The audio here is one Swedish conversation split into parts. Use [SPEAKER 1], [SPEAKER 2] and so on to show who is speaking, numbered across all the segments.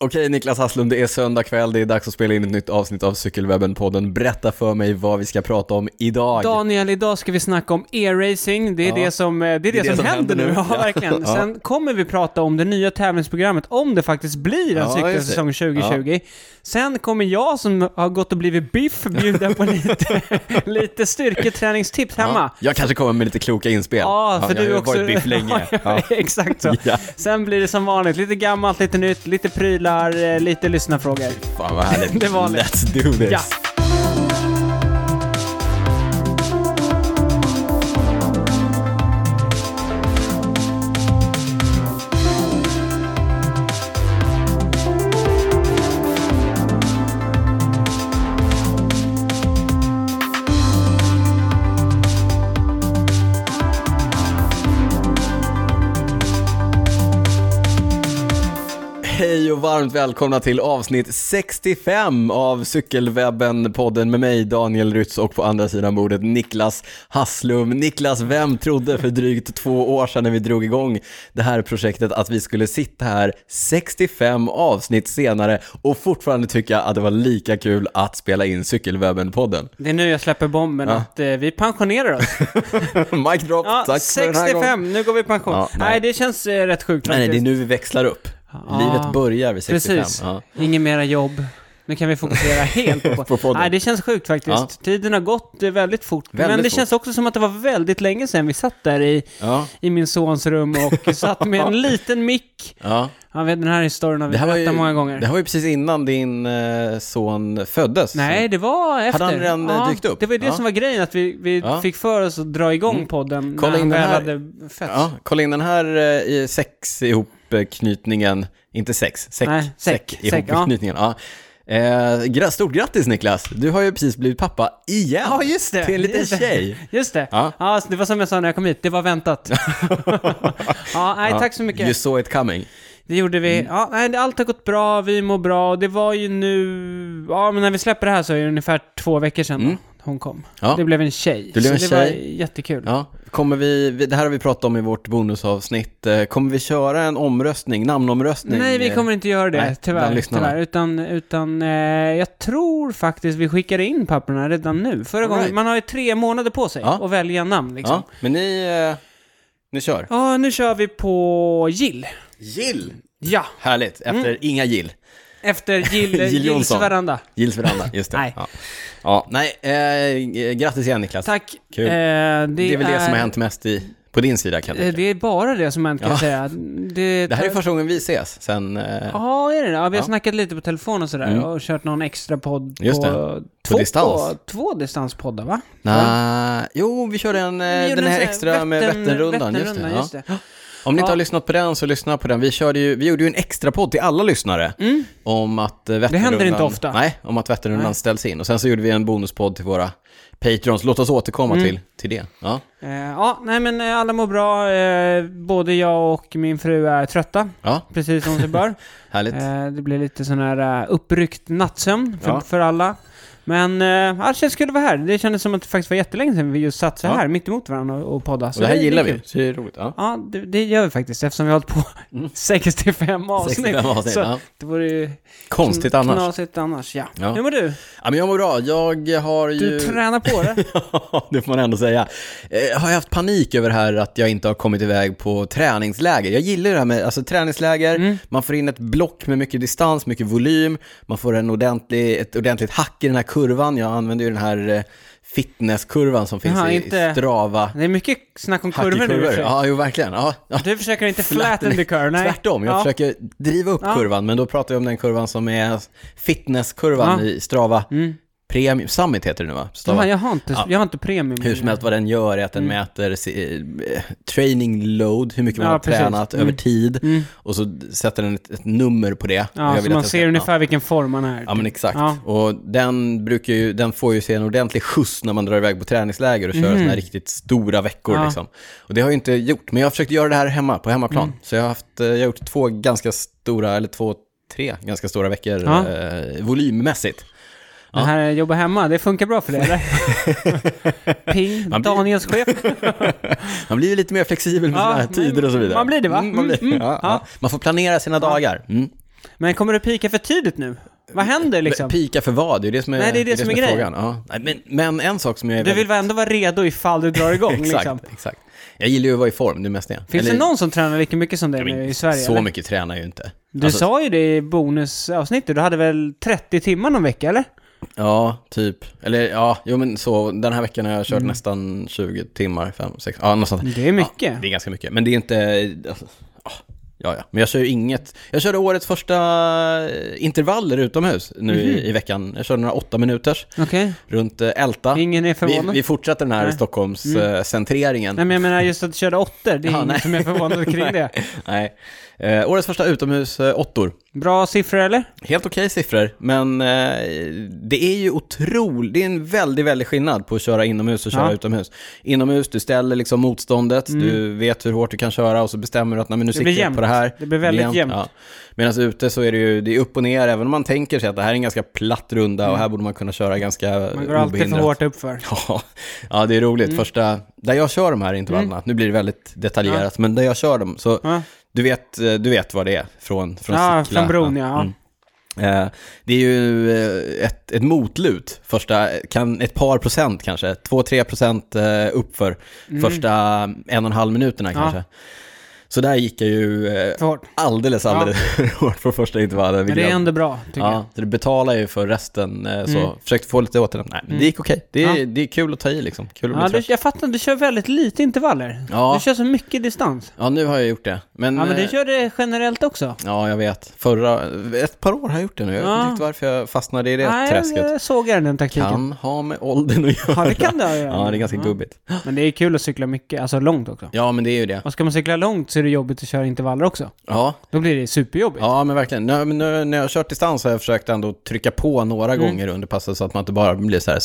[SPEAKER 1] Okej Niklas Hasslund, det är söndag kväll, det är dags att spela in ett nytt avsnitt av Cykelwebben-podden. Berätta för mig vad vi ska prata om idag.
[SPEAKER 2] Daniel, idag ska vi snacka om e-racing. Det är
[SPEAKER 1] Ja.
[SPEAKER 2] det som, eh, det är det som, händer nu. Ja,
[SPEAKER 1] Ja.
[SPEAKER 2] verkligen.
[SPEAKER 1] Ja.
[SPEAKER 2] Sen kommer vi prata om det nya tävlingsprogrammet, om det faktiskt blir en
[SPEAKER 1] Ja, just
[SPEAKER 2] cykelsäsong
[SPEAKER 1] det.
[SPEAKER 2] 2020. Sen kommer jag som har gått och blivit biff bjuda på lite, lite styrketräningstips hemma.
[SPEAKER 1] Ja, jag kanske kommer med lite kloka inspel.
[SPEAKER 2] Ja, för
[SPEAKER 1] jag
[SPEAKER 2] du
[SPEAKER 1] har ju
[SPEAKER 2] också...
[SPEAKER 1] varit biff länge.
[SPEAKER 2] Ja, Exakt så.
[SPEAKER 1] Ja.
[SPEAKER 2] Sen blir det som vanligt lite gammalt, lite nytt, lite prylar, eh, lite lyssnarfrågor.
[SPEAKER 1] Fan vad härligt.
[SPEAKER 2] Det är vanligt.
[SPEAKER 1] Let's do this.
[SPEAKER 2] Ja.
[SPEAKER 1] Hej och varmt välkomna till avsnitt 65 av Cykelwebben-podden med mig Daniel Rytz och på andra sidan bordet Niklas Hasslum. Niklas, vem trodde för drygt två år sedan när vi drog igång det här projektet att vi skulle sitta här 65 avsnitt senare och fortfarande tycka att det var lika kul att spela in Cykelwebben-podden?
[SPEAKER 2] Det är nu jag släpper bomben att eh, vi pensionerar oss.
[SPEAKER 1] Mic drop,
[SPEAKER 2] Ja,
[SPEAKER 1] tack för den här gången.
[SPEAKER 2] 65, nu går vi i pension.
[SPEAKER 1] Ja,
[SPEAKER 2] nej.
[SPEAKER 1] nej.
[SPEAKER 2] det känns eh, rätt sjukt
[SPEAKER 1] Nej, nej,
[SPEAKER 2] faktiskt.
[SPEAKER 1] det är nu vi växlar upp.
[SPEAKER 2] Ja.
[SPEAKER 1] Livet börjar vid 65.
[SPEAKER 2] Precis,
[SPEAKER 1] Ja.
[SPEAKER 2] inget mera jobb. Nu kan vi fokusera helt på,
[SPEAKER 1] På podden.
[SPEAKER 2] Nej, det känns sjukt faktiskt.
[SPEAKER 1] Ja.
[SPEAKER 2] Tiden har gått eh, väldigt fort. men
[SPEAKER 1] Väldigt
[SPEAKER 2] det
[SPEAKER 1] fort.
[SPEAKER 2] känns också som att det var väldigt länge sedan vi satt där i,
[SPEAKER 1] Ja.
[SPEAKER 2] i min sons rum och satt med en liten mick.
[SPEAKER 1] Ja.
[SPEAKER 2] Jag vet, den här historien har vi
[SPEAKER 1] Det här, var ju,
[SPEAKER 2] berättat många gånger.
[SPEAKER 1] det här var ju precis innan din eh, son föddes.
[SPEAKER 2] Nej, det var efter.
[SPEAKER 1] han redan, eh,
[SPEAKER 2] ja,
[SPEAKER 1] dykt upp?
[SPEAKER 2] Det var ju det
[SPEAKER 1] Ja.
[SPEAKER 2] som var grejen, att vi, vi
[SPEAKER 1] Ja. Mm.
[SPEAKER 2] fick för oss att dra igång podden
[SPEAKER 1] Kolla
[SPEAKER 2] när
[SPEAKER 1] in
[SPEAKER 2] han
[SPEAKER 1] den
[SPEAKER 2] väl
[SPEAKER 1] här.
[SPEAKER 2] hade fötts.
[SPEAKER 1] Ja, kolla in den här eh, i sex ihopknytningen, inte sex, säck,
[SPEAKER 2] Nej, säck, säck, ja.
[SPEAKER 1] ihopknytningen. Ja. Eh, gra- stort grattis Niklas, du har ju precis blivit pappa igen.
[SPEAKER 2] Ja, just det.
[SPEAKER 1] Till en liten
[SPEAKER 2] Just det.
[SPEAKER 1] tjej.
[SPEAKER 2] Just det. Ja.
[SPEAKER 1] Ja.
[SPEAKER 2] så det var som jag sa när jag kom hit, det var väntat. ja, nej, tack så mycket.
[SPEAKER 1] You saw it coming.
[SPEAKER 2] Det gjorde vi.
[SPEAKER 1] Mm.
[SPEAKER 2] Ja, nej, det- allt har gått bra, vi mår bra och det var ju nu... Ja, men när vi släpper det här så är det ungefär två veckor sedan då hon kom.
[SPEAKER 1] Mm. Ja.
[SPEAKER 2] Det blev en tjej.
[SPEAKER 1] Det blev en
[SPEAKER 2] så det var
[SPEAKER 1] tjej.
[SPEAKER 2] jättekul.
[SPEAKER 1] Ja, kommer vi, vi- det här har vi pratat om i vårt bonusavsnitt, Eh, kommer vi köra en omröstning, namnomröstning?
[SPEAKER 2] Nej, vi kommer inte göra det,
[SPEAKER 1] Nej,
[SPEAKER 2] tyvärr.
[SPEAKER 1] bland lyssnarna.
[SPEAKER 2] tyvärr. Utan, utan eh, jag tror faktiskt vi skickade in papperna redan nu. Förra gången,
[SPEAKER 1] Alright.
[SPEAKER 2] man har ju tre månader på sig
[SPEAKER 1] Ja.
[SPEAKER 2] att välja namn liksom.
[SPEAKER 1] Ja,
[SPEAKER 2] Ja.
[SPEAKER 1] men ni, eh, ni kör.
[SPEAKER 2] nu kör vi på Jill.
[SPEAKER 1] Gill!
[SPEAKER 2] Ja,
[SPEAKER 1] Härligt, efter
[SPEAKER 2] Mm.
[SPEAKER 1] inga gill.
[SPEAKER 2] efter Jill,
[SPEAKER 1] Jill
[SPEAKER 2] Jills
[SPEAKER 1] Johnson.
[SPEAKER 2] veranda.
[SPEAKER 1] Gills veranda, just det.
[SPEAKER 2] Nej.
[SPEAKER 1] Ja. Ja, nej, eh, grattis igen Niklas.
[SPEAKER 2] Tack.
[SPEAKER 1] Kul.
[SPEAKER 2] Eh, det,
[SPEAKER 1] Det är väl det som har
[SPEAKER 2] är-
[SPEAKER 1] hänt mest i, på din sida kan jag
[SPEAKER 2] Eh,
[SPEAKER 1] tycka.
[SPEAKER 2] Det är bara det som har hänt kan jag
[SPEAKER 1] Ja.
[SPEAKER 2] säga. Det,
[SPEAKER 1] Det här är första gången vi ses sen... eh,
[SPEAKER 2] Ja, är det det? Ja, vi har
[SPEAKER 1] Ja. Mm.
[SPEAKER 2] snackat lite på telefon och sådär och kört någon extra podd
[SPEAKER 1] Just
[SPEAKER 2] på,
[SPEAKER 1] det.
[SPEAKER 2] två,
[SPEAKER 1] distans.
[SPEAKER 2] två distanspoddar va?
[SPEAKER 1] nej, jo, vi körde en, eh,
[SPEAKER 2] Vi gjorde
[SPEAKER 1] den här
[SPEAKER 2] en sån
[SPEAKER 1] extra med Vätternrundan. Just det,
[SPEAKER 2] Vätternrundan,
[SPEAKER 1] ja.
[SPEAKER 2] just det.
[SPEAKER 1] Om ni inte
[SPEAKER 2] Ja.
[SPEAKER 1] har lyssnat på den så lyssna på den. Vi, körde ju, vi gjorde ju en extra podd till alla lyssnare om att eh, Vätternrundan...
[SPEAKER 2] Mm. inte ofta.
[SPEAKER 1] Nej, om att Vätternrundan ställs in. Och sen så gjorde vi en bonuspodd till våra Patreons. Låt oss återkomma
[SPEAKER 2] Mm.
[SPEAKER 1] till, till det. Ja.
[SPEAKER 2] Eh, ja, nej men eh, alla mår bra. Eh, både jag och min fru är trötta.
[SPEAKER 1] ja,
[SPEAKER 2] Precis som det bör.
[SPEAKER 1] härligt.
[SPEAKER 2] eh, det blir lite sån här eh, uppryckt nattsömn för,
[SPEAKER 1] Ja.
[SPEAKER 2] för alla. Men eh, allt känns kul att vara här. Det kändes som att det faktiskt var jättelänge sedan vi just satt så
[SPEAKER 1] Ja.
[SPEAKER 2] här mitt emot varandra och, och poddade. Så
[SPEAKER 1] och det här
[SPEAKER 2] är
[SPEAKER 1] gillar
[SPEAKER 2] kul.
[SPEAKER 1] vi, så det är roligt. Ja.
[SPEAKER 2] Ja, det, det gör vi faktiskt eftersom vi har hållit på 65 avsnitt.
[SPEAKER 1] 65 Mm. avsnitt,
[SPEAKER 2] så
[SPEAKER 1] ja.
[SPEAKER 2] det vore ju
[SPEAKER 1] Konstigt
[SPEAKER 2] kn-
[SPEAKER 1] annars.
[SPEAKER 2] knasigt annars. Ja.
[SPEAKER 1] Ja.
[SPEAKER 2] Hur mår du?
[SPEAKER 1] Ja, men jag mår bra. Jag har ju...
[SPEAKER 2] Du tränar på det.
[SPEAKER 1] Ja, det får man ändå säga. Eh, har jag haft panik över det här att jag inte har kommit iväg på träningsläger? Jag gillar ju det här med alltså, träningsläger,
[SPEAKER 2] Mm.
[SPEAKER 1] man får in ett block med mycket distans, mycket volym, man får en ordentlig, ett ordentligt hack i den här kurvan. Jag använder ju den här eh, fitnesskurvan som finns
[SPEAKER 2] Jaha,
[SPEAKER 1] i
[SPEAKER 2] inte-
[SPEAKER 1] i Strava.
[SPEAKER 2] Det är mycket snack om
[SPEAKER 1] Hack i
[SPEAKER 2] kurvor nu i och för sig.
[SPEAKER 1] Ja, jo verkligen. Ja, ja.
[SPEAKER 2] Du försöker inte flatten the curve, nej.
[SPEAKER 1] Tvärtom, jag
[SPEAKER 2] ja.
[SPEAKER 1] försöker driva upp
[SPEAKER 2] Ja.
[SPEAKER 1] kurvan, men då pratar jag om den kurvan som är fitnesskurvan
[SPEAKER 2] Ja. Mm.
[SPEAKER 1] i Strava. Premium, Summit heter det nu va? Strava.
[SPEAKER 2] Ja, jag har inte, jag har inte premium.
[SPEAKER 1] Hur som helst, vad den gör är att den mäter se- eh, training load, hur mycket man
[SPEAKER 2] Mm. Ja,
[SPEAKER 1] har
[SPEAKER 2] precis.
[SPEAKER 1] tränat
[SPEAKER 2] Mm.
[SPEAKER 1] över tid,
[SPEAKER 2] Mm.
[SPEAKER 1] och så sätter den ett, ett nummer på det. Och jag
[SPEAKER 2] Ja, så
[SPEAKER 1] vill att
[SPEAKER 2] man
[SPEAKER 1] den
[SPEAKER 2] ser
[SPEAKER 1] ska-
[SPEAKER 2] ungefär vilken form man är. typ.
[SPEAKER 1] Ja, ja men exakt.
[SPEAKER 2] Ja.
[SPEAKER 1] Och den, brukar ju, den får ju se en ordentlig skjuts när man drar iväg på träningsläger och kör såna här riktigt stora veckor.
[SPEAKER 2] Mhm. Ja.
[SPEAKER 1] Liksom. Och det har jag inte gjort, men jag har försökt göra det här hemma, på hemmaplan.
[SPEAKER 2] Mm.
[SPEAKER 1] Så jag har, haft, eh, jag har gjort två ganska stora, eller två, tre ganska stora veckor
[SPEAKER 2] Ja.
[SPEAKER 1] eh, volymmässigt.
[SPEAKER 2] Det här eh, jobba hemma, det funkar bra för dig eller? Ping,
[SPEAKER 1] Man blir-
[SPEAKER 2] Daniels chef.
[SPEAKER 1] Man blir ju lite mer flexibel med
[SPEAKER 2] Ja,
[SPEAKER 1] sådana här
[SPEAKER 2] men-
[SPEAKER 1] tider och så vidare.
[SPEAKER 2] man blir det, va?
[SPEAKER 1] Mm, man, blir,
[SPEAKER 2] Mm, mm.
[SPEAKER 1] ja,
[SPEAKER 2] Ja.
[SPEAKER 1] ja. man får planera sina dagar. Mm.
[SPEAKER 2] Men kommer du pika för tidigt nu? Vad händer liksom?
[SPEAKER 1] Pika för vad? Det är ju det som är,
[SPEAKER 2] Nej, det är det som är grejen.
[SPEAKER 1] frågan. Ja. Nej, Men, men en sak som jag är
[SPEAKER 2] Du vill
[SPEAKER 1] väldigt-
[SPEAKER 2] väl ändå vara redo ifall du drar igång
[SPEAKER 1] exakt,
[SPEAKER 2] liksom?
[SPEAKER 1] exakt. Jag gillar ju att vara i form, det är mest det.
[SPEAKER 2] Finns
[SPEAKER 1] Eller-
[SPEAKER 2] det någon som tränar lika mycket som dig
[SPEAKER 1] men
[SPEAKER 2] nu i Sverige?
[SPEAKER 1] Så
[SPEAKER 2] eller?
[SPEAKER 1] mycket tränar jag ju inte.
[SPEAKER 2] Du
[SPEAKER 1] Alltså-
[SPEAKER 2] sa ju det i bonusavsnittet, du hade väl 30 timmar någon vecka eller?
[SPEAKER 1] Ja, typ. Eller ja, jo men så, den här veckan har jag
[SPEAKER 2] Mm.
[SPEAKER 1] kört nästan 20 timmar, 5, 6, ja något sånt.
[SPEAKER 2] Det är mycket.
[SPEAKER 1] Ja, det är ganska mycket, men det är inte... Alltså, ah, ja, ja. Men jag kör ju inget... Jag körde årets första eh, intervaller utomhus nu
[SPEAKER 2] Mhm.
[SPEAKER 1] i, i veckan. Jag körde några åtta minuters
[SPEAKER 2] Okej,
[SPEAKER 1] runt eh, Älta.
[SPEAKER 2] ingen är
[SPEAKER 1] Vi,
[SPEAKER 2] förvånad.
[SPEAKER 1] vi fortsatte den här eh,
[SPEAKER 2] Nej. Mm.
[SPEAKER 1] Stockholms-centreringen.
[SPEAKER 2] Nej men jag menar just att du körde åttor, det är
[SPEAKER 1] Ja,
[SPEAKER 2] ingen
[SPEAKER 1] nej.
[SPEAKER 2] som är förvånad kring det.
[SPEAKER 1] Nej. Eh, årets första utomhus eh, åttor.
[SPEAKER 2] Bra siffror eller?
[SPEAKER 1] Helt okej siffror, men eh, det är ju otroligt, det är en väldigt, väldigt skillnad på att köra inomhus och köra
[SPEAKER 2] Ja. Mm.
[SPEAKER 1] utomhus. Inomhus, du ställer liksom motståndet, du vet hur hårt du kan köra och så bestämmer du att nej, men nu siktar
[SPEAKER 2] blir
[SPEAKER 1] jag
[SPEAKER 2] jämnt.
[SPEAKER 1] på det här.
[SPEAKER 2] Det blir väldigt jämnt.
[SPEAKER 1] Medan ute så är det ju, det är upp och ner, även om man tänker sig att det här är en ganska platt runda och här borde man kunna köra ganska
[SPEAKER 2] Mm. Man går alltid för
[SPEAKER 1] obehindrat.
[SPEAKER 2] hårt Mm. uppför.
[SPEAKER 1] Ja, ja, det är roligt. Första, där jag kör de här intervallerna,
[SPEAKER 2] Mm.
[SPEAKER 1] nu blir det väldigt detaljerat, men där jag kör dem, så
[SPEAKER 2] Ja,
[SPEAKER 1] du vet, eh, du vet vad det är från, från
[SPEAKER 2] ja
[SPEAKER 1] Sickla.
[SPEAKER 2] från bron ja.
[SPEAKER 1] Mm. Eh, Det är ju eh, ett, ett motlut, första, kan, ett par procent kanske, 2-3 procent eh, uppför första en och en halv minuterna
[SPEAKER 2] Mm. Ja.
[SPEAKER 1] kanske. Så där gick jag ju eh,
[SPEAKER 2] För hårt.
[SPEAKER 1] alldeles, alldeles hårt på första intervallen.
[SPEAKER 2] Men
[SPEAKER 1] vilket
[SPEAKER 2] det är
[SPEAKER 1] jag-
[SPEAKER 2] ändå bra tycker jag.
[SPEAKER 1] Ja, så det betalar ju för resten, eh, så
[SPEAKER 2] Mm.
[SPEAKER 1] försökte få lite åter. Nej, men det gick okej. Det, är, det är kul att ta i liksom, kul att
[SPEAKER 2] Ja,
[SPEAKER 1] bli
[SPEAKER 2] du,
[SPEAKER 1] trött.
[SPEAKER 2] jag fattar, du kör väldigt lite intervaller.
[SPEAKER 1] Ja.
[SPEAKER 2] Du kör så mycket distans.
[SPEAKER 1] Ja, nu har jag gjort det. Men,
[SPEAKER 2] Ja men du
[SPEAKER 1] eh,
[SPEAKER 2] kör det generellt också.
[SPEAKER 1] ja, jag vet. Förra, ett par år har jag gjort det nu. Jag vet
[SPEAKER 2] Ja.
[SPEAKER 1] inte riktigt varför jag fastnade i det
[SPEAKER 2] Nej,
[SPEAKER 1] träsket.
[SPEAKER 2] jag sågar den taktiken.
[SPEAKER 1] Kan ha med åldern att göra.
[SPEAKER 2] Ja, det kan det ha att göra.
[SPEAKER 1] Ja, det är ganska
[SPEAKER 2] Ja.
[SPEAKER 1] gubbigt.
[SPEAKER 2] Men det är kul att cykla mycket, alltså långt också.
[SPEAKER 1] Ja, men det är ju det.
[SPEAKER 2] Och ska man cykla långt så är det jobbigt att köra intervaller också.
[SPEAKER 1] Ja,
[SPEAKER 2] Då blir det superjobbigt.
[SPEAKER 1] ja men verkligen. Nu, men nu, när jag har kört distans har jag försökt ändå trycka på några
[SPEAKER 2] Mm.
[SPEAKER 1] gånger under passet så att man inte bara blir så här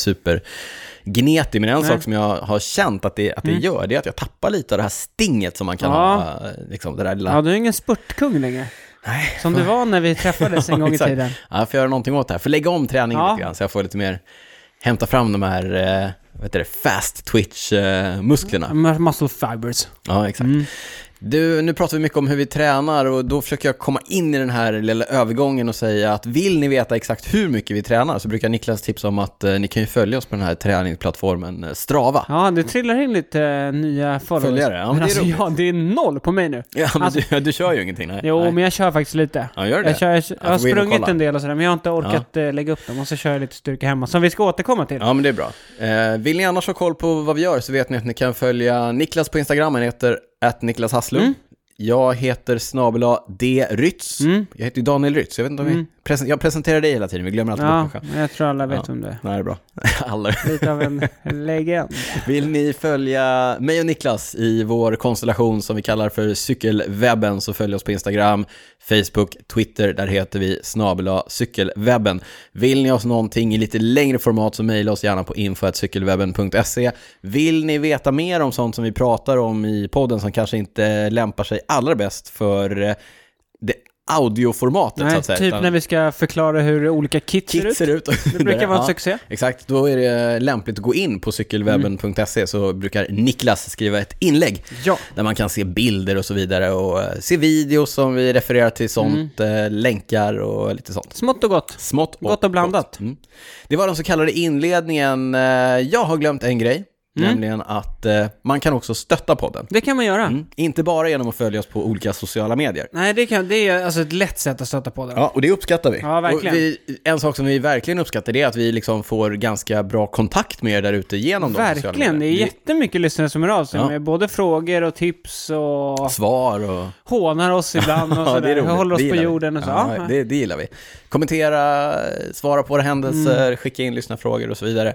[SPEAKER 1] supergnetig. Men en
[SPEAKER 2] Nej. Mm.
[SPEAKER 1] sak som jag har känt att det, att det gör, det är att jag tappar lite av det här stinget som man kan
[SPEAKER 2] Ja.
[SPEAKER 1] ha. Liksom, det där lilla...
[SPEAKER 2] Ja, du är ingen spurtkung längre.
[SPEAKER 1] Nej.
[SPEAKER 2] Som du var när vi träffades en gång i
[SPEAKER 1] Exakt.
[SPEAKER 2] tiden.
[SPEAKER 1] Ja, jag får göra någonting åt det här. Får lägga om träningen
[SPEAKER 2] Ja.
[SPEAKER 1] lite grann så jag får lite mer, hämta fram de här, eh, vad heter det, fast eh, twitch-musklerna.
[SPEAKER 2] Mus- Muscle fibers.
[SPEAKER 1] Ja, exakt.
[SPEAKER 2] Mm.
[SPEAKER 1] Du, nu pratar vi mycket om hur vi tränar och då försöker jag komma in i den här lilla övergången och säga att vill ni veta exakt hur mycket vi tränar så brukar Niklas tipsa om att eh, ni kan ju följa oss på den här träningsplattformen eh, Strava.
[SPEAKER 2] Ja, det trillar in lite eh, nya followers.
[SPEAKER 1] Följare, ja, men det är
[SPEAKER 2] alltså,
[SPEAKER 1] roligt.
[SPEAKER 2] ja, det är noll på mig nu.
[SPEAKER 1] Ja, men
[SPEAKER 2] Alltså-
[SPEAKER 1] du, du kör ju ingenting. Nej.
[SPEAKER 2] Jo,
[SPEAKER 1] nej.
[SPEAKER 2] men jag kör faktiskt lite.
[SPEAKER 1] Ja, gör du det?
[SPEAKER 2] Jag, kör, jag, jag
[SPEAKER 1] får gå in
[SPEAKER 2] har
[SPEAKER 1] och
[SPEAKER 2] sprungit
[SPEAKER 1] kolla.
[SPEAKER 2] en del och sådär, men jag har inte orkat eh, lägga upp dem. Och så kör jag lite styrka hemma, som vi ska återkomma till.
[SPEAKER 1] Ja, men det är bra. Eh, vill ni annars ha koll på vad vi gör så vet ni att ni kan följa Niklas på Instagram. Han heter Niklas Jag heter snabel D. Rytz.
[SPEAKER 2] Mm.
[SPEAKER 1] Jag heter ju Daniel Rytz. Jag, vet inte om
[SPEAKER 2] Mm.
[SPEAKER 1] vi presen- jag presenterar dig hela tiden, vi glömmer alltid bort mig
[SPEAKER 2] Ja,
[SPEAKER 1] själv.
[SPEAKER 2] men jag tror alla vet
[SPEAKER 1] Ja.
[SPEAKER 2] om det är.
[SPEAKER 1] Nej, det är bra. Alla.
[SPEAKER 2] Lite av en legend.
[SPEAKER 1] Vill ni följa mig och Niklas i vår konstellation som vi kallar för Cykelwebben så följ oss på Instagram, Facebook, Twitter. Där heter vi snabela cykelwebben. Vill ni oss någonting i lite längre format så mejla oss gärna på info.cykelwebben.se. Vill ni veta mer om sånt som vi pratar om i podden som kanske inte lämpar sig allra bäst för eh, det audioformatet så
[SPEAKER 2] Nej,
[SPEAKER 1] att säga.
[SPEAKER 2] typ
[SPEAKER 1] utan
[SPEAKER 2] när vi ska förklara hur olika kits ser
[SPEAKER 1] Kit
[SPEAKER 2] ut.
[SPEAKER 1] ser ut. och
[SPEAKER 2] Det brukar vara en
[SPEAKER 1] Ja.
[SPEAKER 2] succé.
[SPEAKER 1] Exakt, då är det lämpligt att gå in på cykelwebben.se så brukar Niklas skriva ett inlägg
[SPEAKER 2] Ja.
[SPEAKER 1] där man kan se bilder och så vidare och eh, se videos som vi refererar till sånt, eh, länkar och lite sånt.
[SPEAKER 2] Smått och gott.
[SPEAKER 1] Smått och
[SPEAKER 2] Mm. Gott och blandat.
[SPEAKER 1] Mm. Det var den så kallade inledningen. Eh, Jag har glömt en grej,
[SPEAKER 2] Mm.
[SPEAKER 1] nämligen att eh, man kan också stötta podden.
[SPEAKER 2] Det kan man göra.
[SPEAKER 1] Mm. Inte bara genom att följa oss på olika sociala medier.
[SPEAKER 2] Nej, det, kan, det är alltså ett lätt sätt att stöta på det.
[SPEAKER 1] Ja, och det uppskattar vi.
[SPEAKER 2] Ja, verkligen.
[SPEAKER 1] Och vi. En sak som vi verkligen uppskattar det är att vi liksom får ganska bra kontakt med er där ute genom de sociala
[SPEAKER 2] Verkligen, det är
[SPEAKER 1] medierna.
[SPEAKER 2] jättemycket lyssnare som hör av sig
[SPEAKER 1] Ja.
[SPEAKER 2] med både frågor och tips och
[SPEAKER 1] Svar och...
[SPEAKER 2] hånar oss ibland och
[SPEAKER 1] Ja, det är
[SPEAKER 2] sådär.
[SPEAKER 1] roligt.
[SPEAKER 2] håller
[SPEAKER 1] Det
[SPEAKER 2] oss
[SPEAKER 1] gillar
[SPEAKER 2] på
[SPEAKER 1] vi.
[SPEAKER 2] jorden och så.
[SPEAKER 1] Ja,
[SPEAKER 2] Ja,
[SPEAKER 1] det, det gillar vi. Kommentera, svara på våra händelser,
[SPEAKER 2] Mm.
[SPEAKER 1] skicka in lyssnarfrågor och så vidare.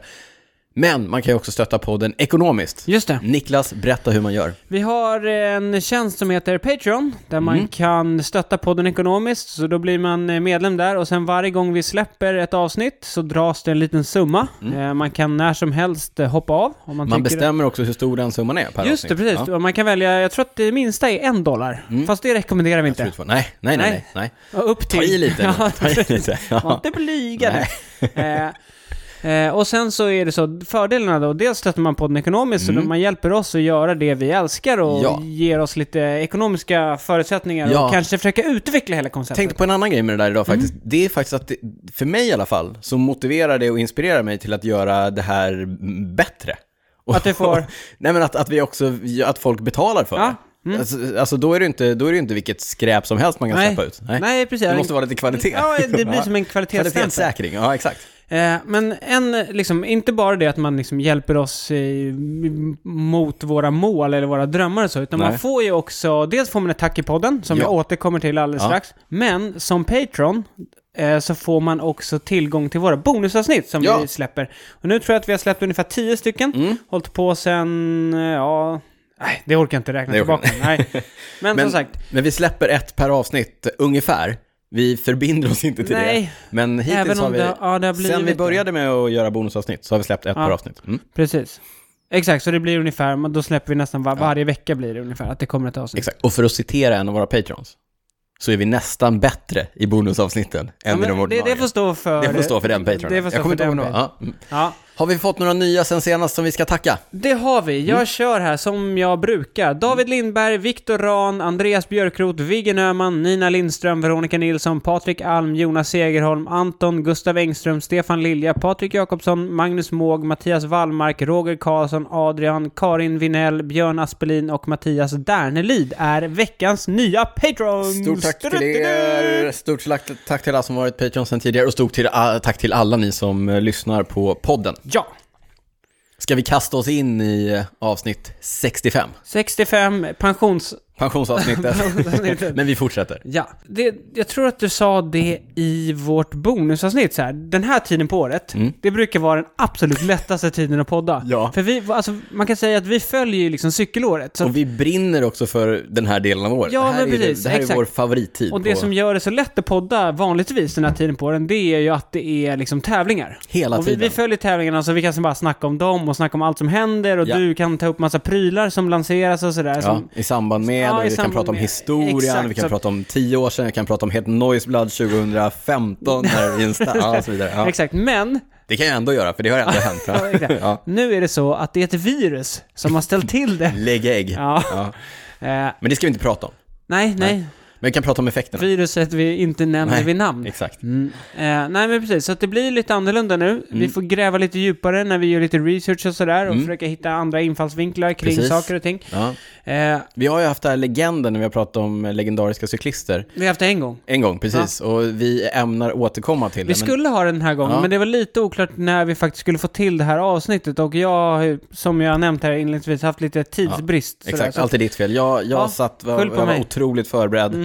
[SPEAKER 1] Men man kan ju också stötta podden ekonomiskt.
[SPEAKER 2] Just det.
[SPEAKER 1] Niklas, berätta hur man gör.
[SPEAKER 2] Vi har en tjänst som heter Patreon, där
[SPEAKER 1] Mm.
[SPEAKER 2] man kan stötta podden ekonomiskt. Så då blir man eh, medlem där och sen varje gång vi släpper ett avsnitt så dras det en liten summa. Eh, Man kan när som helst eh, hoppa av. Om man
[SPEAKER 1] Mm. Man
[SPEAKER 2] tycker-
[SPEAKER 1] bestämmer också hur stor den summan är per
[SPEAKER 2] Just det,
[SPEAKER 1] avsnitt. Mm.
[SPEAKER 2] precis. Och Man kan välja, jag tror att det minsta är en dollar. Fast det rekommenderar vi
[SPEAKER 1] Ja.
[SPEAKER 2] inte.
[SPEAKER 1] Slut på- Nej, nej, nej, nej,
[SPEAKER 2] Nej.
[SPEAKER 1] nej.
[SPEAKER 2] Och Upp till...
[SPEAKER 1] Ta i lite. nu.
[SPEAKER 2] Ja,
[SPEAKER 1] Ta i lite.
[SPEAKER 2] Var
[SPEAKER 1] Ja.
[SPEAKER 2] inte blyga nu. Eh, Eh, och sen så är det så, fördelarna då, dels stöttar man podden ekonomiskt, så då man hjälper oss att göra det vi älskar och
[SPEAKER 1] Mm. Ja.
[SPEAKER 2] ger oss lite ekonomiska förutsättningar
[SPEAKER 1] Ja.
[SPEAKER 2] och kanske försöka utveckla hela konceptet.
[SPEAKER 1] tänkte på en annan grej med det där
[SPEAKER 2] Mm.
[SPEAKER 1] idag faktiskt. Det är faktiskt att, det, för mig i alla fall, så motiverar det och inspirerar mig till att göra det här m- bättre. Och-
[SPEAKER 2] Att du får-
[SPEAKER 1] Nej men att, att vi också, att folk betalar för
[SPEAKER 2] Ja, Mm.
[SPEAKER 1] det. Alltså, alltså då, är det inte, då är det inte vilket skräp som helst man kan släppa ut.
[SPEAKER 2] Nej. precis.
[SPEAKER 1] Det måste vara lite kvalitet.
[SPEAKER 2] Ja, det blir som en kvalitetsstämpel.
[SPEAKER 1] Kvalitetssäkring, ja exakt.
[SPEAKER 2] Eh, men en, liksom, inte bara det att man liksom hjälper oss eh, m- mot våra mål eller våra drömmar och så, utan
[SPEAKER 1] Nej.
[SPEAKER 2] man får ju också, dels får man ett tack i podden, som
[SPEAKER 1] Ja.
[SPEAKER 2] jag återkommer till alldeles
[SPEAKER 1] Ja.
[SPEAKER 2] strax, men som Patreon eh, så får man också tillgång till våra bonusavsnitt som
[SPEAKER 1] Ja. Mm.
[SPEAKER 2] vi släpper. Och nu tror jag att vi har släppt ungefär tio stycken, hållit på sen, eh, ja, nej, det orkar jag inte räkna
[SPEAKER 1] Det orkar
[SPEAKER 2] tillbaka. Nej. Men, som sagt,
[SPEAKER 1] men vi släpper ett per avsnitt, ungefär. Vi förbinder oss inte till
[SPEAKER 2] Nej.
[SPEAKER 1] det. Men hittills
[SPEAKER 2] Även om
[SPEAKER 1] har vi,
[SPEAKER 2] det- ja, det har blivit
[SPEAKER 1] sen vi
[SPEAKER 2] det.
[SPEAKER 1] började med att göra bonusavsnitt så har vi släppt ett
[SPEAKER 2] Ja.
[SPEAKER 1] per avsnitt. Mm.
[SPEAKER 2] precis. Exakt, så det blir ungefär, men då släpper vi nästan var, varje vecka blir det ungefär att det kommer ett avsnitt.
[SPEAKER 1] Exakt. Och för att citera en av våra patrons, så är vi nästan bättre i bonusavsnitten än i
[SPEAKER 2] Ja,
[SPEAKER 1] de
[SPEAKER 2] men det,
[SPEAKER 1] ordinarie.
[SPEAKER 2] det får stå för...
[SPEAKER 1] Det får stå för den patronen.
[SPEAKER 2] Det får stå
[SPEAKER 1] Jag kommer
[SPEAKER 2] för
[SPEAKER 1] inte
[SPEAKER 2] den
[SPEAKER 1] ihåg några.
[SPEAKER 2] patronen.
[SPEAKER 1] Ja. Mm.
[SPEAKER 2] Ja,
[SPEAKER 1] Har vi fått några nya sen senast som vi ska tacka?
[SPEAKER 2] det har vi. Jag
[SPEAKER 1] Mm.
[SPEAKER 2] kör här som jag brukar. David Lindberg, Viktor Ran, Andreas Björkrot, Viggen Öhman, Nina Lindström, Veronica Nilsson, Patrik Alm, Jonas Segerholm, Anton, Gustav Engström, Stefan Lilja, Patrik Jakobsson, Magnus Måg, Mattias Wallmark, Roger Karlsson, Adrian, Karin Vinell, Björn Aspelin och Mattias Dernelid är veckans nya patrons!
[SPEAKER 1] Stort tack till er, stort slack- tack till alla som varit Patreon sen tidigare och stort till, ah, tack till alla ni som eh, lyssnar på podden.
[SPEAKER 2] Ja!
[SPEAKER 1] Ska vi kasta oss in i eh, avsnitt 65,
[SPEAKER 2] 65 pensions...
[SPEAKER 1] pensionsavsnittet? Men vi fortsätter.
[SPEAKER 2] Ja, det, jag tror att du sa det i vårt bonusavsnitt så här. Den här tiden på året, det brukar vara den absolut lättaste tiden att podda.
[SPEAKER 1] Mm. Ja.
[SPEAKER 2] För vi, alltså, man kan säga att vi följer ju liksom cykelåret. Så,
[SPEAKER 1] Och vi brinner också för den här delen av året.
[SPEAKER 2] Ja,
[SPEAKER 1] det här,
[SPEAKER 2] men
[SPEAKER 1] är, det,
[SPEAKER 2] precis,
[SPEAKER 1] det här är
[SPEAKER 2] exakt.
[SPEAKER 1] vår favorittid.
[SPEAKER 2] och det
[SPEAKER 1] på...
[SPEAKER 2] som gör det så lätt att podda vanligtvis den här tiden på åren, det är ju att det är liksom tävlingar.
[SPEAKER 1] Hela
[SPEAKER 2] och vi,
[SPEAKER 1] tiden.
[SPEAKER 2] vi följer tävlingarna så vi kan bara snacka om dem och snacka om allt som händer och
[SPEAKER 1] Ja.
[SPEAKER 2] du kan ta upp massa prylar som lanseras och sådär.
[SPEAKER 1] Ja,
[SPEAKER 2] Som,
[SPEAKER 1] I samband med,
[SPEAKER 2] Ja,
[SPEAKER 1] och vi
[SPEAKER 2] i
[SPEAKER 1] kan
[SPEAKER 2] samband
[SPEAKER 1] prata om
[SPEAKER 2] med.
[SPEAKER 1] historien,
[SPEAKER 2] Exakt,
[SPEAKER 1] vi
[SPEAKER 2] så
[SPEAKER 1] kan
[SPEAKER 2] att-
[SPEAKER 1] prata om tio år sedan, vi kan prata om Head Noise Blood 2015 här i Insta, ja, och så vidare. Ja.
[SPEAKER 2] Exakt, men
[SPEAKER 1] Det kan jag ändå göra, för det har ändå hänt.
[SPEAKER 2] Ja, exakt.
[SPEAKER 1] Ja.
[SPEAKER 2] nu är det så att det är ett virus som har ställt till det.
[SPEAKER 1] Lägg ägg.
[SPEAKER 2] Ja.
[SPEAKER 1] Ja.
[SPEAKER 2] Eh,
[SPEAKER 1] Men det ska vi inte prata om.
[SPEAKER 2] nej, nej.
[SPEAKER 1] Men vi kan prata om effekterna.
[SPEAKER 2] Viruset vi inte nämner
[SPEAKER 1] Nej,
[SPEAKER 2] vid namn.
[SPEAKER 1] Exakt.
[SPEAKER 2] Mm. Eh, nej men precis, så att det blir lite annorlunda nu.
[SPEAKER 1] Mm.
[SPEAKER 2] Vi får gräva lite djupare när vi gör lite research och sådär och försöka hitta andra infallsvinklar kring
[SPEAKER 1] Precis.
[SPEAKER 2] saker och ting.
[SPEAKER 1] Ja.
[SPEAKER 2] Eh,
[SPEAKER 1] Vi har ju haft den här legenden när vi har pratat om eh, legendariska cyklister.
[SPEAKER 2] vi har haft det en gång.
[SPEAKER 1] En gång, precis. Och vi ämnar återkomma till
[SPEAKER 2] Vi
[SPEAKER 1] det. men-
[SPEAKER 2] skulle ha den här gången,
[SPEAKER 1] Ja.
[SPEAKER 2] men det var lite oklart när vi faktiskt skulle få till det här avsnittet och jag har ju, som jag har nämnt här inledningsvis, haft lite tidsbrist. sådär.
[SPEAKER 1] Exakt,
[SPEAKER 2] Så att
[SPEAKER 1] allt är ditt fel. Jag, jag
[SPEAKER 2] Ja,
[SPEAKER 1] satt, var,
[SPEAKER 2] skyll på
[SPEAKER 1] jag var
[SPEAKER 2] mig. Mm.
[SPEAKER 1] otroligt förberedd.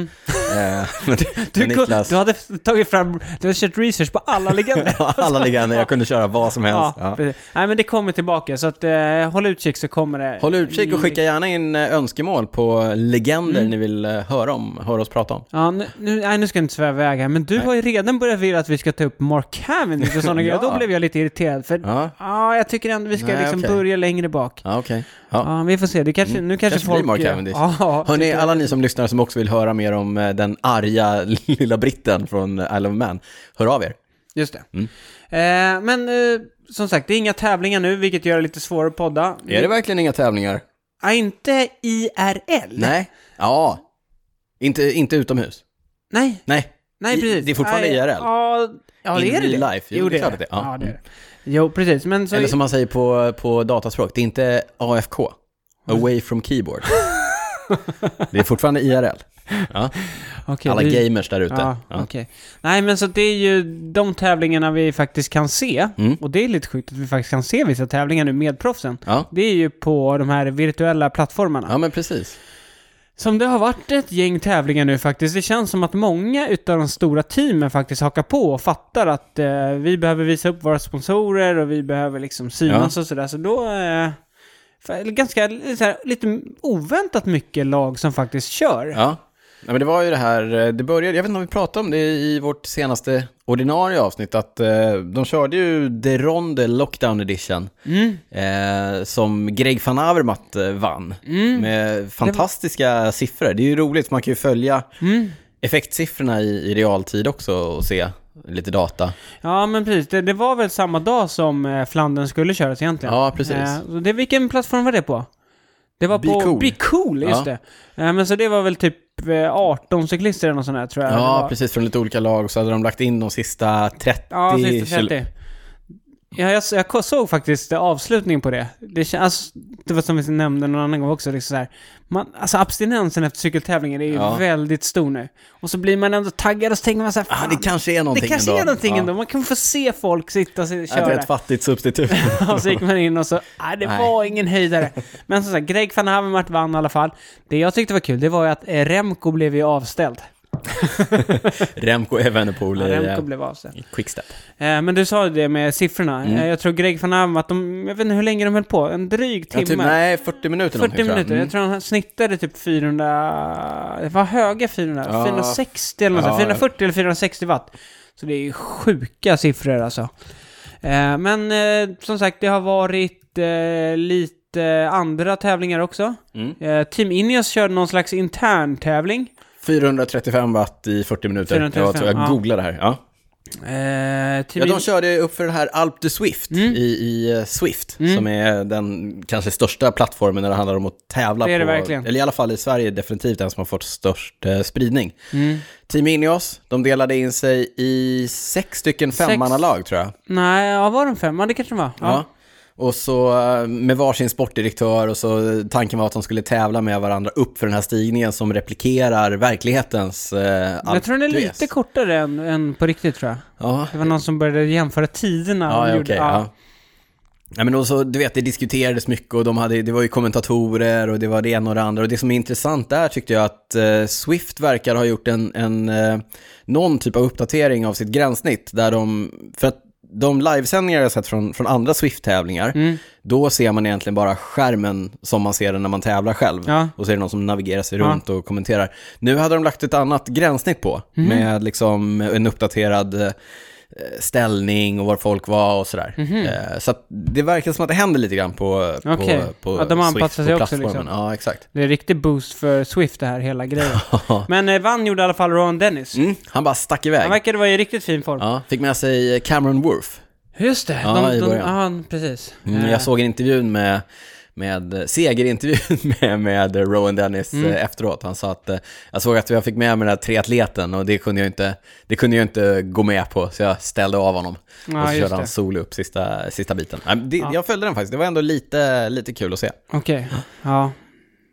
[SPEAKER 1] Eh, men
[SPEAKER 2] du,
[SPEAKER 1] men
[SPEAKER 2] kunde-
[SPEAKER 1] Niklas,
[SPEAKER 2] du hade tagit fram, du hade kört research på alla legender.
[SPEAKER 1] alla legender, jag kunde köra vad som helst.
[SPEAKER 2] Ja,
[SPEAKER 1] Ja.
[SPEAKER 2] precis. Nej men det kommer tillbaka, så att, eh, håll utkik så kommer det.
[SPEAKER 1] Håll utkik och skicka gärna in eh, önskemål på legender ni vill eh, höra om, höra oss prata om.
[SPEAKER 2] Ja, nu, nu, nej, nu ska jag inte sväva iväg här, men du har ju redan börjat vilja att vi ska ta upp Mark Cavendish och sådana
[SPEAKER 1] Ja.
[SPEAKER 2] grejer. Då blev jag lite irriterad, för ja,
[SPEAKER 1] Ja,
[SPEAKER 2] jag tycker ändå vi ska
[SPEAKER 1] Nej,
[SPEAKER 2] liksom
[SPEAKER 1] okej.
[SPEAKER 2] börja längre bak.
[SPEAKER 1] ja okej. Ja. Mm.
[SPEAKER 2] Ja, vi får se. Det kanske, nu kanske,
[SPEAKER 1] Kanske blir
[SPEAKER 2] folk...
[SPEAKER 1] Mark Cavendish.
[SPEAKER 2] Ja,
[SPEAKER 1] Hörni, alla ni som lyssnar som också vill höra mer om eh, den arga lilla britten från eh, Isle of Man, hör av er.
[SPEAKER 2] just det.
[SPEAKER 1] Mm.
[SPEAKER 2] Eh, men eh, som sagt, det är inga tävlingar nu, vilket gör det lite svårare att podda.
[SPEAKER 1] Mm. Är det verkligen inga tävlingar?
[SPEAKER 2] Ja, inte IRL.
[SPEAKER 1] Nej. Ja. Inte, inte utomhus?
[SPEAKER 2] Nej,
[SPEAKER 1] Nej.
[SPEAKER 2] nej,
[SPEAKER 1] I-
[SPEAKER 2] precis.
[SPEAKER 1] det är fortfarande
[SPEAKER 2] Nej,
[SPEAKER 1] IRL.
[SPEAKER 2] Ja, ja
[SPEAKER 1] In
[SPEAKER 2] det är det
[SPEAKER 1] real
[SPEAKER 2] det.
[SPEAKER 1] life. Jo, det är klart att det är. Ja.
[SPEAKER 2] Ja, det är det. Jo, precis. Men så...
[SPEAKER 1] Eller som man säger på, på dataspråk, det är inte AFK. Away from keyboard. det är fortfarande IRL. Ja.
[SPEAKER 2] Okej,
[SPEAKER 1] Alla
[SPEAKER 2] du-
[SPEAKER 1] gamers där ute.
[SPEAKER 2] Ja,
[SPEAKER 1] Ja,
[SPEAKER 2] okej. Nej, men så det är ju de tävlingarna vi faktiskt kan se.
[SPEAKER 1] Mm.
[SPEAKER 2] Och det är lite sjukt att vi faktiskt kan se vissa tävlingar nu med proffsen.
[SPEAKER 1] Ja.
[SPEAKER 2] Det är ju på de här virtuella plattformarna.
[SPEAKER 1] ja, men precis.
[SPEAKER 2] Som det har varit ett gäng tävlingar nu faktiskt. Det känns som att många utav de stora teamen faktiskt hakar på och fattar att eh, vi behöver visa upp våra sponsorer och vi behöver liksom synas och sådär. Så då... Eh, för- Ganska så här, lite oväntat mycket lag som faktiskt kör.
[SPEAKER 1] Ja. Nej, men det var ju det här, eh, det började, jag vet inte om vi pratade om det i vårt senaste ordinarie avsnitt, att eh, de körde ju The Ronde Lockdown Edition,
[SPEAKER 2] Mm,
[SPEAKER 1] eh, som Greg van
[SPEAKER 2] Mm. mm.
[SPEAKER 1] Avermaet eh, vann, med fantastiska siffror. Det är ju roligt, man kan ju följa effektsiffrorna i, i realtid också och se lite data.
[SPEAKER 2] Ja, men precis. Det, det var väl samma dag som eh, Flandern skulle köras egentligen.
[SPEAKER 1] Ja, precis.
[SPEAKER 2] Eh, så det, vilken plattform var det på? Det var
[SPEAKER 1] Be
[SPEAKER 2] på
[SPEAKER 1] Cool.
[SPEAKER 2] Be Cool, just
[SPEAKER 1] Ja.
[SPEAKER 2] det. Eh, men så det var väl typ eh, 18 cyklister eller något sånt där, tror jag. det
[SPEAKER 1] Ja,
[SPEAKER 2] var.
[SPEAKER 1] precis. Från lite olika lag så hade de lagt in de sista 30...
[SPEAKER 2] Ja, sista
[SPEAKER 1] kil-
[SPEAKER 2] 30. Ja, jag, jag såg faktiskt avslutningen på det. Det, kän- alltså, det var som vi nämnde någon annan gång också. Liksom så här. Man, alltså abstinensen efter cykeltävlingen är ju
[SPEAKER 1] Ja.
[SPEAKER 2] väldigt stor nu. Och så blir man ändå taggad och så tänker man så här,
[SPEAKER 1] Ah,
[SPEAKER 2] fan,
[SPEAKER 1] det kanske är
[SPEAKER 2] det
[SPEAKER 1] någonting
[SPEAKER 2] kanske är någonting
[SPEAKER 1] Ja.
[SPEAKER 2] ändå. Man kan få se folk sitta och se-
[SPEAKER 1] Att det är
[SPEAKER 2] köra.
[SPEAKER 1] ett fattigt substitut.
[SPEAKER 2] Och så gick man in och så, nej det
[SPEAKER 1] Nej.
[SPEAKER 2] var ingen höjdare. Men som sagt, Greg van Havermart vann i alla fall. Det jag tyckte var kul, det var ju att eh, Remco blev ju avställd.
[SPEAKER 1] Remco Evenepoel
[SPEAKER 2] Ja,
[SPEAKER 1] i eh,
[SPEAKER 2] Remco blev avställd.
[SPEAKER 1] i Quickstep.
[SPEAKER 2] Eh, Men du sa ju det med siffrorna.
[SPEAKER 1] Mm.
[SPEAKER 2] Eh, Jag tror Greg van Avermaet, de, jag vet inte hur länge de höll på, en dryg
[SPEAKER 1] Ja,
[SPEAKER 2] timme.
[SPEAKER 1] typ, nej, 40 minuter
[SPEAKER 2] 40
[SPEAKER 1] någonting, tror jag.
[SPEAKER 2] minuter.
[SPEAKER 1] Mm.
[SPEAKER 2] Jag tror han snittade typ 400, det var höga 400,
[SPEAKER 1] Ja.
[SPEAKER 2] 460 eller något
[SPEAKER 1] Ja,
[SPEAKER 2] sånt. 440 eller 460 watt. Så det är ju sjuka siffror alltså. Eh, Men eh, som sagt, det har varit eh, lite andra tävlingar också.
[SPEAKER 1] Mm.
[SPEAKER 2] Eh, Team Ineos körde någon slags intern tävling.
[SPEAKER 1] 435 watt i 40 minuter.
[SPEAKER 2] 435,
[SPEAKER 1] jag tror jag
[SPEAKER 2] ja.
[SPEAKER 1] googlar det här. Ja.
[SPEAKER 2] Eh,
[SPEAKER 1] Ja,
[SPEAKER 2] Team
[SPEAKER 1] de körde upp för det här Alp de Swift
[SPEAKER 2] Mm.
[SPEAKER 1] i, i eh, Swift,
[SPEAKER 2] Mm.
[SPEAKER 1] som är den kanske största plattformen när det handlar om att tävla
[SPEAKER 2] Det är det
[SPEAKER 1] på,
[SPEAKER 2] verkligen.
[SPEAKER 1] eller i alla fall i Sverige definitivt den som har fått störst eh, spridning.
[SPEAKER 2] Mm.
[SPEAKER 1] Team Ineos, de delade in sig i sex stycken femmannalag tror jag.
[SPEAKER 2] Nej, ja, var de fem? Ja, det kanske de var.
[SPEAKER 1] Ja. Och så eh, med varsin sportdirektör och så eh, tanken var att de skulle tävla med varandra upp för den här stigningen som replikerar verklighetens eh,
[SPEAKER 2] Jag tror den är
[SPEAKER 1] Alpe
[SPEAKER 2] lite
[SPEAKER 1] d'Huez.
[SPEAKER 2] kortare än, än på riktigt tror jag.
[SPEAKER 1] Ja,
[SPEAKER 2] Det var någon som började jämföra tiderna. och
[SPEAKER 1] Ja, ja,
[SPEAKER 2] gjorde-
[SPEAKER 1] okej.
[SPEAKER 2] ja.
[SPEAKER 1] ja. Ja, men och så, du vet, det diskuterades mycket och de hade, det var ju kommentatorer och det var det ena och det andra. Och det som är intressant där tyckte jag att eh, Swift verkar ha gjort en, en, eh, någon typ av uppdatering av sitt gränssnitt. Där de, för att de livesändningar jag har sett från, från andra Swift-tävlingar,
[SPEAKER 2] Mm.
[SPEAKER 1] då ser man egentligen bara skärmen som man ser den när man tävlar själv.
[SPEAKER 2] Ja.
[SPEAKER 1] Och så är det någon som navigerar sig
[SPEAKER 2] Ja.
[SPEAKER 1] runt och kommenterar. Nu hade de lagt ett annat gränssnitt på,
[SPEAKER 2] Mm.
[SPEAKER 1] med liksom en uppdaterad eh, ställning och var folk var och sådär. Eh, Så att det verkar som att det händer lite grann på,
[SPEAKER 2] Mhm. Okej.
[SPEAKER 1] på, på
[SPEAKER 2] Att de anpassar
[SPEAKER 1] Swift,
[SPEAKER 2] sig
[SPEAKER 1] på
[SPEAKER 2] också,
[SPEAKER 1] plattformen.
[SPEAKER 2] liksom.
[SPEAKER 1] Ja, exakt.
[SPEAKER 2] Det är en riktig boost för Swift det här, hela grejen. Men eh, vann gjorde i alla fall Ron Dennis.
[SPEAKER 1] Mm, han bara stack iväg.
[SPEAKER 2] Han verkade vara i riktigt fin form.
[SPEAKER 1] Ja, fick med sig Cameron Worth.
[SPEAKER 2] Just det!
[SPEAKER 1] Ja, i början.
[SPEAKER 2] ja, precis.
[SPEAKER 1] Mm,
[SPEAKER 2] Eh,
[SPEAKER 1] jag såg en intervjun med, med segerintervjun med, med Rowan Dennis
[SPEAKER 2] Mm.
[SPEAKER 1] eh, efteråt. Han sa att eh, jag såg att jag fick med mig den här triatleten och det kunde jag inte, det kunde jag inte gå med på så jag ställde av honom.
[SPEAKER 2] Ja,
[SPEAKER 1] och så
[SPEAKER 2] just
[SPEAKER 1] körde
[SPEAKER 2] det.
[SPEAKER 1] han solo upp sista, sista biten. Nej, men Det, Jag följde den faktiskt, det var ändå lite, lite kul att se.
[SPEAKER 2] Okej, ja.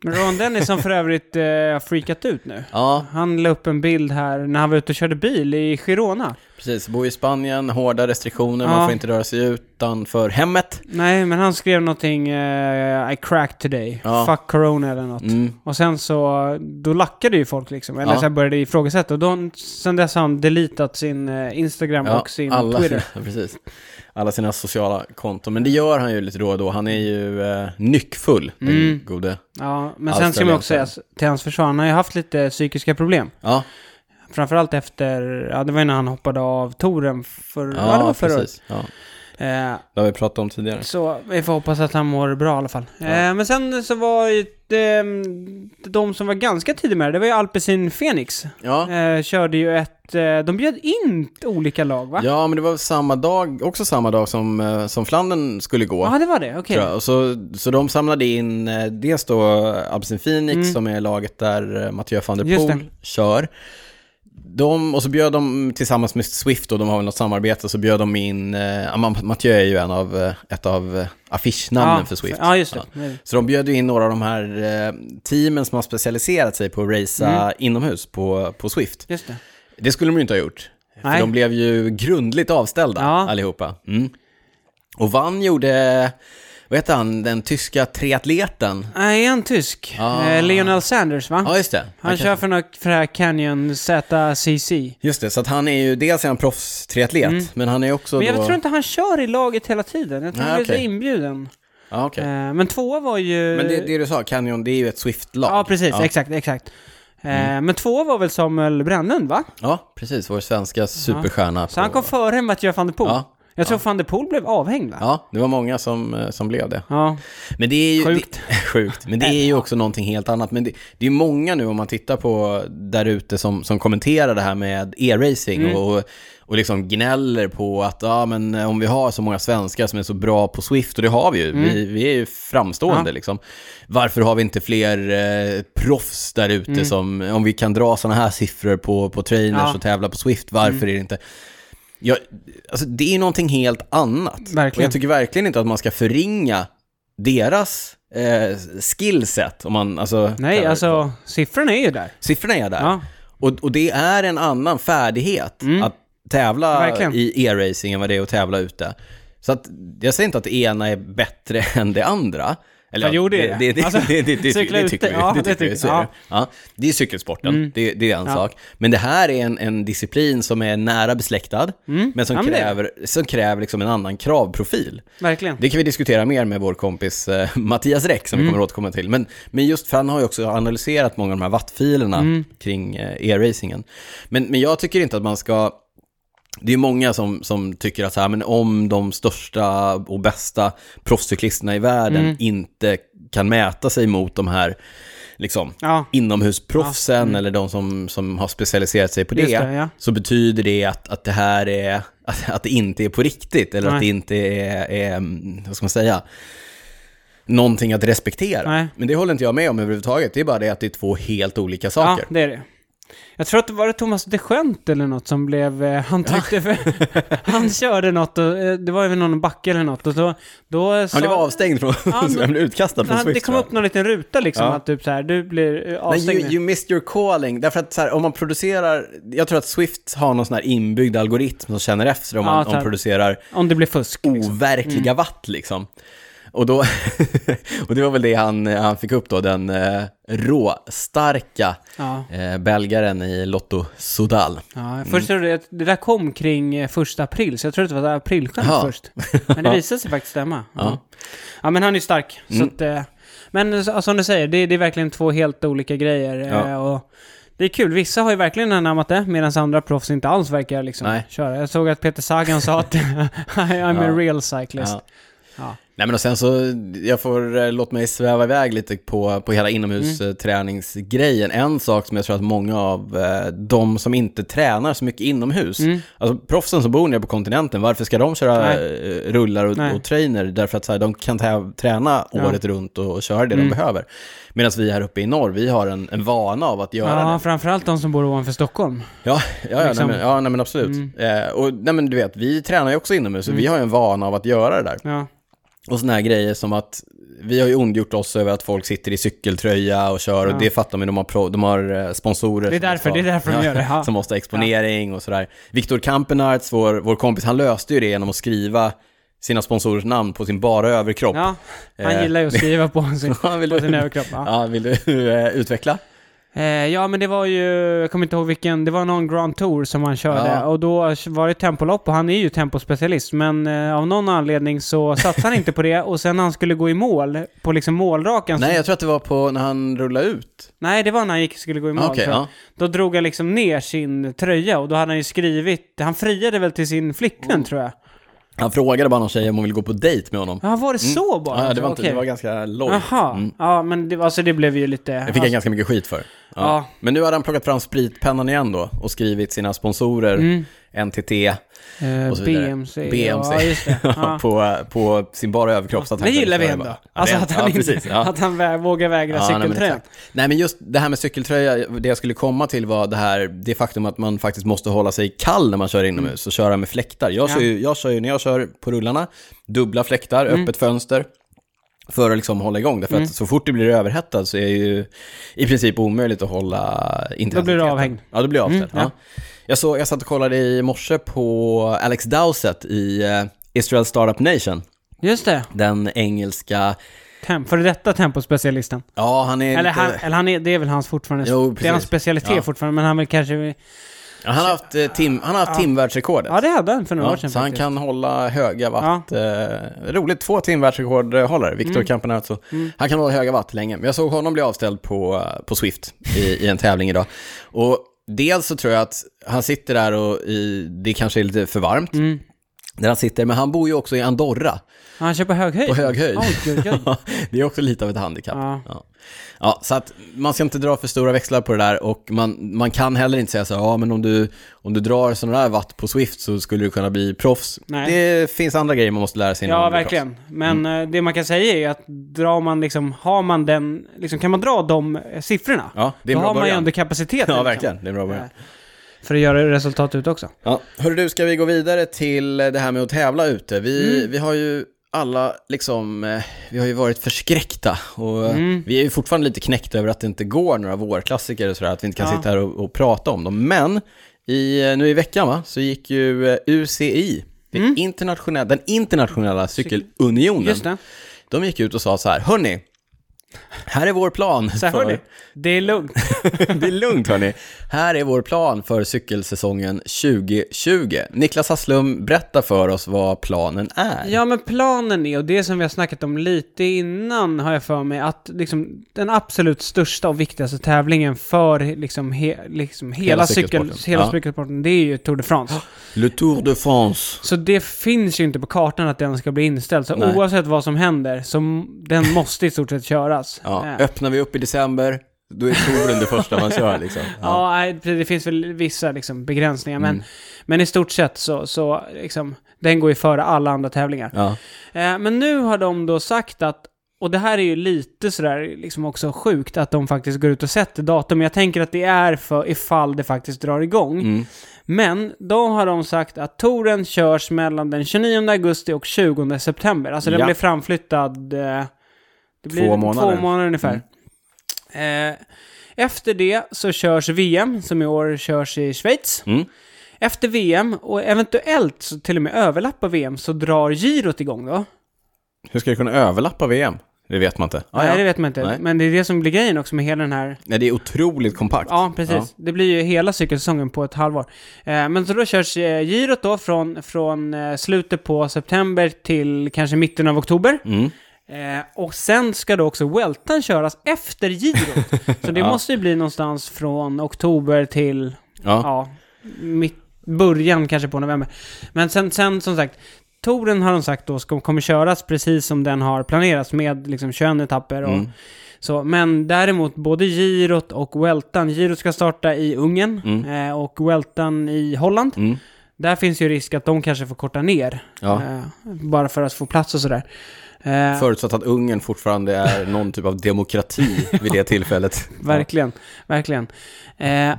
[SPEAKER 2] Men Ron Dennis som för övrigt eh, har freakat ut nu.
[SPEAKER 1] Ja,
[SPEAKER 2] Han la upp en bild här när han var ute och körde bil i Girona.
[SPEAKER 1] precis. Bor i Spanien, hårda restriktioner,
[SPEAKER 2] Ja.
[SPEAKER 1] man får inte röra sig utanför hemmet.
[SPEAKER 2] Nej, men han skrev någonting eh, I cracked today,
[SPEAKER 1] Ja.
[SPEAKER 2] fuck corona eller något.
[SPEAKER 1] Mm.
[SPEAKER 2] Och sen så, då lackade ju folk liksom, eller
[SPEAKER 1] Ja.
[SPEAKER 2] så här började ifrågasätta. Och då, sen dess har han deletat sin eh, Instagram
[SPEAKER 1] Ja,
[SPEAKER 2] och sin
[SPEAKER 1] alla,
[SPEAKER 2] Twitter.
[SPEAKER 1] ja, precis. alla sina sociala konton. Men det gör han ju lite då och då. Han är ju eh, nyckfull, den
[SPEAKER 2] Mm.
[SPEAKER 1] gode.
[SPEAKER 2] Ja, men
[SPEAKER 1] Allt
[SPEAKER 2] sen ska man också säga
[SPEAKER 1] ställde
[SPEAKER 2] till hans försvar, han har ju haft lite psykiska problem.
[SPEAKER 1] Ja,
[SPEAKER 2] Framförallt efter, ja det var ju när han hoppade av touren för, ja, det var förra året.
[SPEAKER 1] precis. Ja,
[SPEAKER 2] Eh,
[SPEAKER 1] det har vi pratat om tidigare.
[SPEAKER 2] Så vi får hoppas att han mår bra i alla fall. Eh, men sen så var ju eh, de som var ganska tidiga med det, det var ju Alpecin Phoenix.
[SPEAKER 1] Ja.
[SPEAKER 2] Eh, körde ju ett, eh, de bjöd in olika lag va?
[SPEAKER 1] ja, men det var samma dag, också samma dag som, eh, som Flandern skulle gå.
[SPEAKER 2] Ja, det var det, okej.
[SPEAKER 1] Tror jag. Och så, så de samlade in eh, dels då Absin Phoenix som är laget där eh, Mathieu van der
[SPEAKER 2] Mm. Just det.
[SPEAKER 1] Poel kör. De, och så bjöd de tillsammans med Swift och de har väl något samarbete, så bjöd de in, eh, Am- Mathieu är ju en av, eh, ett av eh, affischnamnen
[SPEAKER 2] ja,
[SPEAKER 1] för Swift.
[SPEAKER 2] Ja, just det. Ja.
[SPEAKER 1] Så de bjöd ju in några av de här eh, teamen som har specialiserat sig på att racea
[SPEAKER 2] Mm.
[SPEAKER 1] inomhus på, på Swift.
[SPEAKER 2] Just det.
[SPEAKER 1] Det skulle de ju inte ha gjort. För
[SPEAKER 2] Nej.
[SPEAKER 1] de blev ju grundligt avställda
[SPEAKER 2] Ja.
[SPEAKER 1] allihopa. Mm. Och Vann gjorde, vad heter han, den tyska triatleten?
[SPEAKER 2] Nej, en tysk.
[SPEAKER 1] Ah.
[SPEAKER 2] Eh, Lionel Sanders va?
[SPEAKER 1] Ja, just det.
[SPEAKER 2] Han kör för, något, för det här Canyon ZCC.
[SPEAKER 1] Just det, så att han är ju dels är han proffstriatlet, men han är också
[SPEAKER 2] Mm. Men jag
[SPEAKER 1] då...
[SPEAKER 2] tror inte han kör i laget hela tiden. Jag tror
[SPEAKER 1] Nej,
[SPEAKER 2] han blev
[SPEAKER 1] okej.
[SPEAKER 2] inbjuden.
[SPEAKER 1] Ja, okej.
[SPEAKER 2] Eh, men tvåa var ju...
[SPEAKER 1] Men det, det du sa, Canyon, det är ju ett Swift-lag.
[SPEAKER 2] Ja, precis.
[SPEAKER 1] Ja, Mm.
[SPEAKER 2] Exakt, exakt. Eh, men tvåa var väl Samuel Brännlund va?
[SPEAKER 1] ja precis. Vår svenska superstjärna.
[SPEAKER 2] Så han
[SPEAKER 1] på-
[SPEAKER 2] kom före Mathieu van der Poel.
[SPEAKER 1] Ja.
[SPEAKER 2] Jag tror van der Poel blev avhängd va?
[SPEAKER 1] Ja, det var många som, eh, som blev det.
[SPEAKER 2] Ja.
[SPEAKER 1] Men det är ju,
[SPEAKER 2] Sjukt. Äh.
[SPEAKER 1] Det, sjukt. Men det är ju också någonting helt annat. Men det, det är ju många nu om man tittar på där ute som, som kommenterar det här med e-racing
[SPEAKER 2] Mm.
[SPEAKER 1] och, och liksom gnäller på att ja, men om vi har så många svenskar som är så bra på Swift, och det har vi ju, vi,
[SPEAKER 2] Mm.
[SPEAKER 1] vi är ju framstående liksom. Varför har vi inte fler eh, proffs där ute som, om vi kan dra sådana här siffror på, på trainers
[SPEAKER 2] Mm. Ja. Mm.
[SPEAKER 1] och tävla på Swift, varför är det inte? Ja, alltså det är ju någonting helt annat. Och
[SPEAKER 2] Verkligen.
[SPEAKER 1] jag tycker verkligen inte att man ska förringa deras eh, skillset. Om man, alltså,
[SPEAKER 2] Nej,
[SPEAKER 1] kallar-
[SPEAKER 2] alltså siffrorna är ju där.
[SPEAKER 1] Siffrorna är där.
[SPEAKER 2] Ja. Mm.
[SPEAKER 1] Och, och det är en annan färdighet att tävla
[SPEAKER 2] Verkligen.
[SPEAKER 1] i e-racing än vad det är att tävla ute. Så att, jag säger inte att det ena är bättre än det andra. Eller,
[SPEAKER 2] Ja, jo, det är det.
[SPEAKER 1] det. Det,
[SPEAKER 2] Alltså,
[SPEAKER 1] det, det, det, det,
[SPEAKER 2] cykla
[SPEAKER 1] det
[SPEAKER 2] ute,
[SPEAKER 1] tycker vi.
[SPEAKER 2] ja,
[SPEAKER 1] det
[SPEAKER 2] det
[SPEAKER 1] tycker vi.
[SPEAKER 2] tycker- Mm.
[SPEAKER 1] Så är det.
[SPEAKER 2] ja.
[SPEAKER 1] Ja, det är cykelsporten, det, det är en sak. Men det här är en, en disciplin som är nära besläktad, men som
[SPEAKER 2] Mm. Ja, men det är det.
[SPEAKER 1] kräver, som kräver liksom en annan kravprofil.
[SPEAKER 2] Verkligen.
[SPEAKER 1] Det kan vi diskutera mer med vår kompis eh, Mattias Räck som vi kommer återkomma till. Men, men just för han har ju också analyserat många av de här wattfilerna kring eh, e-racingen. Men, men jag tycker inte att man ska... Det är ju många som, som tycker att så här, men om de största och bästa proffscyklisterna i världen inte kan mäta sig mot de här liksom,
[SPEAKER 2] Ja.
[SPEAKER 1] inomhusproffsen eller de som, som har specialiserat sig på det,
[SPEAKER 2] mm. Just det, ja.
[SPEAKER 1] så betyder det att, att det här är, att, att det inte är på riktigt eller att
[SPEAKER 2] Nej.
[SPEAKER 1] det inte är, är, mm, vad ska man säga, någonting att respektera.
[SPEAKER 2] Nej.
[SPEAKER 1] Men det håller inte jag med om överhuvudtaget, det är bara det att det är två helt olika
[SPEAKER 2] Ja,
[SPEAKER 1] saker.
[SPEAKER 2] det är det. Jag tror att det var det Thomas Deschent eller något som blev... eh, Han tyckte för... han körde något och eh, det var ju någon backe eller något och då... då sa,
[SPEAKER 1] Han blev avstängd från,
[SPEAKER 2] men-
[SPEAKER 1] han blev utkastad från
[SPEAKER 2] han,
[SPEAKER 1] Swift.
[SPEAKER 2] Det kom
[SPEAKER 1] tror jag.
[SPEAKER 2] upp någon liten ruta liksom
[SPEAKER 1] Ja.
[SPEAKER 2] att typ så här, du blir eh,
[SPEAKER 1] Men
[SPEAKER 2] avstängd.
[SPEAKER 1] you, you missed your calling, därför att så här, om man producerar, jag tror att Swift har någon sån här inbyggd algoritm som känner efter om
[SPEAKER 2] Ja,
[SPEAKER 1] man om
[SPEAKER 2] så här.
[SPEAKER 1] man producerar
[SPEAKER 2] Om det blir fusk. Liksom.
[SPEAKER 1] overkliga watt liksom. Och, då och det var väl det han, han fick upp då, den eh, råstarka
[SPEAKER 2] Ja.
[SPEAKER 1] eh, belgaren i Lotto Sodal.
[SPEAKER 2] Ja, jag först trodde jag att det där kom kring eh, första april, så jag trodde att det var ett aprilskämt
[SPEAKER 1] Ja.
[SPEAKER 2] först. Men det visade sig faktiskt stämma. Ja. ja, men han är ju stark. Så att, eh, men eh, så- som du säger, det, det är verkligen två helt olika grejer. eh,
[SPEAKER 1] Ja.
[SPEAKER 2] Och det är kul, vissa har ju verkligen anammat det, medan andra proffs inte alls verkar liksom
[SPEAKER 1] Nej.
[SPEAKER 2] köra. Jag såg att Peter Sagan sa att I'm
[SPEAKER 1] Ja.
[SPEAKER 2] a real cyclist.
[SPEAKER 1] Ja.
[SPEAKER 2] Ja.
[SPEAKER 1] Nej men och sen så, jag får eh, låt mig sväva iväg lite på, på hela inomhusträningsgrejen. En sak som jag tror att många av eh, de som inte tränar så mycket inomhus,
[SPEAKER 2] Mm.
[SPEAKER 1] alltså proffsen som bor nere på kontinenten, varför ska de köra
[SPEAKER 2] Nej.
[SPEAKER 1] eh, rullar och,
[SPEAKER 2] Nej.
[SPEAKER 1] och trainer? Därför att så här, de kan tä- träna
[SPEAKER 2] Ja. Mm.
[SPEAKER 1] året runt och, och köra det de behöver. Medan vi här uppe i norr, vi har en, en vana av att göra det.
[SPEAKER 2] Ja, framförallt de som bor ovanför Stockholm.
[SPEAKER 1] Ja, ja, ja,
[SPEAKER 2] Liksom.
[SPEAKER 1] nej, men, ja nej, men absolut. Eh, och nej, men du vet, vi tränar ju också inomhus,
[SPEAKER 2] Mm.
[SPEAKER 1] och vi har ju en vana av att göra det där.
[SPEAKER 2] Ja,
[SPEAKER 1] Och såna här grejer som att vi har ju ondgjort oss över att folk sitter i cykeltröja och kör och det fattar man ju, de har, pro, de har eh, sponsorer.
[SPEAKER 2] Det är
[SPEAKER 1] som måste
[SPEAKER 2] därför-
[SPEAKER 1] ha-
[SPEAKER 2] det är därför de gör det, ja.
[SPEAKER 1] Som måste ha exponering och sådär. Viktor Kampenarts, vår, vår kompis, han löste ju det genom att skriva sina sponsorers namn på sin bara överkropp.
[SPEAKER 2] ja
[SPEAKER 1] Eh.
[SPEAKER 2] han gillar ju att skriva på sin,
[SPEAKER 1] Ja, vill
[SPEAKER 2] på
[SPEAKER 1] du-
[SPEAKER 2] sin överkropp. Ja.
[SPEAKER 1] Ja, vill du eh, utveckla?
[SPEAKER 2] Eh, ja, men det var ju, jag kommer inte ihåg vilken, det var någon Grand Tour som han körde.
[SPEAKER 1] Ja.
[SPEAKER 2] Och då var det tempolopp och han är ju tempospecialist. Men eh, av någon anledning så satsade han inte på det. Och sen när han skulle gå i mål, på liksom målrakan.
[SPEAKER 1] Nej,
[SPEAKER 2] Så,
[SPEAKER 1] jag tror att det var på när han rullade ut. Ah,
[SPEAKER 2] nej, det var när han gick, skulle gå i mål.
[SPEAKER 1] Okej,
[SPEAKER 2] tror jag.
[SPEAKER 1] ja.
[SPEAKER 2] Då drog han liksom ner sin tröja och då hade han ju skrivit, han friade väl till sin flickvän
[SPEAKER 1] Mm.
[SPEAKER 2] tror jag.
[SPEAKER 1] Han frågade bara någon tjej om hon ville gå på dejt med honom.
[SPEAKER 2] Ja, var det så bara?
[SPEAKER 1] Mm. Ja, det var, inte,
[SPEAKER 2] Okej.
[SPEAKER 1] det var ganska långt.
[SPEAKER 2] Jaha, ja men det, alltså det blev ju lite...
[SPEAKER 1] Det fick han ganska mycket skit för. Ja.
[SPEAKER 2] Ja.
[SPEAKER 1] Men nu hade han plockat fram spritpennan igen då och skrivit sina sponsorer,
[SPEAKER 2] Mm.
[SPEAKER 1] NTT
[SPEAKER 2] eh,
[SPEAKER 1] och så vidare.
[SPEAKER 2] BMC.
[SPEAKER 1] BMC.
[SPEAKER 2] Ja, just det. Ja.
[SPEAKER 1] på, på sin bara överkropp. Så att han
[SPEAKER 2] Det
[SPEAKER 1] kunde
[SPEAKER 2] gillar vi
[SPEAKER 1] köra
[SPEAKER 2] ändå.
[SPEAKER 1] bara. Ja,
[SPEAKER 2] Alltså
[SPEAKER 1] det-
[SPEAKER 2] att han,
[SPEAKER 1] ja,
[SPEAKER 2] inte,
[SPEAKER 1] precis. Ja.
[SPEAKER 2] att han vä- vågar vägra
[SPEAKER 1] Ja, nej, men
[SPEAKER 2] cykeltröjan.
[SPEAKER 1] exakt. nej men just det här med cykeltröja, det jag skulle komma till var det här, det faktum att man faktiskt måste hålla sig kall när man kör inomhus
[SPEAKER 2] Mm.
[SPEAKER 1] och köra med fläktar. Jag kör, ju, jag kör ju, när jag kör på rullarna, dubbla fläktar,
[SPEAKER 2] Mm.
[SPEAKER 1] öppet fönster för att liksom hålla igång. Därför att så fort det blir överhettad så är det ju i princip omöjligt att hålla intensiteten.
[SPEAKER 2] avhängd. Mm,
[SPEAKER 1] Ja, då blir jag avstängd. ja. jag, såg, jag satt och kollade i morse på Alex Dowsett i eh, Israel Startup Nation,
[SPEAKER 2] Just det.
[SPEAKER 1] den engelska,
[SPEAKER 2] Tem, före detta tempospecialisten.
[SPEAKER 1] ja han är
[SPEAKER 2] Eller,
[SPEAKER 1] lite...
[SPEAKER 2] han, eller han är, det är väl hans fortfarande,
[SPEAKER 1] Jo,
[SPEAKER 2] det är hans
[SPEAKER 1] precis.
[SPEAKER 2] specialitet
[SPEAKER 1] Ja.
[SPEAKER 2] fortfarande, men han vill kanske...
[SPEAKER 1] Ja, han har haft, eh, tim, han har haft timvärldsrekordet.
[SPEAKER 2] Ja, det hade han för några
[SPEAKER 1] Ja,
[SPEAKER 2] år
[SPEAKER 1] så
[SPEAKER 2] sedan
[SPEAKER 1] han
[SPEAKER 2] faktiskt.
[SPEAKER 1] kan hålla höga watt. Eh, roligt, två timvärldsrekordhållare,
[SPEAKER 2] Mm.
[SPEAKER 1] Victor Campenato. Han kan hålla höga watt länge. Men jag såg honom bli avställd på, eh, på Swift i, i en tävling idag.
[SPEAKER 2] Mm.
[SPEAKER 1] Och dels så tror jag att han sitter där och i, det kanske är lite för varmt. Där han sitter, men han bor ju också i Andorra,
[SPEAKER 2] Han kör på hög höjd?
[SPEAKER 1] på hög höjd.
[SPEAKER 2] Oj, oj, oj.
[SPEAKER 1] det är också lite av ett handikapp.
[SPEAKER 2] Ja.
[SPEAKER 1] Ja. Ja, så att man ska inte dra för stora växlar på det där och man, man kan heller inte säga så här, ja men om du, om du drar sådana där watt på Swift så skulle du kunna bli proffs.
[SPEAKER 2] Nej.
[SPEAKER 1] Det finns andra grejer man måste lära sig innan
[SPEAKER 2] Ja,
[SPEAKER 1] man blir proffs.
[SPEAKER 2] verkligen. Men
[SPEAKER 1] Mm.
[SPEAKER 2] eh, det man kan säga är ju att drar man liksom, har man den, liksom, kan man dra de eh, siffrorna?
[SPEAKER 1] Ja, det är en
[SPEAKER 2] då
[SPEAKER 1] bra
[SPEAKER 2] har man ju
[SPEAKER 1] början.
[SPEAKER 2] ändå kapacitet.
[SPEAKER 1] Ja, verkligen. Det är en bra början.
[SPEAKER 2] Liksom, eh, för att göra resultat ut också.
[SPEAKER 1] Ja. Hörru du, ska vi gå vidare till det här med att tävla ute? Vi,
[SPEAKER 2] Mm.
[SPEAKER 1] vi har ju alla liksom, eh, vi har ju varit förskräckta och eh,
[SPEAKER 2] Mm.
[SPEAKER 1] vi är ju fortfarande lite knäckta över att det inte går några vårklassiker och sådär, att vi inte kan
[SPEAKER 2] Ja.
[SPEAKER 1] sitta här och, och prata om dem. Men i, eh, nu i veckan va, så gick ju eh, UCI, det internationella, den internationella cykelunionen,
[SPEAKER 2] Mm. Just det.
[SPEAKER 1] de gick ut och sa så här, hörni, här är vår plan.
[SPEAKER 2] Så här,
[SPEAKER 1] för-
[SPEAKER 2] hörni, det är lugnt.
[SPEAKER 1] det är lugnt hörni. Här är vår plan för cykelsäsongen 2020. Niklas Hasslum, berätta för oss vad planen är.
[SPEAKER 2] Ja, men planen är, och det som vi har snackat om lite innan har jag för mig, att liksom, den absolut största och viktigaste tävlingen för liksom, he, liksom, hela,
[SPEAKER 1] Hela
[SPEAKER 2] cykel,
[SPEAKER 1] cykelsporten.
[SPEAKER 2] hela
[SPEAKER 1] Ja.
[SPEAKER 2] cykelsporten, det är ju Tour de France.
[SPEAKER 1] Le Tour de France.
[SPEAKER 2] Så det finns ju inte på kartan att den ska bli inställd. Så
[SPEAKER 1] Nej.
[SPEAKER 2] oavsett vad som händer, så m- den måste i stort sett köras.
[SPEAKER 1] Ja,
[SPEAKER 2] Eh.
[SPEAKER 1] öppnar vi upp i december, då är touren det första man kör liksom. Ja. Mm.
[SPEAKER 2] Ja, nej, det det finns väl vissa liksom, begränsningar, men, men i stort sett så, så liksom, den går ju före alla andra tävlingar.
[SPEAKER 1] Ja.
[SPEAKER 2] Eh, men nu har de då sagt att, och det här är ju lite sådär liksom också sjukt, att de faktiskt går ut och sätter datum. Jag tänker att det är för ifall det faktiskt drar igång.
[SPEAKER 1] Mm.
[SPEAKER 2] Men då har de sagt att touren körs mellan den 29 augusti och 20 september. Alltså den
[SPEAKER 1] Ja.
[SPEAKER 2] blir framflyttad... eh, Det blir
[SPEAKER 1] månader.
[SPEAKER 2] Två månader ungefär. Eh, efter det så körs VM, som i år körs i Schweiz.
[SPEAKER 1] Mm.
[SPEAKER 2] Efter VM, och eventuellt så till och med överlappar VM, så drar girot igång då.
[SPEAKER 1] Hur ska det kunna överlappa VM? Det vet man inte. Ah,
[SPEAKER 2] Nej,
[SPEAKER 1] ja.
[SPEAKER 2] det vet man inte.
[SPEAKER 1] Nej.
[SPEAKER 2] Men det är det som blir grejen också med hela den här...
[SPEAKER 1] Nej, det är otroligt kompakt.
[SPEAKER 2] Ja, precis. Det blir ju hela cykelsäsongen på ett halvår. Eh, men så då körs eh, girot då från, från eh, slutet på september till kanske mitten av oktober.
[SPEAKER 1] Mm.
[SPEAKER 2] Eh, och sen ska då också Weltan köras efter girot. så det
[SPEAKER 1] Ja.
[SPEAKER 2] måste ju bli någonstans från oktober till,
[SPEAKER 1] Ja.
[SPEAKER 2] ja, mitt, början kanske på november. Men sen, sen som sagt, touren har de sagt då ska, kommer köras precis som den har planerats med liksom 21 etapper och
[SPEAKER 1] Mm.
[SPEAKER 2] så. Men däremot både girot och Weltan, girot ska starta i Ungern eh, och Weltan i Holland.
[SPEAKER 1] Mm.
[SPEAKER 2] Där finns ju risk att de kanske får korta ner.
[SPEAKER 1] Ja.
[SPEAKER 2] Eh, bara för att få plats och sådär. Eh,
[SPEAKER 1] Förutsatt att Ungern fortfarande är någon typ av demokrati vid det tillfället.
[SPEAKER 2] Verkligen, verkligen. Eh,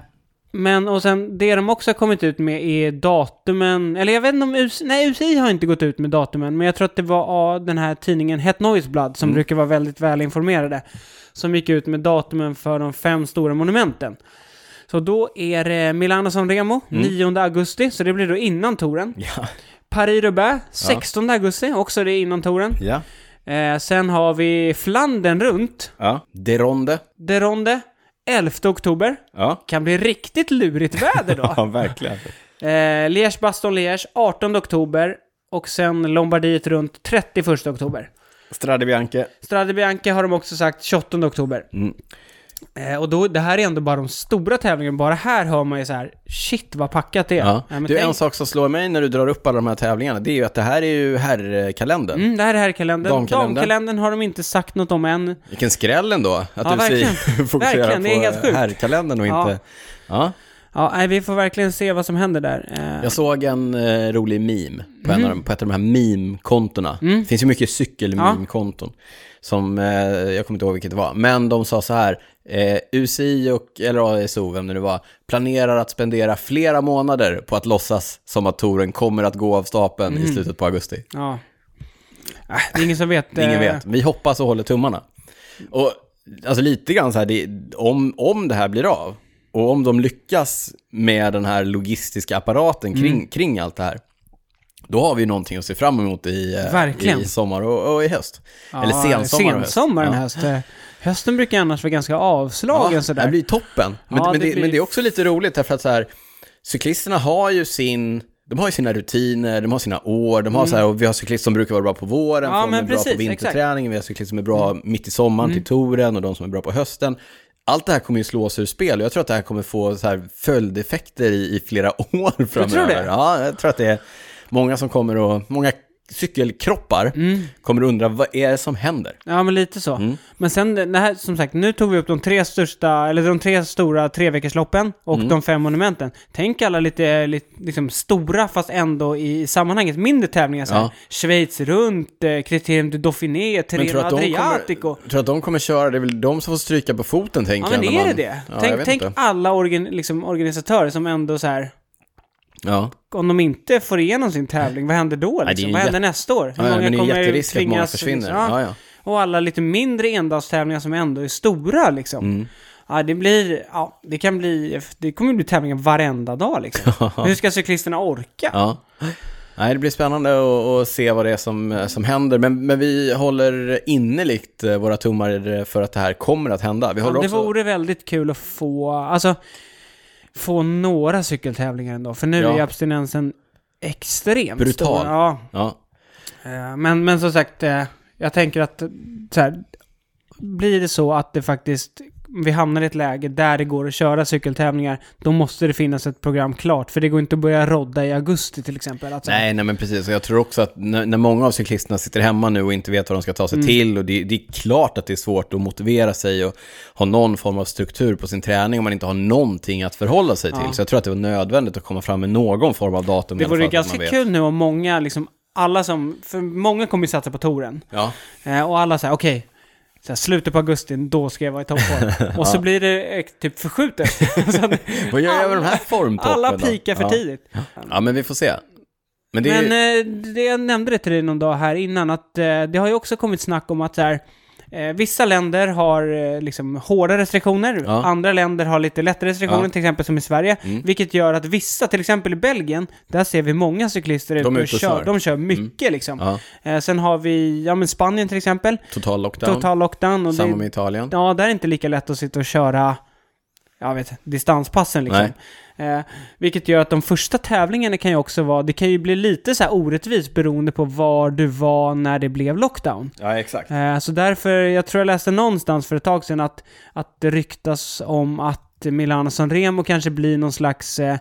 [SPEAKER 2] men och sen det de också har kommit ut med är datumen, eller jag vet inte om UCI, nej UCI har inte gått ut med datumen, men jag tror att det var ah, den här tidningen Het Noiseblad som brukar vara väldigt välinformerade, som gick ut med datumen för de fem stora monumenten. Så då är det Milano San Remo, 9 augusti, så det blir då innan touren.
[SPEAKER 1] Ja.
[SPEAKER 2] Paris-Roubaix, 16 augusti, också det är innan touren.
[SPEAKER 1] Ja.
[SPEAKER 2] Eh, sen har vi Flandern runt,
[SPEAKER 1] ja. Deronde.
[SPEAKER 2] Deronde, 11 oktober
[SPEAKER 1] Ja.
[SPEAKER 2] kan bli riktigt lurigt väder då.
[SPEAKER 1] Ja, verkligen.
[SPEAKER 2] eh, Liège, Baston, Liège, 18 oktober och sen Lombardiet runt 31 oktober.
[SPEAKER 1] Strade Bianche.
[SPEAKER 2] Strade Bianca har de också sagt 28 oktober.
[SPEAKER 1] Mm.
[SPEAKER 2] Eh, och då, det här är ändå bara de stora tävlingarna. Bara här hör man ju så här, shit vad packat det är.
[SPEAKER 1] Ja.
[SPEAKER 2] Nej, men
[SPEAKER 1] du,
[SPEAKER 2] tänk-
[SPEAKER 1] en sak som slår mig när du drar upp alla de här tävlingarna, det är ju att det här är ju herrkalendern.
[SPEAKER 2] mm, det här är herrkalendern.
[SPEAKER 1] Damkalendern.
[SPEAKER 2] Damkalendern. har de inte sagt något om än.
[SPEAKER 1] Vilken skräll ändå, att
[SPEAKER 2] Ja,
[SPEAKER 1] du säger,
[SPEAKER 2] verkligen.
[SPEAKER 1] fokuserar
[SPEAKER 2] Verkligen, det är helt
[SPEAKER 1] på
[SPEAKER 2] sjukt.
[SPEAKER 1] herrkalendern och
[SPEAKER 2] Ja.
[SPEAKER 1] inte... Ja.
[SPEAKER 2] Ja, nej, vi får verkligen se vad som händer där. Eh,
[SPEAKER 1] Jag såg en eh, rolig meme på, en av
[SPEAKER 2] Mm.
[SPEAKER 1] de, på ett av de här meme-kontona. Det finns ju mycket cykel-meme-konton. Som, eh, jag kommer inte ihåg vilket det var, men de sa så här, eh, UCI och, eller ASO, vem det nu var, planerar att spendera flera månader på att låtsas som att touren kommer att gå av stapeln
[SPEAKER 2] Mm.
[SPEAKER 1] i slutet på augusti.
[SPEAKER 2] ja. Ah, det är ingen som vet.
[SPEAKER 1] Ingen
[SPEAKER 2] eh,
[SPEAKER 1] vet. Vi hoppas och håller tummarna. Och alltså lite grann så här, det, om, om det här blir av och om de lyckas med den här logistiska apparaten kring,
[SPEAKER 2] Mm.
[SPEAKER 1] kring allt det här, då har vi ju någonting att se fram emot i, eh,
[SPEAKER 2] Verkligen.
[SPEAKER 1] i sommar och, och i höst. Eller
[SPEAKER 2] Ja,
[SPEAKER 1] sensommar och höst.
[SPEAKER 2] sensommar
[SPEAKER 1] Ja.
[SPEAKER 2] och höst. Eh, Hösten brukar annars vara ganska avslagen
[SPEAKER 1] Ja,
[SPEAKER 2] sådär.
[SPEAKER 1] Det blir toppen. Men,
[SPEAKER 2] Ja,
[SPEAKER 1] men, det
[SPEAKER 2] det blir-
[SPEAKER 1] men det är också lite roligt därför att så här, cyklisterna har ju sin de har ju sina rutiner, de har sina år, de har så här, och vi har cyklister som brukar vara bra på våren,
[SPEAKER 2] Mm. Ja,
[SPEAKER 1] för de är
[SPEAKER 2] men
[SPEAKER 1] bra på
[SPEAKER 2] precis, Mm.
[SPEAKER 1] vinterträningen, vi har cyklister som är bra mitt i sommaren till touren och de som är bra på hösten. Allt det här kommer ju slås ur spel och jag tror att det här kommer få så här följdeffekter i, i flera år framöver.
[SPEAKER 2] tror det?
[SPEAKER 1] Ja, jag tror att det är... Många som kommer och, många cykelkroppar
[SPEAKER 2] Mm.
[SPEAKER 1] kommer undra vad är det som händer?
[SPEAKER 2] Ja, men lite så.
[SPEAKER 1] Mm.
[SPEAKER 2] Men sen, det här, som sagt, nu tog vi upp de tre största, eller de tre stora treveckorsloppen och
[SPEAKER 1] Mm.
[SPEAKER 2] de fem monumenten. Tänk alla lite, lite liksom, stora, fast ändå i sammanhanget, mindre tävlingar. Så här.
[SPEAKER 1] Ja.
[SPEAKER 2] Schweiz runt, eh, Criterium du Dauphiné,
[SPEAKER 1] Men tror
[SPEAKER 2] Tirreno
[SPEAKER 1] du att, de
[SPEAKER 2] Adriatico.
[SPEAKER 1] kommer, tror att de kommer köra, det är väl de som får stryka på foten tänker
[SPEAKER 2] Ja, men
[SPEAKER 1] jag.
[SPEAKER 2] är
[SPEAKER 1] när
[SPEAKER 2] det
[SPEAKER 1] man-
[SPEAKER 2] det?
[SPEAKER 1] Ja, jag
[SPEAKER 2] tänk
[SPEAKER 1] vet
[SPEAKER 2] tänk
[SPEAKER 1] inte.
[SPEAKER 2] alla organ, liksom, organisatörer som ändå så här...
[SPEAKER 1] Ja.
[SPEAKER 2] Om de inte får igenom sin tävling, vad händer då?
[SPEAKER 1] det är
[SPEAKER 2] Liksom?
[SPEAKER 1] ju
[SPEAKER 2] vad händer
[SPEAKER 1] jätte-
[SPEAKER 2] nästa år?
[SPEAKER 1] Ja, ja, men det är jätterisk att många försvinner.
[SPEAKER 2] liksom,
[SPEAKER 1] Ja, ja.
[SPEAKER 2] Och alla lite mindre endagstävlingar som ändå är stora liksom.
[SPEAKER 1] Mm.
[SPEAKER 2] Ja, det blir, ja, det kan bli, det kommer ju bli tävlingar varenda dag liksom. Hur ska cyklisterna orka?
[SPEAKER 1] Ja. Nej, det blir spännande att, att se vad det är som, som händer. Men, men vi håller innerligt eh, våra tummar för att det här kommer att hända. Vi håller
[SPEAKER 2] det
[SPEAKER 1] också...
[SPEAKER 2] vore väldigt kul att få, alltså, få några cykeltävlingar ändå. För nu
[SPEAKER 1] Ja.
[SPEAKER 2] är abstinensen extremt
[SPEAKER 1] Brutal.
[SPEAKER 2] stor. Ja,
[SPEAKER 1] Ja.
[SPEAKER 2] Eh, Men, men som sagt, eh, jag tänker att eh, så här, blir det så att det faktiskt vi hamnar i ett läge där det går att köra cykeltävlingar, då måste det finnas ett program klart. För det går inte att börja rodda i augusti till exempel. Alltså, Att, så här,
[SPEAKER 1] Nej, nej, men precis. Och Jag tror också att när, när många av cyklisterna sitter hemma nu och inte vet vad de ska ta sig
[SPEAKER 2] Mm.
[SPEAKER 1] till, och det, det är klart att det är svårt att motivera sig och ha någon form av struktur på sin träning om man inte har någonting att förhålla sig till. Så jag tror att det var nödvändigt att komma fram med någon form av datum. i
[SPEAKER 2] det
[SPEAKER 1] alla fall,
[SPEAKER 2] vore ju
[SPEAKER 1] så att
[SPEAKER 2] ganska
[SPEAKER 1] man vet.
[SPEAKER 2] kul nu om många, liksom, alla som, för många kommer ju satsa på touren.
[SPEAKER 1] Ja.
[SPEAKER 2] Eh, Och alla säger okej, så här, slutet på augusti, då ska jag vara i toppform. Och så blir det eh, typ förskjutet. Så att
[SPEAKER 1] Vad gör jag med de här formtoppen
[SPEAKER 2] alla
[SPEAKER 1] då?
[SPEAKER 2] pikar för
[SPEAKER 1] ja.
[SPEAKER 2] tidigt.
[SPEAKER 1] Ja, men vi får se. Men det är ju...
[SPEAKER 2] Men eh, det, jag nämnde det till dig någon dag här innan, att eh, det har ju också kommit snack om att så här, eh, vissa länder har eh, liksom hårda restriktioner,
[SPEAKER 1] Ja.
[SPEAKER 2] andra länder har lite lättare restriktioner,
[SPEAKER 1] Ja. Mm.
[SPEAKER 2] till exempel som i Sverige. Vilket gör att vissa, till exempel i Belgien, där ser vi många cyklister
[SPEAKER 1] är
[SPEAKER 2] ute
[SPEAKER 1] ute och
[SPEAKER 2] kör.
[SPEAKER 1] kör.
[SPEAKER 2] De kör mycket liksom.
[SPEAKER 1] Ja.
[SPEAKER 2] Eh, sen har vi, ja men Spanien till exempel,
[SPEAKER 1] Total lockdown.
[SPEAKER 2] total lockdown. Och
[SPEAKER 1] Samma
[SPEAKER 2] det,
[SPEAKER 1] med Italien.
[SPEAKER 2] Ja, där är det inte lika lätt att sitta och köra jag vet, distanspassen liksom. Eh, vilket gör att de första tävlingarna kan ju också vara, det kan ju bli lite så här orättvist beroende på var du var när det blev lockdown.
[SPEAKER 1] Ja, exakt.
[SPEAKER 2] Eh, så därför, jag tror jag läste någonstans för ett tag sedan att, att det ryktas om att Milano Sanremo kanske blir någon slags, eh,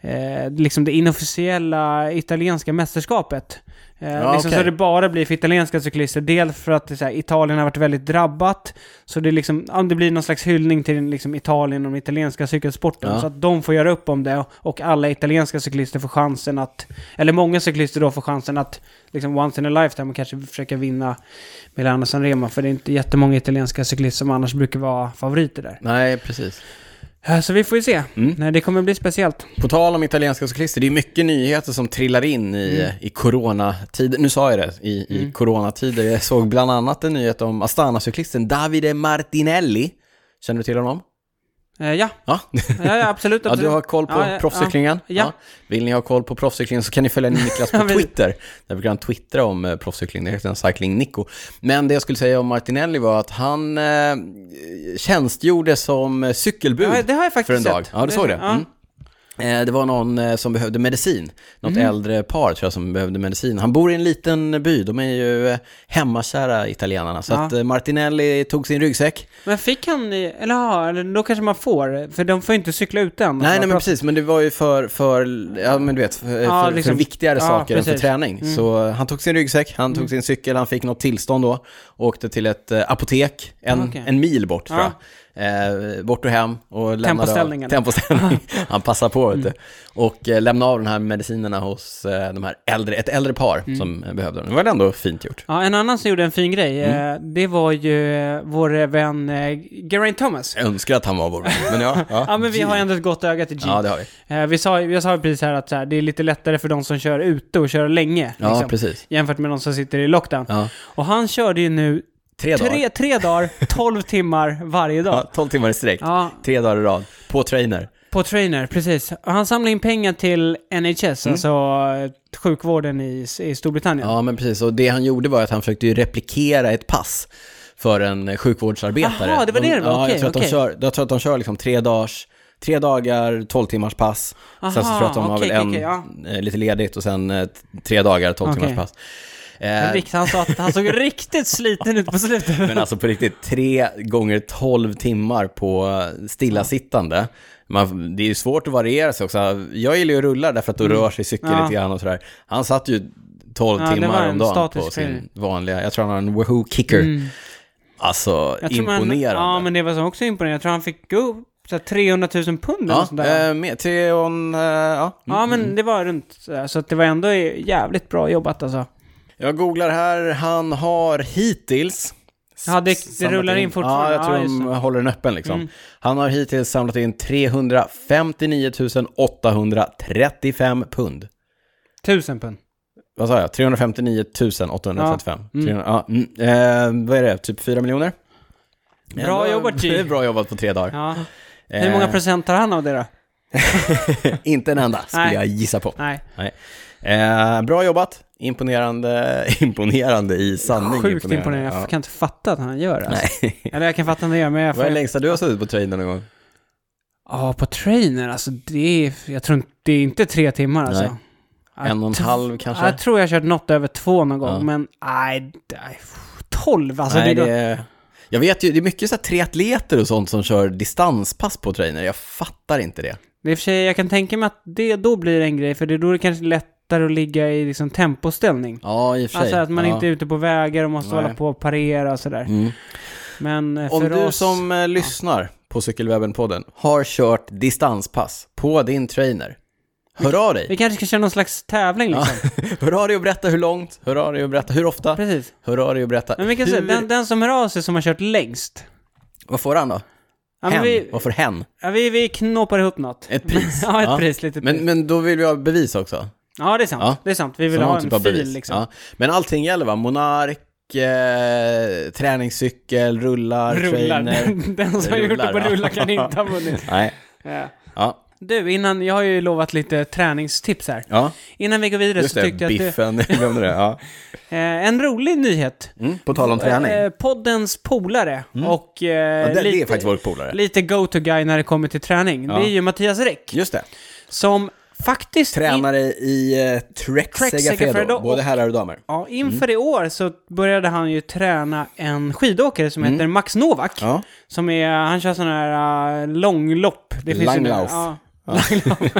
[SPEAKER 2] eh, liksom det inofficiella italienska mästerskapet. Eh,
[SPEAKER 1] Ja,
[SPEAKER 2] liksom
[SPEAKER 1] okej.
[SPEAKER 2] Så det bara blir för italienska cyklister. Dels för att det, är så här, Italien har varit väldigt drabbat. Så det, är liksom, ja, det blir någon slags hyllning till liksom, Italien och den italienska cykelsporten.
[SPEAKER 1] Ja.
[SPEAKER 2] Så att de får göra upp om det och, och alla italienska cyklister får chansen att, eller många cyklister då får chansen att liksom once in a lifetime och kanske försöka vinna Milano Sanremo. För det är inte jättemånga italienska cyklister som annars brukar vara favoriter där.
[SPEAKER 1] Nej, precis.
[SPEAKER 2] Eh, Så vi får ju se.
[SPEAKER 1] Mm.
[SPEAKER 2] Nej, det kommer bli speciellt.
[SPEAKER 1] På tal om italienska cyklister, det är mycket nyheter som trillar in
[SPEAKER 2] Mm.
[SPEAKER 1] i, eh, i coronatider. Nu sa jag det, i, i coronatider. Jag såg bland annat en nyhet om Astana-cyklisten Davide Martinelli. Känner du till honom?
[SPEAKER 2] Eh, Ja,
[SPEAKER 1] Ja,
[SPEAKER 2] ja, ja absolut.
[SPEAKER 1] ja
[SPEAKER 2] absolut.
[SPEAKER 1] du har koll på
[SPEAKER 2] Ja, ja,
[SPEAKER 1] proffscyklingen?
[SPEAKER 2] ja. Ja.
[SPEAKER 1] Vill ni ha koll på proffscyklingen så kan ni följa Niklas på
[SPEAKER 2] Ja, vi-
[SPEAKER 1] Twitter. Där brukar han twittra om eh, proffscykling, det heter en Cycling Nico. Men det jag skulle säga om Martinelli var att han eh, tjänstgjorde som eh, cykelbud
[SPEAKER 2] Ja, det har jag
[SPEAKER 1] för en
[SPEAKER 2] faktiskt
[SPEAKER 1] dag.
[SPEAKER 2] sett.
[SPEAKER 1] Ja, du såg det?
[SPEAKER 2] Ja.
[SPEAKER 1] Mm. Eh, Det var någon eh, som behövde medicin, något
[SPEAKER 2] Mm.
[SPEAKER 1] äldre par tror jag som behövde medicin. Han bor i en liten by, de är ju eh, hemmakära italienarna. Så
[SPEAKER 2] Ja.
[SPEAKER 1] att eh, Martinelli tog sin ryggsäck.
[SPEAKER 2] Men fick han, i- eller ja, eller då kanske man får, för de får ju inte cykla ut än.
[SPEAKER 1] Nej, nej men precis, men det var ju för, för, ja, men du vet, för,
[SPEAKER 2] Ja,
[SPEAKER 1] för,
[SPEAKER 2] liksom.
[SPEAKER 1] för viktigare
[SPEAKER 2] Ja,
[SPEAKER 1] saker än för
[SPEAKER 2] precis. Mm.
[SPEAKER 1] träning. Så eh, han tog sin ryggsäck, han tog sin cykel, han fick något tillstånd då, åkte till ett eh, apotek en,
[SPEAKER 2] Ah, Okej.
[SPEAKER 1] en mil bort tror
[SPEAKER 2] Ja.
[SPEAKER 1] jag. Eh, bort och hem och lämnade
[SPEAKER 2] Tempoställning,
[SPEAKER 1] av,
[SPEAKER 2] eller?
[SPEAKER 1] tempoställning. Han passar på vet du.
[SPEAKER 2] Mm.
[SPEAKER 1] Och eh, lämnade av de här medicinerna hos eh, de här äldre, ett äldre par
[SPEAKER 2] Mm.
[SPEAKER 1] som eh, behövde dem. Det var ändå fint gjort.
[SPEAKER 2] Ja, en annan som gjorde en fin grej,
[SPEAKER 1] Mm.
[SPEAKER 2] eh, det var ju eh, vår vän eh, Geraint Thomas.
[SPEAKER 1] Jag önskar att han var vår vän, men ja. Ja,
[SPEAKER 2] Ja, men vi har ändå ett gott öga till Jeep.
[SPEAKER 1] Ja, det har vi.
[SPEAKER 2] Eh, vi sa, jag sa ju precis här att så här, det är lite lättare för de som kör ute och kör länge.
[SPEAKER 1] Ja,
[SPEAKER 2] liksom,
[SPEAKER 1] precis.
[SPEAKER 2] jämfört med de som sitter i lockdown.
[SPEAKER 1] Ja.
[SPEAKER 2] Och han körde ju nu
[SPEAKER 1] Tre dagar.
[SPEAKER 2] tre, tre dagar 12 timmar varje dag.
[SPEAKER 1] Ja, 12 timmar i sträck,
[SPEAKER 2] Ja,
[SPEAKER 1] tre dagar i rad, på trainer.
[SPEAKER 2] På Trainer, precis. Och han samlar in pengar till NHS,
[SPEAKER 1] Mm.
[SPEAKER 2] alltså eh, sjukvården i, i Storbritannien.
[SPEAKER 1] Ja, men precis. Och det han gjorde var att han försökte ju replikera ett pass för en eh, sjukvårdsarbetare.
[SPEAKER 2] Jaha, det var det
[SPEAKER 1] De-
[SPEAKER 2] det var.
[SPEAKER 1] Ja,
[SPEAKER 2] Okej,
[SPEAKER 1] jag tror, att de
[SPEAKER 2] okej.
[SPEAKER 1] kör, jag tror att de kör liksom tre dagars Tre dagar, 12 timmars pass. Sen så
[SPEAKER 2] Aha,
[SPEAKER 1] tror jag att de har
[SPEAKER 2] okej,
[SPEAKER 1] väl en
[SPEAKER 2] okej,
[SPEAKER 1] eh, lite ledigt och sen eh, t- tre dagar, 12 timmars
[SPEAKER 2] Okej.
[SPEAKER 1] pass. Eh,
[SPEAKER 2] Rikt- Han sa att han såg riktigt sliten ut på slutet.
[SPEAKER 1] Men alltså på riktigt, tre gånger 12 timmar på stillasittande. Man, det är ju svårt att variera sig också. Jag gillar ju att rulla därför att då rör sig cykeln
[SPEAKER 2] Mm. Ja.
[SPEAKER 1] lite grann och sådär. Han satt ju 12
[SPEAKER 2] Ja, det var
[SPEAKER 1] timmar
[SPEAKER 2] en
[SPEAKER 1] om dagen på
[SPEAKER 2] statisk
[SPEAKER 1] sin
[SPEAKER 2] grej. Mm.
[SPEAKER 1] vanliga, jag tror han har en Wahoo kicker. Alltså,
[SPEAKER 2] Jag tror man-
[SPEAKER 1] imponerande.
[SPEAKER 2] Ja, men det var så också imponerande. Jag tror han fick gå upp så här 300 000 pund eller
[SPEAKER 1] Ja,
[SPEAKER 2] något sånt där.
[SPEAKER 1] eh, med Theon, eh, ja.
[SPEAKER 2] ja, men det var runt så här, Så att det var ändå jävligt bra jobbat alltså.
[SPEAKER 1] Jag googlar här, han har hittills...
[SPEAKER 2] Ja, det- det
[SPEAKER 1] samlat
[SPEAKER 2] rullar in fortfarande.
[SPEAKER 1] Ja, jag tror
[SPEAKER 2] Ja, just Mm.
[SPEAKER 1] de håller den öppen liksom. Han har hittills samlat in 359 835 pund.
[SPEAKER 2] 1000 pund.
[SPEAKER 1] Vad sa jag? 359 835. Ja. 300, ja, mm, eh, vad är det? Typ 4 miljoner?
[SPEAKER 2] Bra
[SPEAKER 1] Ändå-
[SPEAKER 2] jobbat, G.
[SPEAKER 1] Det är bra jobbat på tre dagar.
[SPEAKER 2] Ja. Hur
[SPEAKER 1] Eh.
[SPEAKER 2] många procent tar han av det då?
[SPEAKER 1] Inte en enda, skulle
[SPEAKER 2] Nej.
[SPEAKER 1] jag gissa på.
[SPEAKER 2] Nej.
[SPEAKER 1] Nej. Eh, bra jobbat. Imponerande, imponerande i sanning.
[SPEAKER 2] Sjukt imponerande. Jag kan inte fatta att han gör det. Alltså.
[SPEAKER 1] Nej.
[SPEAKER 2] Eller jag kan fatta att han gör, men jag
[SPEAKER 1] Vad är det
[SPEAKER 2] får...
[SPEAKER 1] längsta du har suttit på trailern någon gång?
[SPEAKER 2] Ja, på trainer alltså. Det är... Jag tror inte... Det är inte tre timmar alltså.
[SPEAKER 1] Nej. En och en
[SPEAKER 2] Att-
[SPEAKER 1] halv kanske?
[SPEAKER 2] Jag tror jag har kört något över två någon gång,
[SPEAKER 1] Ja.
[SPEAKER 2] men nej, nej, pff, tolv alltså.
[SPEAKER 1] Nej,
[SPEAKER 2] det, är
[SPEAKER 1] det är... Jag vet ju, det är mycket så här triatleter och sånt som kör distanspass på trainer. Jag fattar inte det.
[SPEAKER 2] det är i och för sig, jag kan tänka mig att det då blir en grej, för det är då det kanske är lättare att ligga i liksom tempoställning.
[SPEAKER 1] Ja, i och för sig.
[SPEAKER 2] Alltså att man
[SPEAKER 1] ja.
[SPEAKER 2] inte är ute på vägar och måste
[SPEAKER 1] Nej.
[SPEAKER 2] hålla på och parera och sådär.
[SPEAKER 1] Mm.
[SPEAKER 2] Men eh,
[SPEAKER 1] Om
[SPEAKER 2] för
[SPEAKER 1] du
[SPEAKER 2] oss...
[SPEAKER 1] som eh, lyssnar på Cykelwebben-podden har kört distanspass på din trainer, hör av
[SPEAKER 2] Vi
[SPEAKER 1] dig.
[SPEAKER 2] kanske ska köra någon slags tävling liksom.
[SPEAKER 1] Hör av dig och berätta hur långt, hör av dig och berätta hur ofta,
[SPEAKER 2] Precis.
[SPEAKER 1] hör av dig och berätta
[SPEAKER 2] Men vi kan
[SPEAKER 1] hur...
[SPEAKER 2] säga, den, den som hör av sig som har kört längst.
[SPEAKER 1] Vad får han då?
[SPEAKER 2] Ja,
[SPEAKER 1] hen?
[SPEAKER 2] men vi,
[SPEAKER 1] Vad får hen?
[SPEAKER 2] ja, vi, vi knåpar ihop något.
[SPEAKER 1] Ett pris?
[SPEAKER 2] ja, ett pris, lite pris.
[SPEAKER 1] Men, men då vill vi ha bevis också.
[SPEAKER 2] Ja, det är sant.
[SPEAKER 1] Ja.
[SPEAKER 2] Det är sant. Vi vill
[SPEAKER 1] Så någon
[SPEAKER 2] ha en
[SPEAKER 1] typ av
[SPEAKER 2] fil
[SPEAKER 1] bevis.
[SPEAKER 2] liksom.
[SPEAKER 1] Ja. Men allting gäller va? Monark, eh, träningscykel, rullar,
[SPEAKER 2] Rullar.
[SPEAKER 1] trainer.
[SPEAKER 2] Den, den som har gjort det
[SPEAKER 1] Rullar,
[SPEAKER 2] på
[SPEAKER 1] ja.
[SPEAKER 2] rullar kan inte ha vunnit.
[SPEAKER 1] Nej.
[SPEAKER 2] Ja.
[SPEAKER 1] Ja.
[SPEAKER 2] Du, innan, jag har ju lovat lite träningstips här.
[SPEAKER 1] ja,
[SPEAKER 2] Innan vi går vidare
[SPEAKER 1] just
[SPEAKER 2] så
[SPEAKER 1] det.
[SPEAKER 2] tyckte jag att
[SPEAKER 1] Biffen, jag glömde det. Ja.
[SPEAKER 2] du, eh, en rolig nyhet.
[SPEAKER 1] Mm. På tal om träning. Mm.
[SPEAKER 2] Eh, poddens polare och eh,
[SPEAKER 1] ja, det, det är
[SPEAKER 2] lite,
[SPEAKER 1] faktiskt vår polare.
[SPEAKER 2] lite go-to-guy när det kommer till träning. Det är ju Mattias Räck,
[SPEAKER 1] Just det.
[SPEAKER 2] som faktiskt... in-
[SPEAKER 1] Tränare i eh, Trek
[SPEAKER 2] Trek
[SPEAKER 1] Segafredo,
[SPEAKER 2] Segafredo
[SPEAKER 1] både
[SPEAKER 2] och-
[SPEAKER 1] herrar och damer.
[SPEAKER 2] Ja, inför i år så började han ju träna en skidåkare som heter Max Novak.
[SPEAKER 1] Mm. Ja.
[SPEAKER 2] Som är, han kör sådana här uh, långlopp. Det finns ju nu-
[SPEAKER 1] Langlauf.
[SPEAKER 2] Ja. Langlauf.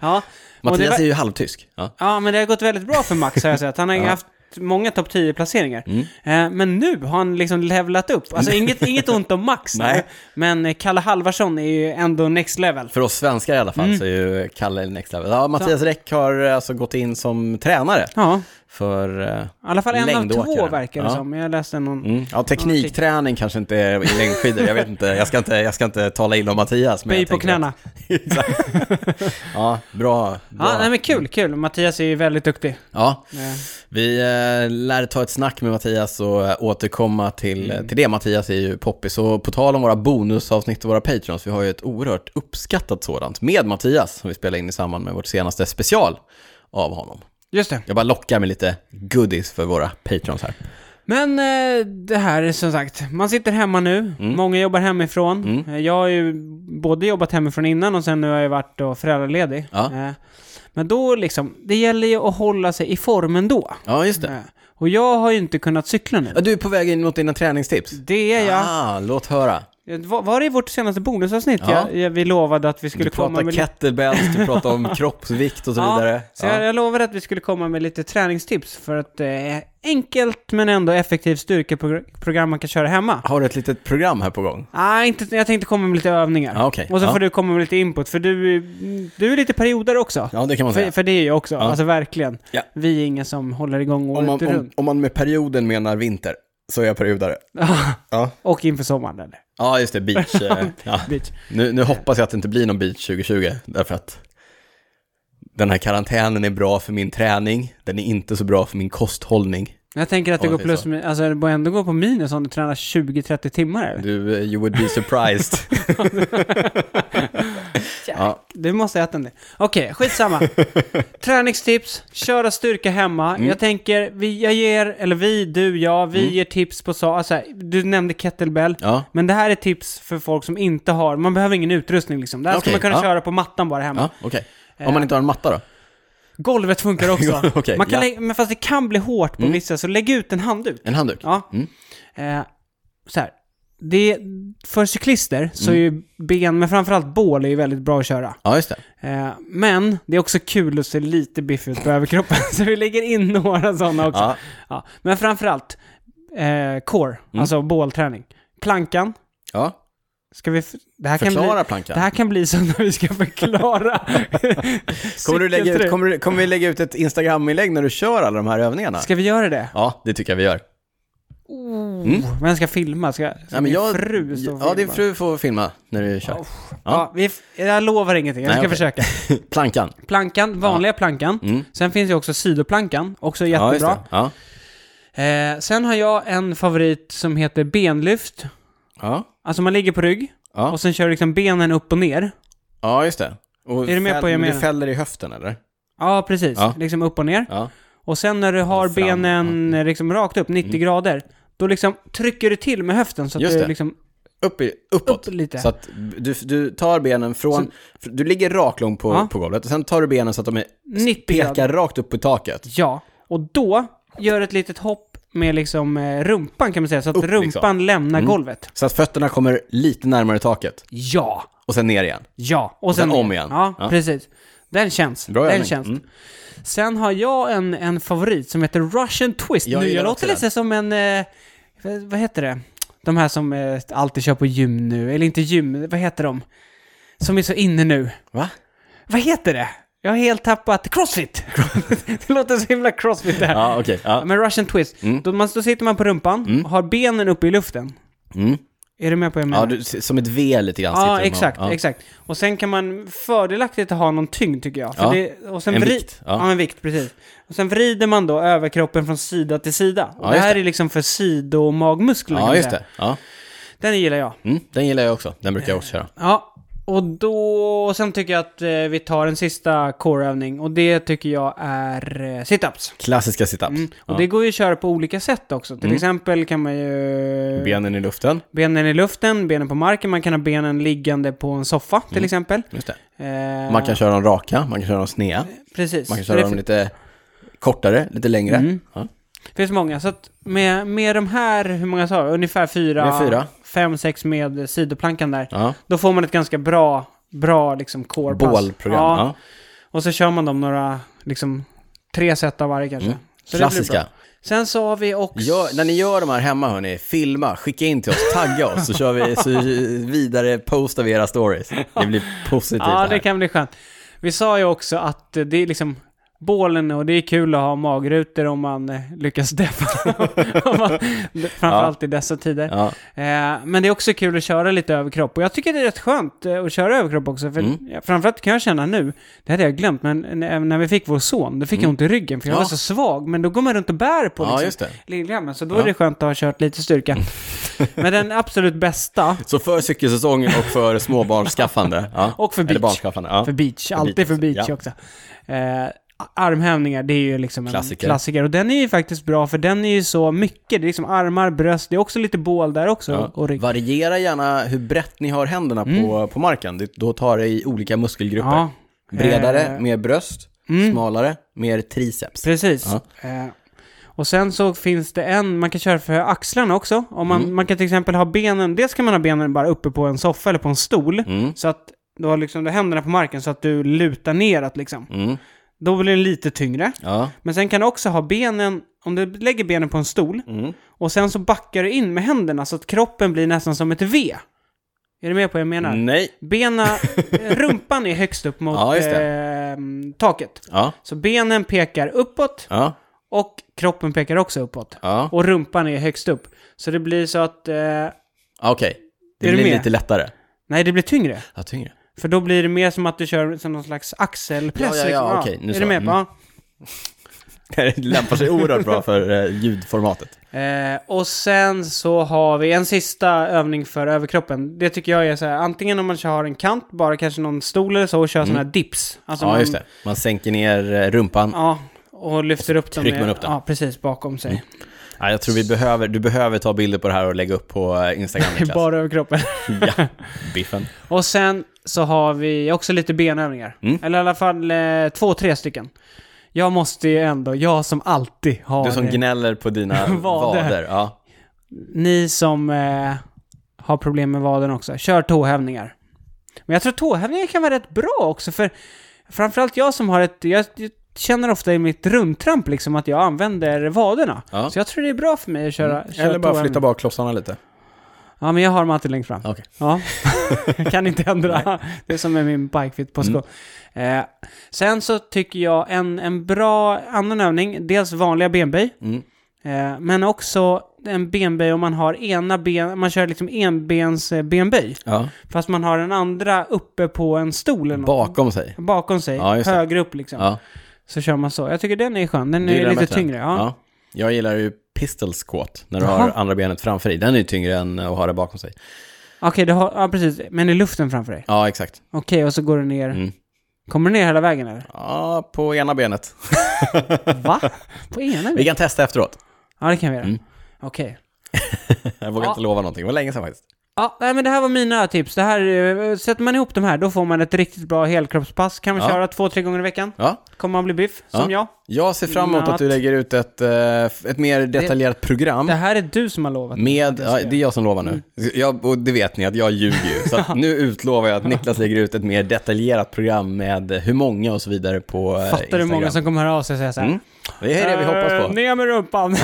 [SPEAKER 2] ja. Och det
[SPEAKER 1] Mattias
[SPEAKER 2] var-
[SPEAKER 1] är ju halvtysk. Ja.
[SPEAKER 2] Ja, men det har gått väldigt bra för Max har jag sett. Han har ju haft många topp 10-placeringar.
[SPEAKER 1] Mm.
[SPEAKER 2] Eh, men nu har han liksom levlat upp. Alltså inget, inget ont om Max.
[SPEAKER 1] Nej.
[SPEAKER 2] Men eh, Kalle Halvarsson är ju ändå next level.
[SPEAKER 1] För oss svenskar i alla fall
[SPEAKER 2] Mm.
[SPEAKER 1] så är ju Kalle next level. Ja, Mattias Räck har eh, alltså gått in som tränare
[SPEAKER 2] Ja,
[SPEAKER 1] för... eh,
[SPEAKER 2] i alla fall en av
[SPEAKER 1] Längdåkare.
[SPEAKER 2] två verkar det
[SPEAKER 1] Ja.
[SPEAKER 2] som. Jag läste någon...
[SPEAKER 1] Mm. Ja, teknikträning kanske inte är i längdskidor, jag vet inte. Jag ska inte, jag ska inte tala illa om Mattias. Men
[SPEAKER 2] Böj
[SPEAKER 1] jag
[SPEAKER 2] på
[SPEAKER 1] tänker att-
[SPEAKER 2] knäna.
[SPEAKER 1] Exakt. ja, bra. bra.
[SPEAKER 2] Ja, nej men kul, kul. Mattias är ju väldigt duktig.
[SPEAKER 1] Ja,
[SPEAKER 2] Eh,
[SPEAKER 1] vi eh, lär ta ett snack med Mattias och eh, återkomma till,
[SPEAKER 2] Mm.
[SPEAKER 1] till det. Mattias är ju poppis. Och på tal om våra bonusavsnitt och våra patrons, vi har ju ett oerhört uppskattat sådant med Mattias som vi spelade in i samband med vårt senaste special av honom.
[SPEAKER 2] Just det.
[SPEAKER 1] Jag bara lockar med lite goodies för våra patrons här.
[SPEAKER 2] Men eh, det här är som sagt, man sitter hemma nu,
[SPEAKER 1] Mm.
[SPEAKER 2] många jobbar hemifrån. Eh, Jag har ju både jobbat hemifrån innan och sen nu har jag varit då föräldraledig.
[SPEAKER 1] Ja.
[SPEAKER 2] Eh, Men då liksom, det gäller ju att hålla sig i formen då.
[SPEAKER 1] Ja, just det.
[SPEAKER 2] Eh, Och jag har ju inte kunnat cykla nu.
[SPEAKER 1] Ja, du är på väg in mot dina träningstips.
[SPEAKER 2] Det är jag.
[SPEAKER 1] Ah, låt höra.
[SPEAKER 2] Eh, va- Var det i vårt senaste bonusavsnitt
[SPEAKER 1] Ja.
[SPEAKER 2] jag, jag, vi lovade att vi
[SPEAKER 1] Du
[SPEAKER 2] skulle komma
[SPEAKER 1] pratar
[SPEAKER 2] med lite...
[SPEAKER 1] kettlebells, du pratar om kroppsvikt och så vidare.
[SPEAKER 2] så jag, jag lovade att vi skulle komma med lite träningstips för att eh, enkelt men ändå effektivt styrkeprogram man kan köra hemma.
[SPEAKER 1] Har du ett litet program här på gång?
[SPEAKER 2] Nej, inte, jag tänkte komma med lite övningar.
[SPEAKER 1] Ja, okej.
[SPEAKER 2] Och så
[SPEAKER 1] Ja.
[SPEAKER 2] får du komma med lite input, för du, du är lite perioder också.
[SPEAKER 1] Ja, det kan man
[SPEAKER 2] för,
[SPEAKER 1] säga.
[SPEAKER 2] för det är jag också, alltså verkligen.
[SPEAKER 1] Ja.
[SPEAKER 2] Vi är ingen som håller igång året
[SPEAKER 1] om, man, om,
[SPEAKER 2] runt.
[SPEAKER 1] om man med perioden menar vinter, så är jag periodare. Ja,
[SPEAKER 2] Och inför sommaren, eller?
[SPEAKER 1] ja just det, beach. eh, ja.
[SPEAKER 2] Bitch.
[SPEAKER 1] Nu, nu hoppas jag att det inte blir någon beach 2020, därför att den här karantänen är bra för min träning, den är inte så bra för min kosthållning.
[SPEAKER 2] Jag tänker att det
[SPEAKER 1] Om man
[SPEAKER 2] går
[SPEAKER 1] säger
[SPEAKER 2] plus,
[SPEAKER 1] så.
[SPEAKER 2] min- alltså det borde ändå gå på minus om du tränar 20-30 timmar. Eller?
[SPEAKER 1] Du, eh, you would be surprised. ja.
[SPEAKER 2] Du måste äta en del. Okej, skitsamma. Träningstips, köra styrka hemma.
[SPEAKER 1] Mm.
[SPEAKER 2] Jag tänker, vi, jag ger, eller vi, du, jag, vi ger tips på så, alltså, du nämnde kettlebell.
[SPEAKER 1] ja,
[SPEAKER 2] Men det här är tips för folk som inte har, man behöver ingen utrustning liksom. Det här ska
[SPEAKER 1] Okej,
[SPEAKER 2] man kunna
[SPEAKER 1] ja.
[SPEAKER 2] köra på mattan bara hemma.
[SPEAKER 1] ja okej. Om man inte har en matta då?
[SPEAKER 2] Golvet funkar också.
[SPEAKER 1] Okej,
[SPEAKER 2] Man kan
[SPEAKER 1] ja.
[SPEAKER 2] lägga, men fast det kan bli hårt på vissa, så lägg ut en handduk.
[SPEAKER 1] En handduk?
[SPEAKER 2] Ja.
[SPEAKER 1] Mm.
[SPEAKER 2] Eh, så här. Det, för cyklister så är
[SPEAKER 1] Mm.
[SPEAKER 2] ju ben, men framförallt bål, är ju väldigt bra att köra.
[SPEAKER 1] Ja, just det.
[SPEAKER 2] Eh, men det är också kul att se lite biffig ut på överkroppen, så vi lägger in några sådana också.
[SPEAKER 1] Ja.
[SPEAKER 2] Ja, men framförallt, eh, core,
[SPEAKER 1] Mm.
[SPEAKER 2] alltså bålträning. Plankan,
[SPEAKER 1] ja.
[SPEAKER 2] ska vi... f- Det här
[SPEAKER 1] Förklara
[SPEAKER 2] kan bli,
[SPEAKER 1] plankan.
[SPEAKER 2] Det här kan bli så när vi ska förklara.
[SPEAKER 1] Kommer, du lägga ut,
[SPEAKER 2] cykelträning.
[SPEAKER 1] kommer, du, kommer vi lägga ut ett Instagram-inlägg när du kör alla de här övningarna?
[SPEAKER 2] Ska vi göra det?
[SPEAKER 1] Ja, det tycker jag vi gör.
[SPEAKER 2] Oh, Vem ska filma? Ska, ska
[SPEAKER 1] Mm. Ja, men
[SPEAKER 2] min
[SPEAKER 1] jag,
[SPEAKER 2] fru stå och
[SPEAKER 1] Ja, din
[SPEAKER 2] filma?
[SPEAKER 1] fru får filma när du kör.
[SPEAKER 2] Ja, vi, f- jag lovar ingenting, jag
[SPEAKER 1] Nej,
[SPEAKER 2] ska
[SPEAKER 1] okej.
[SPEAKER 2] försöka.
[SPEAKER 1] Plankan.
[SPEAKER 2] Plankan, vanliga plankan. Sen finns ju också sidoplankan, också
[SPEAKER 1] Ja, just
[SPEAKER 2] jättebra.
[SPEAKER 1] det. Ja.
[SPEAKER 2] eh, sen har jag en favorit som heter benlyft.
[SPEAKER 1] Ja.
[SPEAKER 2] Alltså man ligger på rygg
[SPEAKER 1] Ja.
[SPEAKER 2] och sen kör liksom benen upp och ner.
[SPEAKER 1] ja, just det. Och
[SPEAKER 2] Är du med
[SPEAKER 1] fäll-
[SPEAKER 2] på vad jag
[SPEAKER 1] men Du
[SPEAKER 2] menar?
[SPEAKER 1] fäller i höften, eller?
[SPEAKER 2] Ja, precis.
[SPEAKER 1] Ja.
[SPEAKER 2] Liksom upp och ner.
[SPEAKER 1] Ja.
[SPEAKER 2] Och sen när du har
[SPEAKER 1] fram. Mm.
[SPEAKER 2] benen eh, liksom rakt upp, 90 grader, då liksom trycker du till med höften så att
[SPEAKER 1] Just
[SPEAKER 2] du
[SPEAKER 1] det.
[SPEAKER 2] liksom...
[SPEAKER 1] Upp i, uppåt.
[SPEAKER 2] Upp lite.
[SPEAKER 1] Så att du, du tar benen från... Du ligger raklång på,
[SPEAKER 2] Ja.
[SPEAKER 1] på golvet och sen tar du benen så att de är,
[SPEAKER 2] 90
[SPEAKER 1] pekar rakt upp i taket.
[SPEAKER 2] Ja, och då gör ett litet hopp med liksom eh, rumpan kan man säga, så att
[SPEAKER 1] Upp,
[SPEAKER 2] rumpan
[SPEAKER 1] liksom.
[SPEAKER 2] lämnar golvet.
[SPEAKER 1] Så att fötterna kommer lite närmare taket
[SPEAKER 2] Ja,
[SPEAKER 1] och sen ner igen.
[SPEAKER 2] ja. Och,
[SPEAKER 1] sen om igen.
[SPEAKER 2] Ja,
[SPEAKER 1] Ja.
[SPEAKER 2] precis. Den känns.
[SPEAKER 1] Bra
[SPEAKER 2] den
[SPEAKER 1] övning.
[SPEAKER 2] känns.
[SPEAKER 1] Mm.
[SPEAKER 2] Sen har jag en, en favorit som heter Russian Twist.
[SPEAKER 1] Jag
[SPEAKER 2] nu,
[SPEAKER 1] gillar
[SPEAKER 2] jag
[SPEAKER 1] också
[SPEAKER 2] låter lite som en... Eh, vad heter det? De här som eh, alltid kör på gym nu, eller inte gym, vad heter de? Som är så inne nu.
[SPEAKER 1] Va?
[SPEAKER 2] Vad heter det? Jag har helt tappat... Crossfit! det låter så himla crossfit det här.
[SPEAKER 1] Ja, okej.
[SPEAKER 2] Ja,
[SPEAKER 1] Ja.
[SPEAKER 2] Men Russian twist, då, man, då sitter man på rumpan, och har benen uppe i luften.
[SPEAKER 1] Mm.
[SPEAKER 2] Är du med på vad jag menar?
[SPEAKER 1] ja, du, som ett V lite grann. sitter
[SPEAKER 2] Ja,
[SPEAKER 1] de och-
[SPEAKER 2] exakt,
[SPEAKER 1] ja.
[SPEAKER 2] exakt. Och sen kan man fördelaktigt ha någon tyngd tycker jag. För
[SPEAKER 1] Ja,
[SPEAKER 2] det, och sen
[SPEAKER 1] en
[SPEAKER 2] vri-
[SPEAKER 1] vikt, ja.
[SPEAKER 2] Ja. en vikt, precis. Och sen vrider man då överkroppen från sida till sida. Och
[SPEAKER 1] Ja,
[SPEAKER 2] det
[SPEAKER 1] just
[SPEAKER 2] här
[SPEAKER 1] det.
[SPEAKER 2] är liksom för sidomagmusklerna. kan
[SPEAKER 1] Ja,
[SPEAKER 2] man
[SPEAKER 1] just
[SPEAKER 2] säga.
[SPEAKER 1] det. Ja.
[SPEAKER 2] Den gillar jag.
[SPEAKER 1] Mm, den gillar jag också. Den brukar jag också köra.
[SPEAKER 2] Ja, och då... Och sen tycker jag att eh, vi tar en sista coreövning. Och det tycker jag är eh, situps.
[SPEAKER 1] Klassiska situps.
[SPEAKER 2] Och det går ju att köra på olika sätt också. Till
[SPEAKER 1] Mm.
[SPEAKER 2] exempel kan man ju...
[SPEAKER 1] Benen i luften.
[SPEAKER 2] Benen i luften, benen på marken, man kan ha benen liggande på en soffa till exempel.
[SPEAKER 1] Just det.
[SPEAKER 2] Eh,
[SPEAKER 1] Mm. Man kan köra dem raka, man kan köra dem snea,
[SPEAKER 2] precis.
[SPEAKER 1] man kan köra
[SPEAKER 2] det Mm.
[SPEAKER 1] dem lite kortare, lite längre. Ja.
[SPEAKER 2] finns många. Så att med, med de här, hur många sa jag? Ungefär fyra,
[SPEAKER 1] Med fyra.
[SPEAKER 2] fem, sex med sidoplankan där.
[SPEAKER 1] Ja.
[SPEAKER 2] Då får man ett ganska bra, bra liksom corepass.
[SPEAKER 1] Bålprogram.
[SPEAKER 2] Ja.
[SPEAKER 1] Ja.
[SPEAKER 2] Och så kör man dem några, liksom tre set av varje kanske. Så det blir
[SPEAKER 1] Mm. Klassiska.
[SPEAKER 2] bra. Sen så har vi också...
[SPEAKER 1] Gör, när ni gör de här hemma, hörni, filma, skicka in till oss, tagga oss, så kör vi så vidare post av era stories. Det blir positivt
[SPEAKER 2] Ja, det
[SPEAKER 1] här.
[SPEAKER 2] kan bli skönt. Vi sa ju också att eh, det är liksom bålen och det är kul att ha magrutor om man eh, lyckas däffa dem. Om man- Framförallt i dessa tider.
[SPEAKER 1] Ja.
[SPEAKER 2] Eh, Men det är också kul att köra lite överkropp. Och jag tycker det är rätt skönt eh, att köra överkropp också. För
[SPEAKER 1] Mm.
[SPEAKER 2] ja, Framförallt kan jag känna nu, det hade jag glömt, men när- när vi fick vår son, då fick jag ont i ryggen för jag
[SPEAKER 1] Mm. Ja.
[SPEAKER 2] var så svag. Men då går man runt och bär på
[SPEAKER 1] Ja,
[SPEAKER 2] liksom,
[SPEAKER 1] just det.
[SPEAKER 2] lillgammen, så då är det skönt att ha kört lite styrka. men den absolut bästa,
[SPEAKER 1] Så för cykelsäsongen och för småbarnsskaffande. Ja.
[SPEAKER 2] Och för
[SPEAKER 1] Eller
[SPEAKER 2] beach.
[SPEAKER 1] barnskaffande. Ja.
[SPEAKER 2] För beach, alltid för beach
[SPEAKER 1] ja.
[SPEAKER 2] också. Eh, armhävningar, det är ju liksom en
[SPEAKER 1] Klassiker.
[SPEAKER 2] klassiker. Och den är ju faktiskt bra för den är ju så mycket. Det är liksom armar, bröst, det är också lite bål där också.
[SPEAKER 1] Ja.
[SPEAKER 2] Och rygg.
[SPEAKER 1] Variera gärna hur brett ni har händerna på, på marken. Det- Då tar det i olika muskelgrupper.
[SPEAKER 2] Ja,
[SPEAKER 1] Bredare,
[SPEAKER 2] Eh. Mm.
[SPEAKER 1] mer bröst. Smalare, mer triceps.
[SPEAKER 2] precis. Eh, och sen så finns det en, man kan köra för axlarna också. Om
[SPEAKER 1] Mm.
[SPEAKER 2] man, man kan till exempel ha benen, dels kan man ha benen bara uppe på en soffa eller på en stol.
[SPEAKER 1] Mm.
[SPEAKER 2] Så att du har liksom du har händerna på marken så att du lutar neråt liksom.
[SPEAKER 1] Mm.
[SPEAKER 2] Då blir den lite tyngre.
[SPEAKER 1] Ja.
[SPEAKER 2] Men sen kan du också ha benen, om du lägger benen på en stol
[SPEAKER 1] Mm.
[SPEAKER 2] och sen så backar du in med händerna så att kroppen blir nästan som ett V. Är du med på vad jag menar?
[SPEAKER 1] Nej.
[SPEAKER 2] Bena, rumpan är högst upp mot
[SPEAKER 1] Mm. Ja, just
[SPEAKER 2] eh, taket.
[SPEAKER 1] Ja.
[SPEAKER 2] Så benen pekar uppåt
[SPEAKER 1] Ja.
[SPEAKER 2] och kroppen pekar också uppåt.
[SPEAKER 1] Ja.
[SPEAKER 2] Och rumpan är högst upp. Så det blir så att... Eh,
[SPEAKER 1] Ja, Okej. Det
[SPEAKER 2] Är du
[SPEAKER 1] blir
[SPEAKER 2] med?
[SPEAKER 1] lite lättare.
[SPEAKER 2] nej, det blir tyngre.
[SPEAKER 1] Ja, tyngre.
[SPEAKER 2] För då blir det mer som att du kör som någon slags axelpress.
[SPEAKER 1] Ja, ja, ja,
[SPEAKER 2] liksom.
[SPEAKER 1] okej, nu
[SPEAKER 2] är
[SPEAKER 1] så.
[SPEAKER 2] du med på?
[SPEAKER 1] Mm. Det lämpar sig oerhört bra för eh, ljudformatet.
[SPEAKER 2] Eh, och sen så har vi en sista övning för överkroppen. Det tycker jag är så här, antingen om man kör- har en kant, bara kanske någon stol eller så, och kör sådana här dips. Alltså
[SPEAKER 1] Mm. Ja,
[SPEAKER 2] man,
[SPEAKER 1] just det. Man sänker ner eh, rumpan.
[SPEAKER 2] Ja, och lyfter upp dem.
[SPEAKER 1] trycker
[SPEAKER 2] med-
[SPEAKER 1] man upp den. Mm,
[SPEAKER 2] Ja, precis, bakom sig.
[SPEAKER 1] Ja, jag tror vi behöver, du behöver ta bilder på det här och lägga upp på eh, Instagram, Niklas.
[SPEAKER 2] bara överkroppen.
[SPEAKER 1] Ja, biffen.
[SPEAKER 2] och
[SPEAKER 1] Mm.
[SPEAKER 2] sen så har vi också lite benövningar. Eller i alla fall eh, två, tre stycken. Jag måste ju ändå, jag som alltid har...
[SPEAKER 1] Du som
[SPEAKER 2] eh,
[SPEAKER 1] gnäller på dina
[SPEAKER 2] Vader.
[SPEAKER 1] vader. Ja.
[SPEAKER 2] ni som eh, har problem med vaden också, kör tåhävningar. Men jag tror tåhävningar kan vara rätt bra också, för framförallt jag som har ett... Jag, jag känner ofta i mitt rumtramp liksom att jag använder vaderna.
[SPEAKER 1] Ja.
[SPEAKER 2] Så jag tror det är bra för mig att köra, köra
[SPEAKER 3] Mm. Eller bara
[SPEAKER 2] tåhävningar.
[SPEAKER 3] flytta bak klossarna lite.
[SPEAKER 2] Ja, men jag har dem alltid längst fram.
[SPEAKER 1] Okej.
[SPEAKER 2] Ja, kan inte ändra. Det är som med min bikefit
[SPEAKER 3] Mm.
[SPEAKER 2] på skå. Eh, sen så tycker jag en, en bra annan övning, dels vanliga benböj,
[SPEAKER 1] Mm.
[SPEAKER 2] eh, men också en benböj om man har ena ben, man kör liksom enbens eh, benböj,
[SPEAKER 1] Ja.
[SPEAKER 2] fast man har den andra uppe på en stol eller något.
[SPEAKER 1] Bakom sig.
[SPEAKER 2] Bakom sig,
[SPEAKER 1] Ja, just det.
[SPEAKER 2] högre upp liksom.
[SPEAKER 1] Ja.
[SPEAKER 2] Så kör man så. Jag tycker den är skön, den
[SPEAKER 1] Du
[SPEAKER 2] är,
[SPEAKER 1] gillar
[SPEAKER 2] lite
[SPEAKER 1] bättre?
[SPEAKER 2] tyngre. Ja.
[SPEAKER 1] Jag gillar ju pistol squat, när du
[SPEAKER 2] Jaha.
[SPEAKER 1] har andra benet framför dig. Den är ju tyngre än att ha det bakom sig.
[SPEAKER 2] Okej, du har, ja precis, men i luften framför dig.
[SPEAKER 1] Ja, exakt.
[SPEAKER 2] Okej, och så går du ner.
[SPEAKER 1] Mm.
[SPEAKER 2] Kommer du ner hela vägen eller?
[SPEAKER 1] Ja, på ena benet.
[SPEAKER 2] Va? På ena
[SPEAKER 1] Vi kan testa efteråt.
[SPEAKER 2] Ja, det kan vi göra.
[SPEAKER 1] Mm.
[SPEAKER 2] Okej.
[SPEAKER 1] Jag vågar
[SPEAKER 2] Ja.
[SPEAKER 1] inte lova någonting, det var länge sedan faktiskt.
[SPEAKER 2] Ja, nej, men det här var mina tips. Det här, eh, sätter man ihop de här, då får man ett riktigt bra helkroppspass. Kan man
[SPEAKER 1] Ja.
[SPEAKER 2] köra två, tre gånger i veckan.
[SPEAKER 1] Ja.
[SPEAKER 2] Kommer man bli biff,
[SPEAKER 1] Ja.
[SPEAKER 2] som jag.
[SPEAKER 1] Jag ser fram emot att du
[SPEAKER 2] Natt.
[SPEAKER 1] lägger ut ett, eh, ett mer detaljerat program.
[SPEAKER 2] Det här är du som har lovat.
[SPEAKER 1] Med,
[SPEAKER 2] ska
[SPEAKER 1] ja,
[SPEAKER 2] jag. Mm.
[SPEAKER 1] det är jag som lovar nu. Jag, och det vet ni att jag ljuger ju. Så att nu utlovar jag att Niklas lägger ut ett mer detaljerat program med hur många och så vidare på eh,
[SPEAKER 2] Fattar du hur
[SPEAKER 1] Instagram.
[SPEAKER 2] många som kommer höra av sig och säga såhär.
[SPEAKER 1] Mm. Det är det vi hoppas
[SPEAKER 2] "Eh,
[SPEAKER 1] på.
[SPEAKER 2] Ner med rumpan.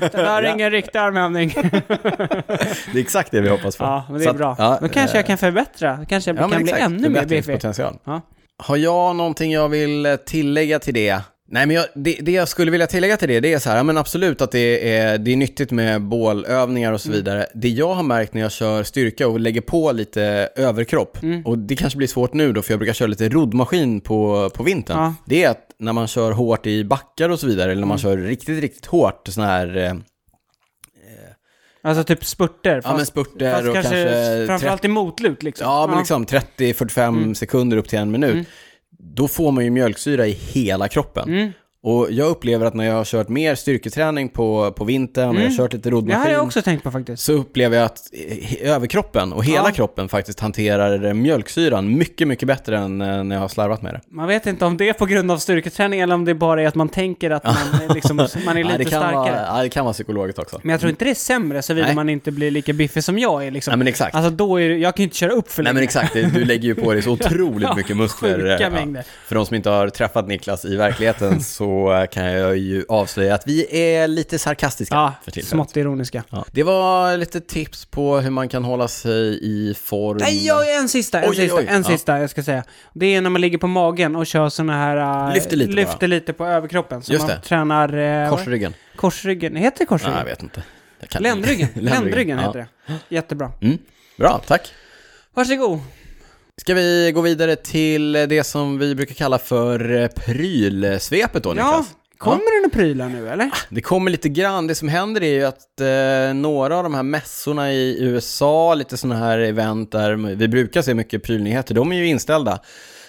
[SPEAKER 2] det där är
[SPEAKER 1] Ja.
[SPEAKER 2] ingen riktig armhävning.
[SPEAKER 1] Det är exakt det vi hoppas på.
[SPEAKER 2] ja, men det
[SPEAKER 1] Så
[SPEAKER 2] är
[SPEAKER 1] att,
[SPEAKER 2] bra.
[SPEAKER 1] ja,
[SPEAKER 2] Då kanske
[SPEAKER 1] eh,
[SPEAKER 2] jag kan förbättra. Kanske jag
[SPEAKER 1] ja, men
[SPEAKER 2] kan bli
[SPEAKER 1] exakt.
[SPEAKER 2] ännu mer biffig.
[SPEAKER 1] Förbättringspotential.
[SPEAKER 2] Ja.
[SPEAKER 1] Har jag någonting jag vill eh, tillägga till det? Nej, men jag, det, det jag skulle vilja tillägga till det, det är så här, ja, men absolut att det är, det är nyttigt med bålövningar och så
[SPEAKER 2] Mm.
[SPEAKER 1] vidare. Det jag har märkt när jag kör styrka och lägger på lite överkropp,
[SPEAKER 2] Mm.
[SPEAKER 1] och det kanske blir svårt nu då, för jag brukar köra lite roddmaskin på, på vintern,
[SPEAKER 2] Ja.
[SPEAKER 1] det är att när man kör hårt i backar och så vidare, eller när man
[SPEAKER 2] Mm.
[SPEAKER 1] kör riktigt, riktigt hårt, sån här, eh,
[SPEAKER 2] Alltså typ spurter. Fast,
[SPEAKER 1] ja men spurter
[SPEAKER 2] fast
[SPEAKER 1] och kanske,
[SPEAKER 2] kanske
[SPEAKER 1] 30
[SPEAKER 2] framförallt i motlut liksom.
[SPEAKER 1] Ja, men liksom 30-45
[SPEAKER 2] Mm.
[SPEAKER 1] sekunder upp till en minut. Då får man ju mjölksyra i hela kroppen.
[SPEAKER 2] Mm.
[SPEAKER 1] Och jag upplever att när jag har kört mer styrketräning på, på vintern, och jag har kört lite
[SPEAKER 2] Det här har
[SPEAKER 1] roddmaskin,
[SPEAKER 2] Mm. jag också tänkt på faktiskt.
[SPEAKER 1] så upplever jag att eh, överkroppen och hela
[SPEAKER 2] Ja.
[SPEAKER 1] kroppen faktiskt hanterar mjölksyran mycket, mycket bättre än eh, när jag har slarvat med det.
[SPEAKER 2] Man vet inte om det är på grund av styrketräning eller om det bara är att man tänker att man, är liksom, man är
[SPEAKER 1] Nej,
[SPEAKER 2] lite
[SPEAKER 1] det, kan
[SPEAKER 2] starkare. Liksom.
[SPEAKER 1] vara, ja, det kan vara psykologiskt också.
[SPEAKER 2] Men jag tror inte det är sämre såvida
[SPEAKER 1] Nej.
[SPEAKER 2] man inte blir lika biffig som jag är liksom.
[SPEAKER 1] Nej, men exakt.
[SPEAKER 2] Alltså då är det, jag kan ju inte köra upp för
[SPEAKER 1] Nej
[SPEAKER 2] länge.
[SPEAKER 1] men exakt, Det- du lägger ju på dig så otroligt mycket muskler.
[SPEAKER 2] sjuka
[SPEAKER 1] eh,
[SPEAKER 2] mängder.
[SPEAKER 1] För de som inte har träffat Niklas i verkligheten så eh, kan jag ju avslöja att vi är lite sarkastiska
[SPEAKER 2] Ja,
[SPEAKER 1] för tillfället.
[SPEAKER 2] smått ironiska.
[SPEAKER 1] Ja. Det var lite tips på hur man kan hålla sig i form.
[SPEAKER 2] Nej, jag en sista, en
[SPEAKER 1] Oj, oj,
[SPEAKER 2] sista,
[SPEAKER 1] oj.
[SPEAKER 2] en
[SPEAKER 1] Ja.
[SPEAKER 2] sista jag ska säga. Det är när man ligger på magen och kör såna här... eh,
[SPEAKER 1] Lyfter lite
[SPEAKER 2] lyfter lite på överkroppen. Så
[SPEAKER 1] Just
[SPEAKER 2] man
[SPEAKER 1] det.
[SPEAKER 2] tränar... eh,
[SPEAKER 1] Korsryggen?
[SPEAKER 2] korsryggen. Heter det
[SPEAKER 1] Nej,
[SPEAKER 2] korsryggen?
[SPEAKER 1] jag vet inte. Jag kan inte.
[SPEAKER 2] Ländryggen.
[SPEAKER 1] Ländryggen,
[SPEAKER 2] Ländryggen
[SPEAKER 1] ja.
[SPEAKER 2] heter det. Jättebra.
[SPEAKER 1] Mm. Bra, tack.
[SPEAKER 2] Varsågod.
[SPEAKER 1] Ska vi gå vidare till det som vi brukar kalla för eh, prylsvepet då,
[SPEAKER 2] Ja,
[SPEAKER 1] Niklas?
[SPEAKER 2] kommer det några prylar nu eller?
[SPEAKER 1] Det kommer lite grann. Det som händer är ju att eh, några av de här mässorna i USA, lite sådana här event där vi brukar se mycket prylnyheter, de är ju inställda.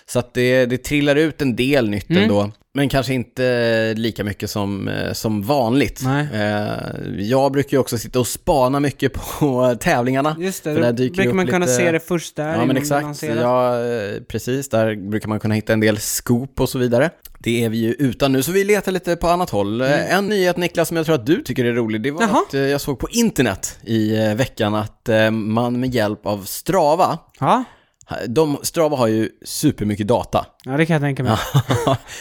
[SPEAKER 1] Så att det, det trillar ut en del nytt ändå, men kanske inte lika mycket som, eh, som vanligt.
[SPEAKER 2] Nej.
[SPEAKER 1] Eh, jag brukar ju också sitta och spana mycket på tävlingarna.
[SPEAKER 2] Just det,
[SPEAKER 1] För där
[SPEAKER 2] då
[SPEAKER 1] dyker det
[SPEAKER 2] brukar
[SPEAKER 1] upp
[SPEAKER 2] man kunna
[SPEAKER 1] lite-
[SPEAKER 2] se det först där
[SPEAKER 1] Ja
[SPEAKER 2] innan
[SPEAKER 1] men
[SPEAKER 2] man
[SPEAKER 1] exakt,
[SPEAKER 2] lanserar.
[SPEAKER 1] ja, eh, precis. Där brukar man kunna hitta en del scoop och så vidare. Det är vi ju utan nu, så vi letar lite på annat håll. Eh, En nyhet Niklas som jag tror att du tycker är rolig, det var
[SPEAKER 2] Jaha.
[SPEAKER 1] att eh, jag såg på internet i eh, veckan att eh, man med hjälp av Strava,
[SPEAKER 2] Ja,
[SPEAKER 1] de, Strava har ju supermycket data.
[SPEAKER 2] ja, det kan jag tänka mig.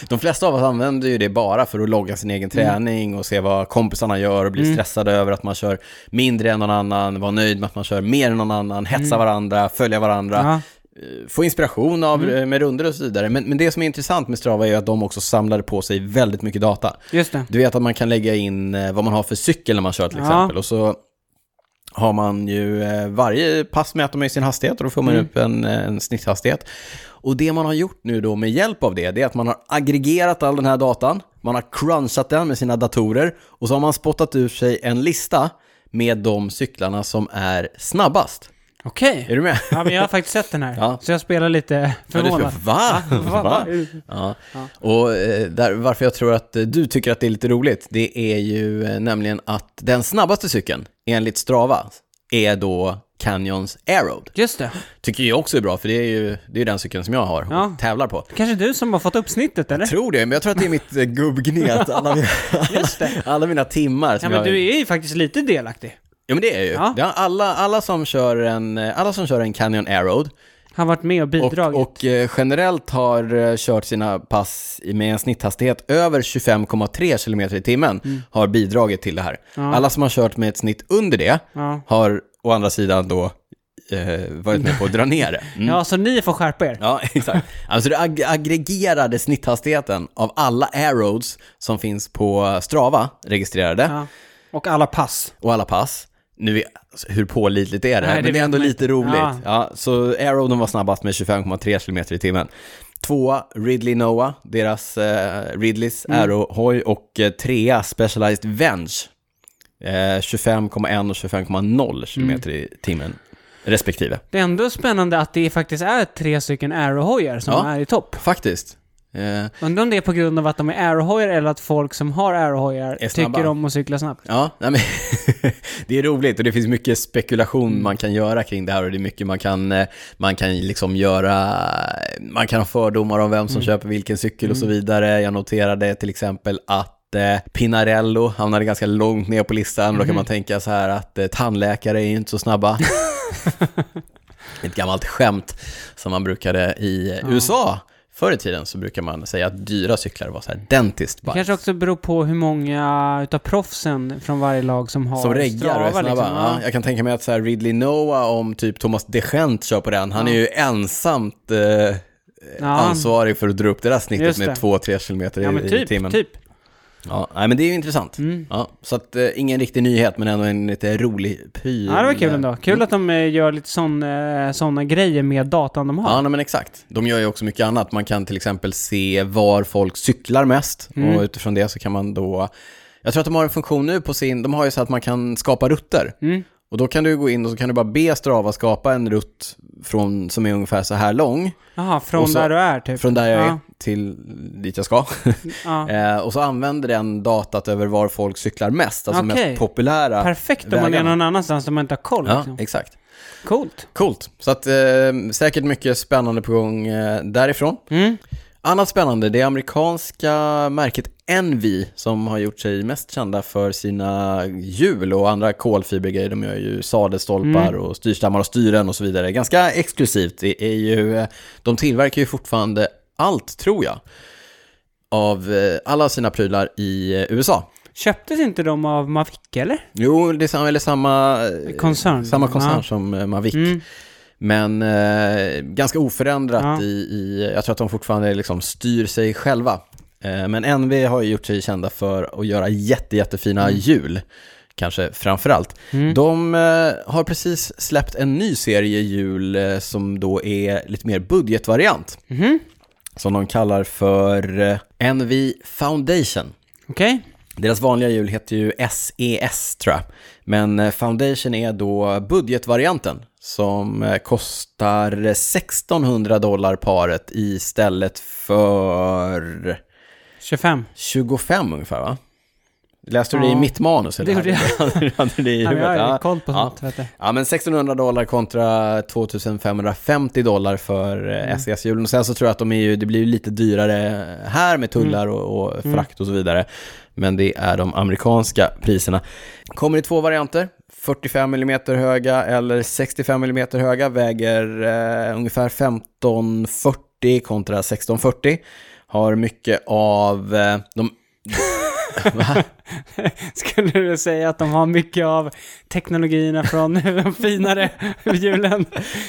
[SPEAKER 1] De flesta av oss använder ju det bara för att logga sin egen träning och se vad kompisarna gör och bli stressade över att man kör mindre än någon annan, vara nöjd med att man kör mer än någon annan, hetsa varandra, följa varandra
[SPEAKER 2] Ja.
[SPEAKER 1] få inspiration av
[SPEAKER 2] Mm.
[SPEAKER 1] eh, med runder och så vidare. Men, men det som är intressant med Strava är ju att de också samlade på sig väldigt mycket data.
[SPEAKER 2] Just det.
[SPEAKER 1] Du vet att man kan lägga in eh, vad man har för cykel när man kör till
[SPEAKER 2] Ja.
[SPEAKER 1] exempel. Och så har man ju, eh, varje pass mäter man ju sin hastighet och då får
[SPEAKER 2] Mm.
[SPEAKER 1] man upp en, eh, en snitthastighet. Och det man har gjort nu då med hjälp av det, det är att man har aggregerat all den här datan, man har crunchat den med sina datorer och så har man spottat ur sig en lista med de cyklarna som är snabbast.
[SPEAKER 2] Okej.
[SPEAKER 1] Är du med?
[SPEAKER 2] Ja, men jag har faktiskt sett den här.
[SPEAKER 1] Ja.
[SPEAKER 2] Så jag spelar lite
[SPEAKER 1] Ja, du
[SPEAKER 2] förvånad.
[SPEAKER 1] ska- Va?
[SPEAKER 2] Va?
[SPEAKER 1] Va? Ja. Och eh, där, varför jag tror att eh, du tycker att det är lite roligt, det är ju eh, nämligen att den snabbaste cykeln, enligt Strava, är då Canyons Aeroad.
[SPEAKER 2] Just det.
[SPEAKER 1] Tycker jag också är bra, för det är ju det är den cykeln som jag har och
[SPEAKER 2] Ja.
[SPEAKER 1] tävlar på.
[SPEAKER 2] Kanske du som har fått upp snittet eller?
[SPEAKER 1] Tror det, men jag tror att det är mitt eh, gubbgnet, alla mina, alla mina timmar.
[SPEAKER 2] Ja
[SPEAKER 1] Som
[SPEAKER 2] men
[SPEAKER 1] jag,
[SPEAKER 2] du är ju faktiskt lite delaktig.
[SPEAKER 1] ja, men det är jag ju.
[SPEAKER 2] Ja.
[SPEAKER 1] Det har alla, alla, som kör en, eh, alla som kör en Canyon Aeroad
[SPEAKER 2] Har varit med och
[SPEAKER 1] och,
[SPEAKER 2] bidragit.
[SPEAKER 1] och eh, generellt har eh, kört sina pass i- med en snitthastighet över 25,3 km i timmen
[SPEAKER 2] Mm.
[SPEAKER 1] har bidragit till det här. Alla som har kört med ett snitt under det
[SPEAKER 2] Ja.
[SPEAKER 1] har å andra sidan då eh, varit med på att dra ner det. Mm.
[SPEAKER 2] ja, så ni får skärpa er.
[SPEAKER 1] Ja, exakt. Alltså det ag- aggregerade snitthastigheten av alla airroads som finns på Strava registrerade
[SPEAKER 2] Ja. Och alla pass.
[SPEAKER 1] och alla pass. Nu är, alltså, hur pålitligt är det?
[SPEAKER 2] Nej, det
[SPEAKER 1] Men det
[SPEAKER 2] vet
[SPEAKER 1] är ändå
[SPEAKER 2] man
[SPEAKER 1] lite
[SPEAKER 2] inte.
[SPEAKER 1] roligt. Ja.
[SPEAKER 2] Ja.
[SPEAKER 1] så airroaden var snabbast med 25,3 km i timmen. Tvåa, Ridley Noah, deras eh, Ridleys aerohoj och eh, trea, Specialized Venge. Eh, 25,1 och 25,0 km i timmen respektive.
[SPEAKER 2] Det är ändå spännande att det faktiskt är tre stycken aerohojar som
[SPEAKER 1] Ja.
[SPEAKER 2] är i topp.
[SPEAKER 1] Faktiskt. Eh,
[SPEAKER 2] Undrar om det är på grund av att de är aerohojar eller att folk som har aerohojar
[SPEAKER 1] Är snabba.
[SPEAKER 2] tycker om att cykla snabbt.
[SPEAKER 1] Ja, nej men det är roligt och det finns mycket spekulation man kan göra kring det här och det är mycket man kan, eh, man kan liksom göra, man kan ha fördomar om vem som köper vilken cykel och så vidare. Jag noterade till exempel att eh, Pinarello hamnade ganska långt ner på listan. Då kan man tänka så här att eh, tandläkare är ju inte så snabba. Ett gammalt skämt som man brukade i USA. Förr i tiden så brukar man säga att dyra cyklar var så här dentist
[SPEAKER 2] Det
[SPEAKER 1] bike.
[SPEAKER 2] kanske också beror på hur många utav proffsen från varje lag som har
[SPEAKER 1] Som reggar och är
[SPEAKER 2] Strava,
[SPEAKER 1] snabba.
[SPEAKER 2] liksom.
[SPEAKER 1] ja. Jag kan tänka mig att så här Ridley Noah, om typ Thomas DeGent kör på den, han är ju ensamt eh, ansvarig för att dra upp det där snittet
[SPEAKER 2] Just det.
[SPEAKER 1] med 2-3 kilometer i,
[SPEAKER 2] Ja, men
[SPEAKER 1] i
[SPEAKER 2] typ, Mm.
[SPEAKER 1] timmen.
[SPEAKER 2] typ.
[SPEAKER 1] Ja, nej, men det är ju intressant. Ja, så att, eh, ingen riktig nyhet, men ändå en lite rolig py.
[SPEAKER 2] Ja, det var
[SPEAKER 1] Mm.
[SPEAKER 2] kul ändå. Kul att de eh, gör lite sådana såna grejer med datan de har.
[SPEAKER 1] Ja, nej, men exakt. De gör ju också mycket annat. Man kan till exempel se var folk cyklar mest
[SPEAKER 2] Mm.
[SPEAKER 1] och utifrån det så kan man då... Jag tror att de har en funktion nu på sin... De har ju så att man kan skapa rutter.
[SPEAKER 2] Mm.
[SPEAKER 1] Och då kan du gå in och så kan du bara be Strava skapa en rutt från, som är ungefär så här lång,
[SPEAKER 2] Jaha, från
[SPEAKER 1] Och så-
[SPEAKER 2] där du är typ.
[SPEAKER 1] från där jag är
[SPEAKER 2] ja.
[SPEAKER 1] till dit jag ska.
[SPEAKER 2] Ja.
[SPEAKER 1] eh, och så använder den datat över var folk cyklar mest, alltså
[SPEAKER 2] Okej.
[SPEAKER 1] mest populära
[SPEAKER 2] Perfekt om man är
[SPEAKER 1] vägarna.
[SPEAKER 2] någon annanstans där man inte har koll.
[SPEAKER 1] Ja,
[SPEAKER 2] Liksom.
[SPEAKER 1] exakt.
[SPEAKER 2] Coolt.
[SPEAKER 1] Coolt. Så att eh, säkert mycket spännande på gång eh, därifrån.
[SPEAKER 2] Mm.
[SPEAKER 1] Annat spännande, det amerikanska märket Envy som har gjort sig mest kända för sina hjul och andra kolfibergrejer. De gör ju sadelstolpar och styrstammar och styren och så vidare. Ganska exklusivt. Det är ju, eh, de tillverkar ju fortfarande allt, tror jag, av eh, alla sina prylar i eh, USA.
[SPEAKER 2] Köptes inte de av Mavic eller?
[SPEAKER 1] Jo, det är samma, eller samma, eh,
[SPEAKER 2] Koncern.
[SPEAKER 1] samma koncern
[SPEAKER 2] Ja.
[SPEAKER 1] som eh, Mavic.
[SPEAKER 2] Mm.
[SPEAKER 1] Men eh, ganska oförändrat
[SPEAKER 2] Ja.
[SPEAKER 1] i, i, jag tror att de fortfarande liksom styr sig själva. Eh, men NV har ju gjort sig kända för att göra jätte, jättefina
[SPEAKER 2] Mm.
[SPEAKER 1] hjul, kanske framför allt. De eh, har precis släppt en ny serie hjul eh, som då är lite mer budgetvariant.
[SPEAKER 2] Mhm.
[SPEAKER 1] Som de kallar för eh, NV Foundation.
[SPEAKER 2] Okej.
[SPEAKER 1] Deras vanliga hjul heter ju SES tror jag. Men eh, Foundation är då budgetvarianten som eh, kostar 1600 dollar paret istället för
[SPEAKER 2] 25.
[SPEAKER 1] 25 ungefär va? Läste du det i
[SPEAKER 2] Ja.
[SPEAKER 1] mitt manus? Eller
[SPEAKER 2] Det gjorde
[SPEAKER 1] jag. Hade du det i
[SPEAKER 2] Ja, men
[SPEAKER 1] huvudet?
[SPEAKER 2] jag har ju
[SPEAKER 1] Ja.
[SPEAKER 2] koll på
[SPEAKER 1] Ja.
[SPEAKER 2] sånt, vet du.
[SPEAKER 1] Ja, men 1600 dollar kontra 2550 dollar för
[SPEAKER 2] Mm.
[SPEAKER 1] eh, SES-hjulen. Och sen så tror jag att de är ju, det blir ju lite dyrare här med tullar
[SPEAKER 2] Mm.
[SPEAKER 1] och, och frakt och så vidare. Men det är de amerikanska priserna. Kommer i två varianter. 45 mm höga eller 65 mm höga väger eh, ungefär 1540 kontra 1640. Har mycket av eh, de... Va?
[SPEAKER 2] Skulle du säga att de har mycket av teknologierna från de finare hjulen?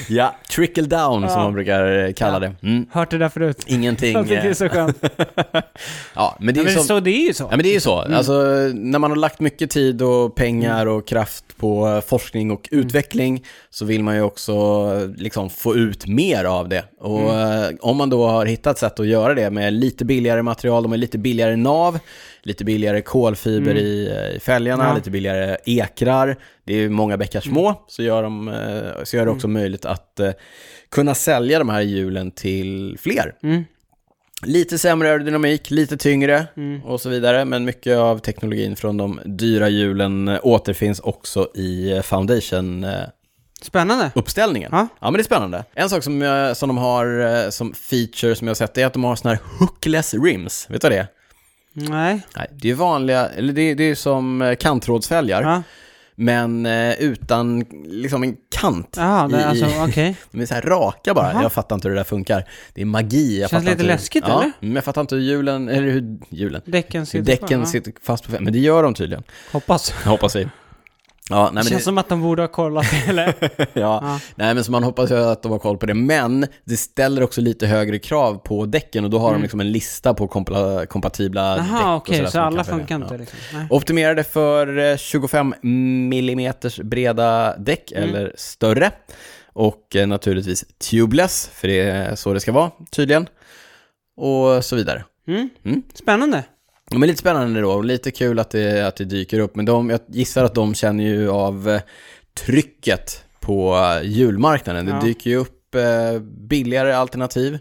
[SPEAKER 1] Ja, trickle down som
[SPEAKER 2] Ja.
[SPEAKER 1] man brukar eh, kalla
[SPEAKER 2] Ja.
[SPEAKER 1] det. Mm.
[SPEAKER 2] Hört det där förut?
[SPEAKER 1] Ingenting.
[SPEAKER 2] Jag tycker det
[SPEAKER 1] eh,
[SPEAKER 2] är så skönt.
[SPEAKER 1] Ja, men det
[SPEAKER 2] Ja,
[SPEAKER 1] är
[SPEAKER 2] men
[SPEAKER 1] ju som...
[SPEAKER 2] så, Mm. det är ju så.
[SPEAKER 1] Ja, men det är ju så. Alltså, när man har lagt mycket tid och pengar och kraft på eh, forskning och
[SPEAKER 2] Mm.
[SPEAKER 1] utveckling så vill man ju också eh, liksom, få ut mer av det. Och
[SPEAKER 2] Mm.
[SPEAKER 1] eh, om man då har hittat sätt att göra det med lite billigare material, de är lite billigare nav, lite billigare kolfiber i, eh, i fälgarna,
[SPEAKER 2] Mm. Ja. Mm.
[SPEAKER 1] lite billigare ekrar, det är ju många bäckar små, så, gör de, eh, så gör det också möjligt att eh, kunna sälja de här hjulen till fler.
[SPEAKER 2] Mm.
[SPEAKER 1] Lite sämre aerodynamik, lite tyngre
[SPEAKER 2] Mm.
[SPEAKER 1] och så vidare. Men mycket av teknologin från de dyra hjulen eh, återfinns också i eh, foundation eh,
[SPEAKER 2] Spännande.
[SPEAKER 1] uppställningen.
[SPEAKER 2] Ja.
[SPEAKER 1] men det är spännande. En sak som, jag, som de har eh, som feature som jag har sett är att de har såna här hookless rims. Vet du vad det är?
[SPEAKER 2] Nej.
[SPEAKER 1] Nej, det är vanliga, eller det, det är som eh, kantrådsfälgar,
[SPEAKER 2] Ja.
[SPEAKER 1] men eh, utan liksom en kant.
[SPEAKER 2] Jaha,
[SPEAKER 1] i-
[SPEAKER 2] det- alltså
[SPEAKER 1] i-
[SPEAKER 2] okej.
[SPEAKER 1] De är så här raka bara.
[SPEAKER 2] Jaha.
[SPEAKER 1] Jag fattar inte hur det där funkar. Det är magi. Jag
[SPEAKER 2] Känns
[SPEAKER 1] fattar
[SPEAKER 2] lite
[SPEAKER 1] inte hur-
[SPEAKER 2] läskigt,
[SPEAKER 1] ja,
[SPEAKER 2] eller?
[SPEAKER 1] Men jag fattar inte hur hjulen, eller hur hjulen,
[SPEAKER 2] Däcken
[SPEAKER 1] hur
[SPEAKER 2] sitter
[SPEAKER 1] däcken
[SPEAKER 2] kvar,
[SPEAKER 1] sitter fast på fem. Men det gör de tydligen,
[SPEAKER 2] Ja. Hoppas.
[SPEAKER 1] hoppas vi. Ja, nej,
[SPEAKER 2] det
[SPEAKER 1] men
[SPEAKER 2] känns
[SPEAKER 1] det,
[SPEAKER 2] som att de borde ha kollat, eller?
[SPEAKER 1] ja.
[SPEAKER 2] Ja.
[SPEAKER 1] Nej, men så man hoppas ju att de har koll på det. Men det ställer också lite högre krav på däcken och då har de liksom en lista på kompla, kompatibla däck.
[SPEAKER 2] Mm. Jaha,
[SPEAKER 1] och
[SPEAKER 2] okej,
[SPEAKER 1] sådär
[SPEAKER 2] så
[SPEAKER 1] som man
[SPEAKER 2] alla
[SPEAKER 1] kan välja.
[SPEAKER 2] funkar
[SPEAKER 1] Ja.
[SPEAKER 2] inte liksom. Nej.
[SPEAKER 1] Optimerade för eh, 25 mm breda däck
[SPEAKER 2] Mm.
[SPEAKER 1] eller större. Och eh, naturligtvis tubeless, för det är så det ska vara tydligen. Och så vidare.
[SPEAKER 2] Mm.
[SPEAKER 1] Mm.
[SPEAKER 2] Spännande.
[SPEAKER 1] Ja, Men lite spännande då, och lite kul att det, att det dyker upp. Men de, jag gissar att de känner ju av eh, trycket på eh, julmarknaden. Det
[SPEAKER 2] Ja.
[SPEAKER 1] dyker ju upp eh, billigare alternativ.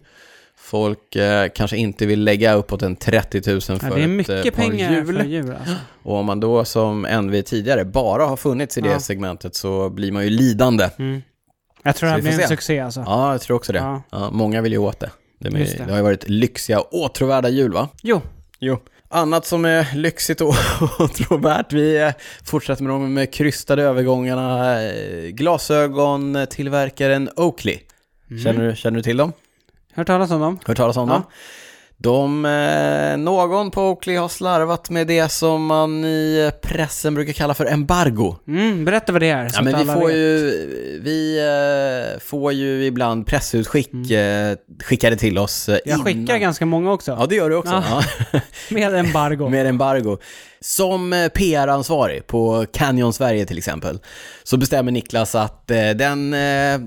[SPEAKER 1] Folk eh, kanske inte vill lägga uppåt en 30 000 för
[SPEAKER 2] Ja, det är
[SPEAKER 1] ett
[SPEAKER 2] mycket
[SPEAKER 1] eh, par
[SPEAKER 2] pengar
[SPEAKER 1] hjul.
[SPEAKER 2] för djur alltså.
[SPEAKER 1] Och om man då som NV tidigare bara har funnits i det
[SPEAKER 2] Ja.
[SPEAKER 1] segmentet så blir man ju lidande.
[SPEAKER 2] Mm. Jag
[SPEAKER 1] Så
[SPEAKER 2] tror det här
[SPEAKER 1] vi får
[SPEAKER 2] blir en
[SPEAKER 1] se.
[SPEAKER 2] succé alltså.
[SPEAKER 1] Ja, jag tror också det. Ja.
[SPEAKER 2] Ja.
[SPEAKER 1] många vill ju åt det. Det, är-
[SPEAKER 2] Just det.
[SPEAKER 1] det har ju varit lyxiga och åtråvärda jul va?
[SPEAKER 2] Jo,
[SPEAKER 1] Jo. Annat som är lyxigt och åtråvärt, vi eh, fortsätter med de med krystade övergångarna. Eh, Glasögontillverkaren Oakley. Känner, du, känner du till dem?
[SPEAKER 2] hört talas om dem?
[SPEAKER 1] Hört talas om
[SPEAKER 2] Mm. Ja.
[SPEAKER 1] dem? De, eh, någon på Oakley har slarvat med det som man i eh, pressen brukar kalla för embargo.
[SPEAKER 2] Mm, berätta vad det är. så
[SPEAKER 1] Ja,
[SPEAKER 2] att
[SPEAKER 1] men vi
[SPEAKER 2] alla
[SPEAKER 1] får
[SPEAKER 2] vet.
[SPEAKER 1] ju, vi eh, får ju ibland pressutskick eh, skickade till oss. eh,
[SPEAKER 2] Mm. Jag skickar
[SPEAKER 1] innan.
[SPEAKER 2] ganska många också.
[SPEAKER 1] Ja, det gör du också. Ja.
[SPEAKER 2] Ja. Med embargo.
[SPEAKER 1] Med embargo. Som eh, PR-ansvarig på Canyon Sverige till exempel, så bestämmer Niklas att eh, den eh,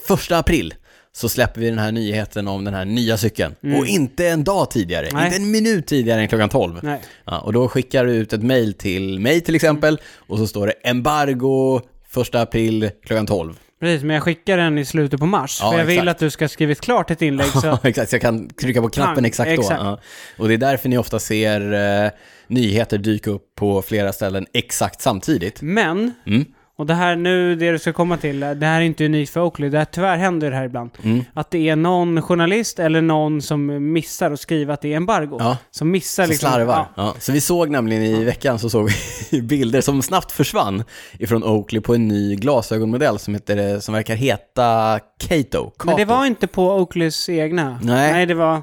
[SPEAKER 1] första april så släpper vi den här nyheten om den här nya cykeln. Och inte en dag tidigare,
[SPEAKER 2] Mm. Nej.
[SPEAKER 1] inte en minut tidigare än klockan 12.
[SPEAKER 2] Nej.
[SPEAKER 1] Ja, och då skickar du ut ett mejl till mig till exempel
[SPEAKER 2] Mm.
[SPEAKER 1] och så står det embargo 1 april klockan 12.
[SPEAKER 2] Precis, men jag skickar den i slutet på mars.
[SPEAKER 1] Ja,
[SPEAKER 2] för jag vill
[SPEAKER 1] exakt.
[SPEAKER 2] att du ska ha skrivit klart ett inlägg. Så
[SPEAKER 1] Ja,
[SPEAKER 2] att,
[SPEAKER 1] exakt, så jag kan trycka på knappen
[SPEAKER 2] Pang,
[SPEAKER 1] exakt då.
[SPEAKER 2] exakt.
[SPEAKER 1] Ja. Och det är därför ni ofta ser eh, nyheter dyka upp på flera ställen exakt samtidigt.
[SPEAKER 2] men,
[SPEAKER 1] Mm.
[SPEAKER 2] och det här nu, det du ska komma till, det här är inte unikt för Oakley, det här tyvärr händer det här ibland.
[SPEAKER 1] Mm.
[SPEAKER 2] Att det är någon journalist eller någon som missar att skriva att det är embargo.
[SPEAKER 1] Ja.
[SPEAKER 2] Som missar
[SPEAKER 1] Som
[SPEAKER 2] liksom...
[SPEAKER 1] slarvar. Ja.
[SPEAKER 2] Ja.
[SPEAKER 1] Så vi såg nämligen i veckan så såg vi bilder som snabbt försvann ifrån Oakley på en ny glasögonmodell som, heter, eh, som verkar heta Kato. Kato.
[SPEAKER 2] Men det var inte på Oakleys egna.
[SPEAKER 1] Nej.
[SPEAKER 2] Nej, det var...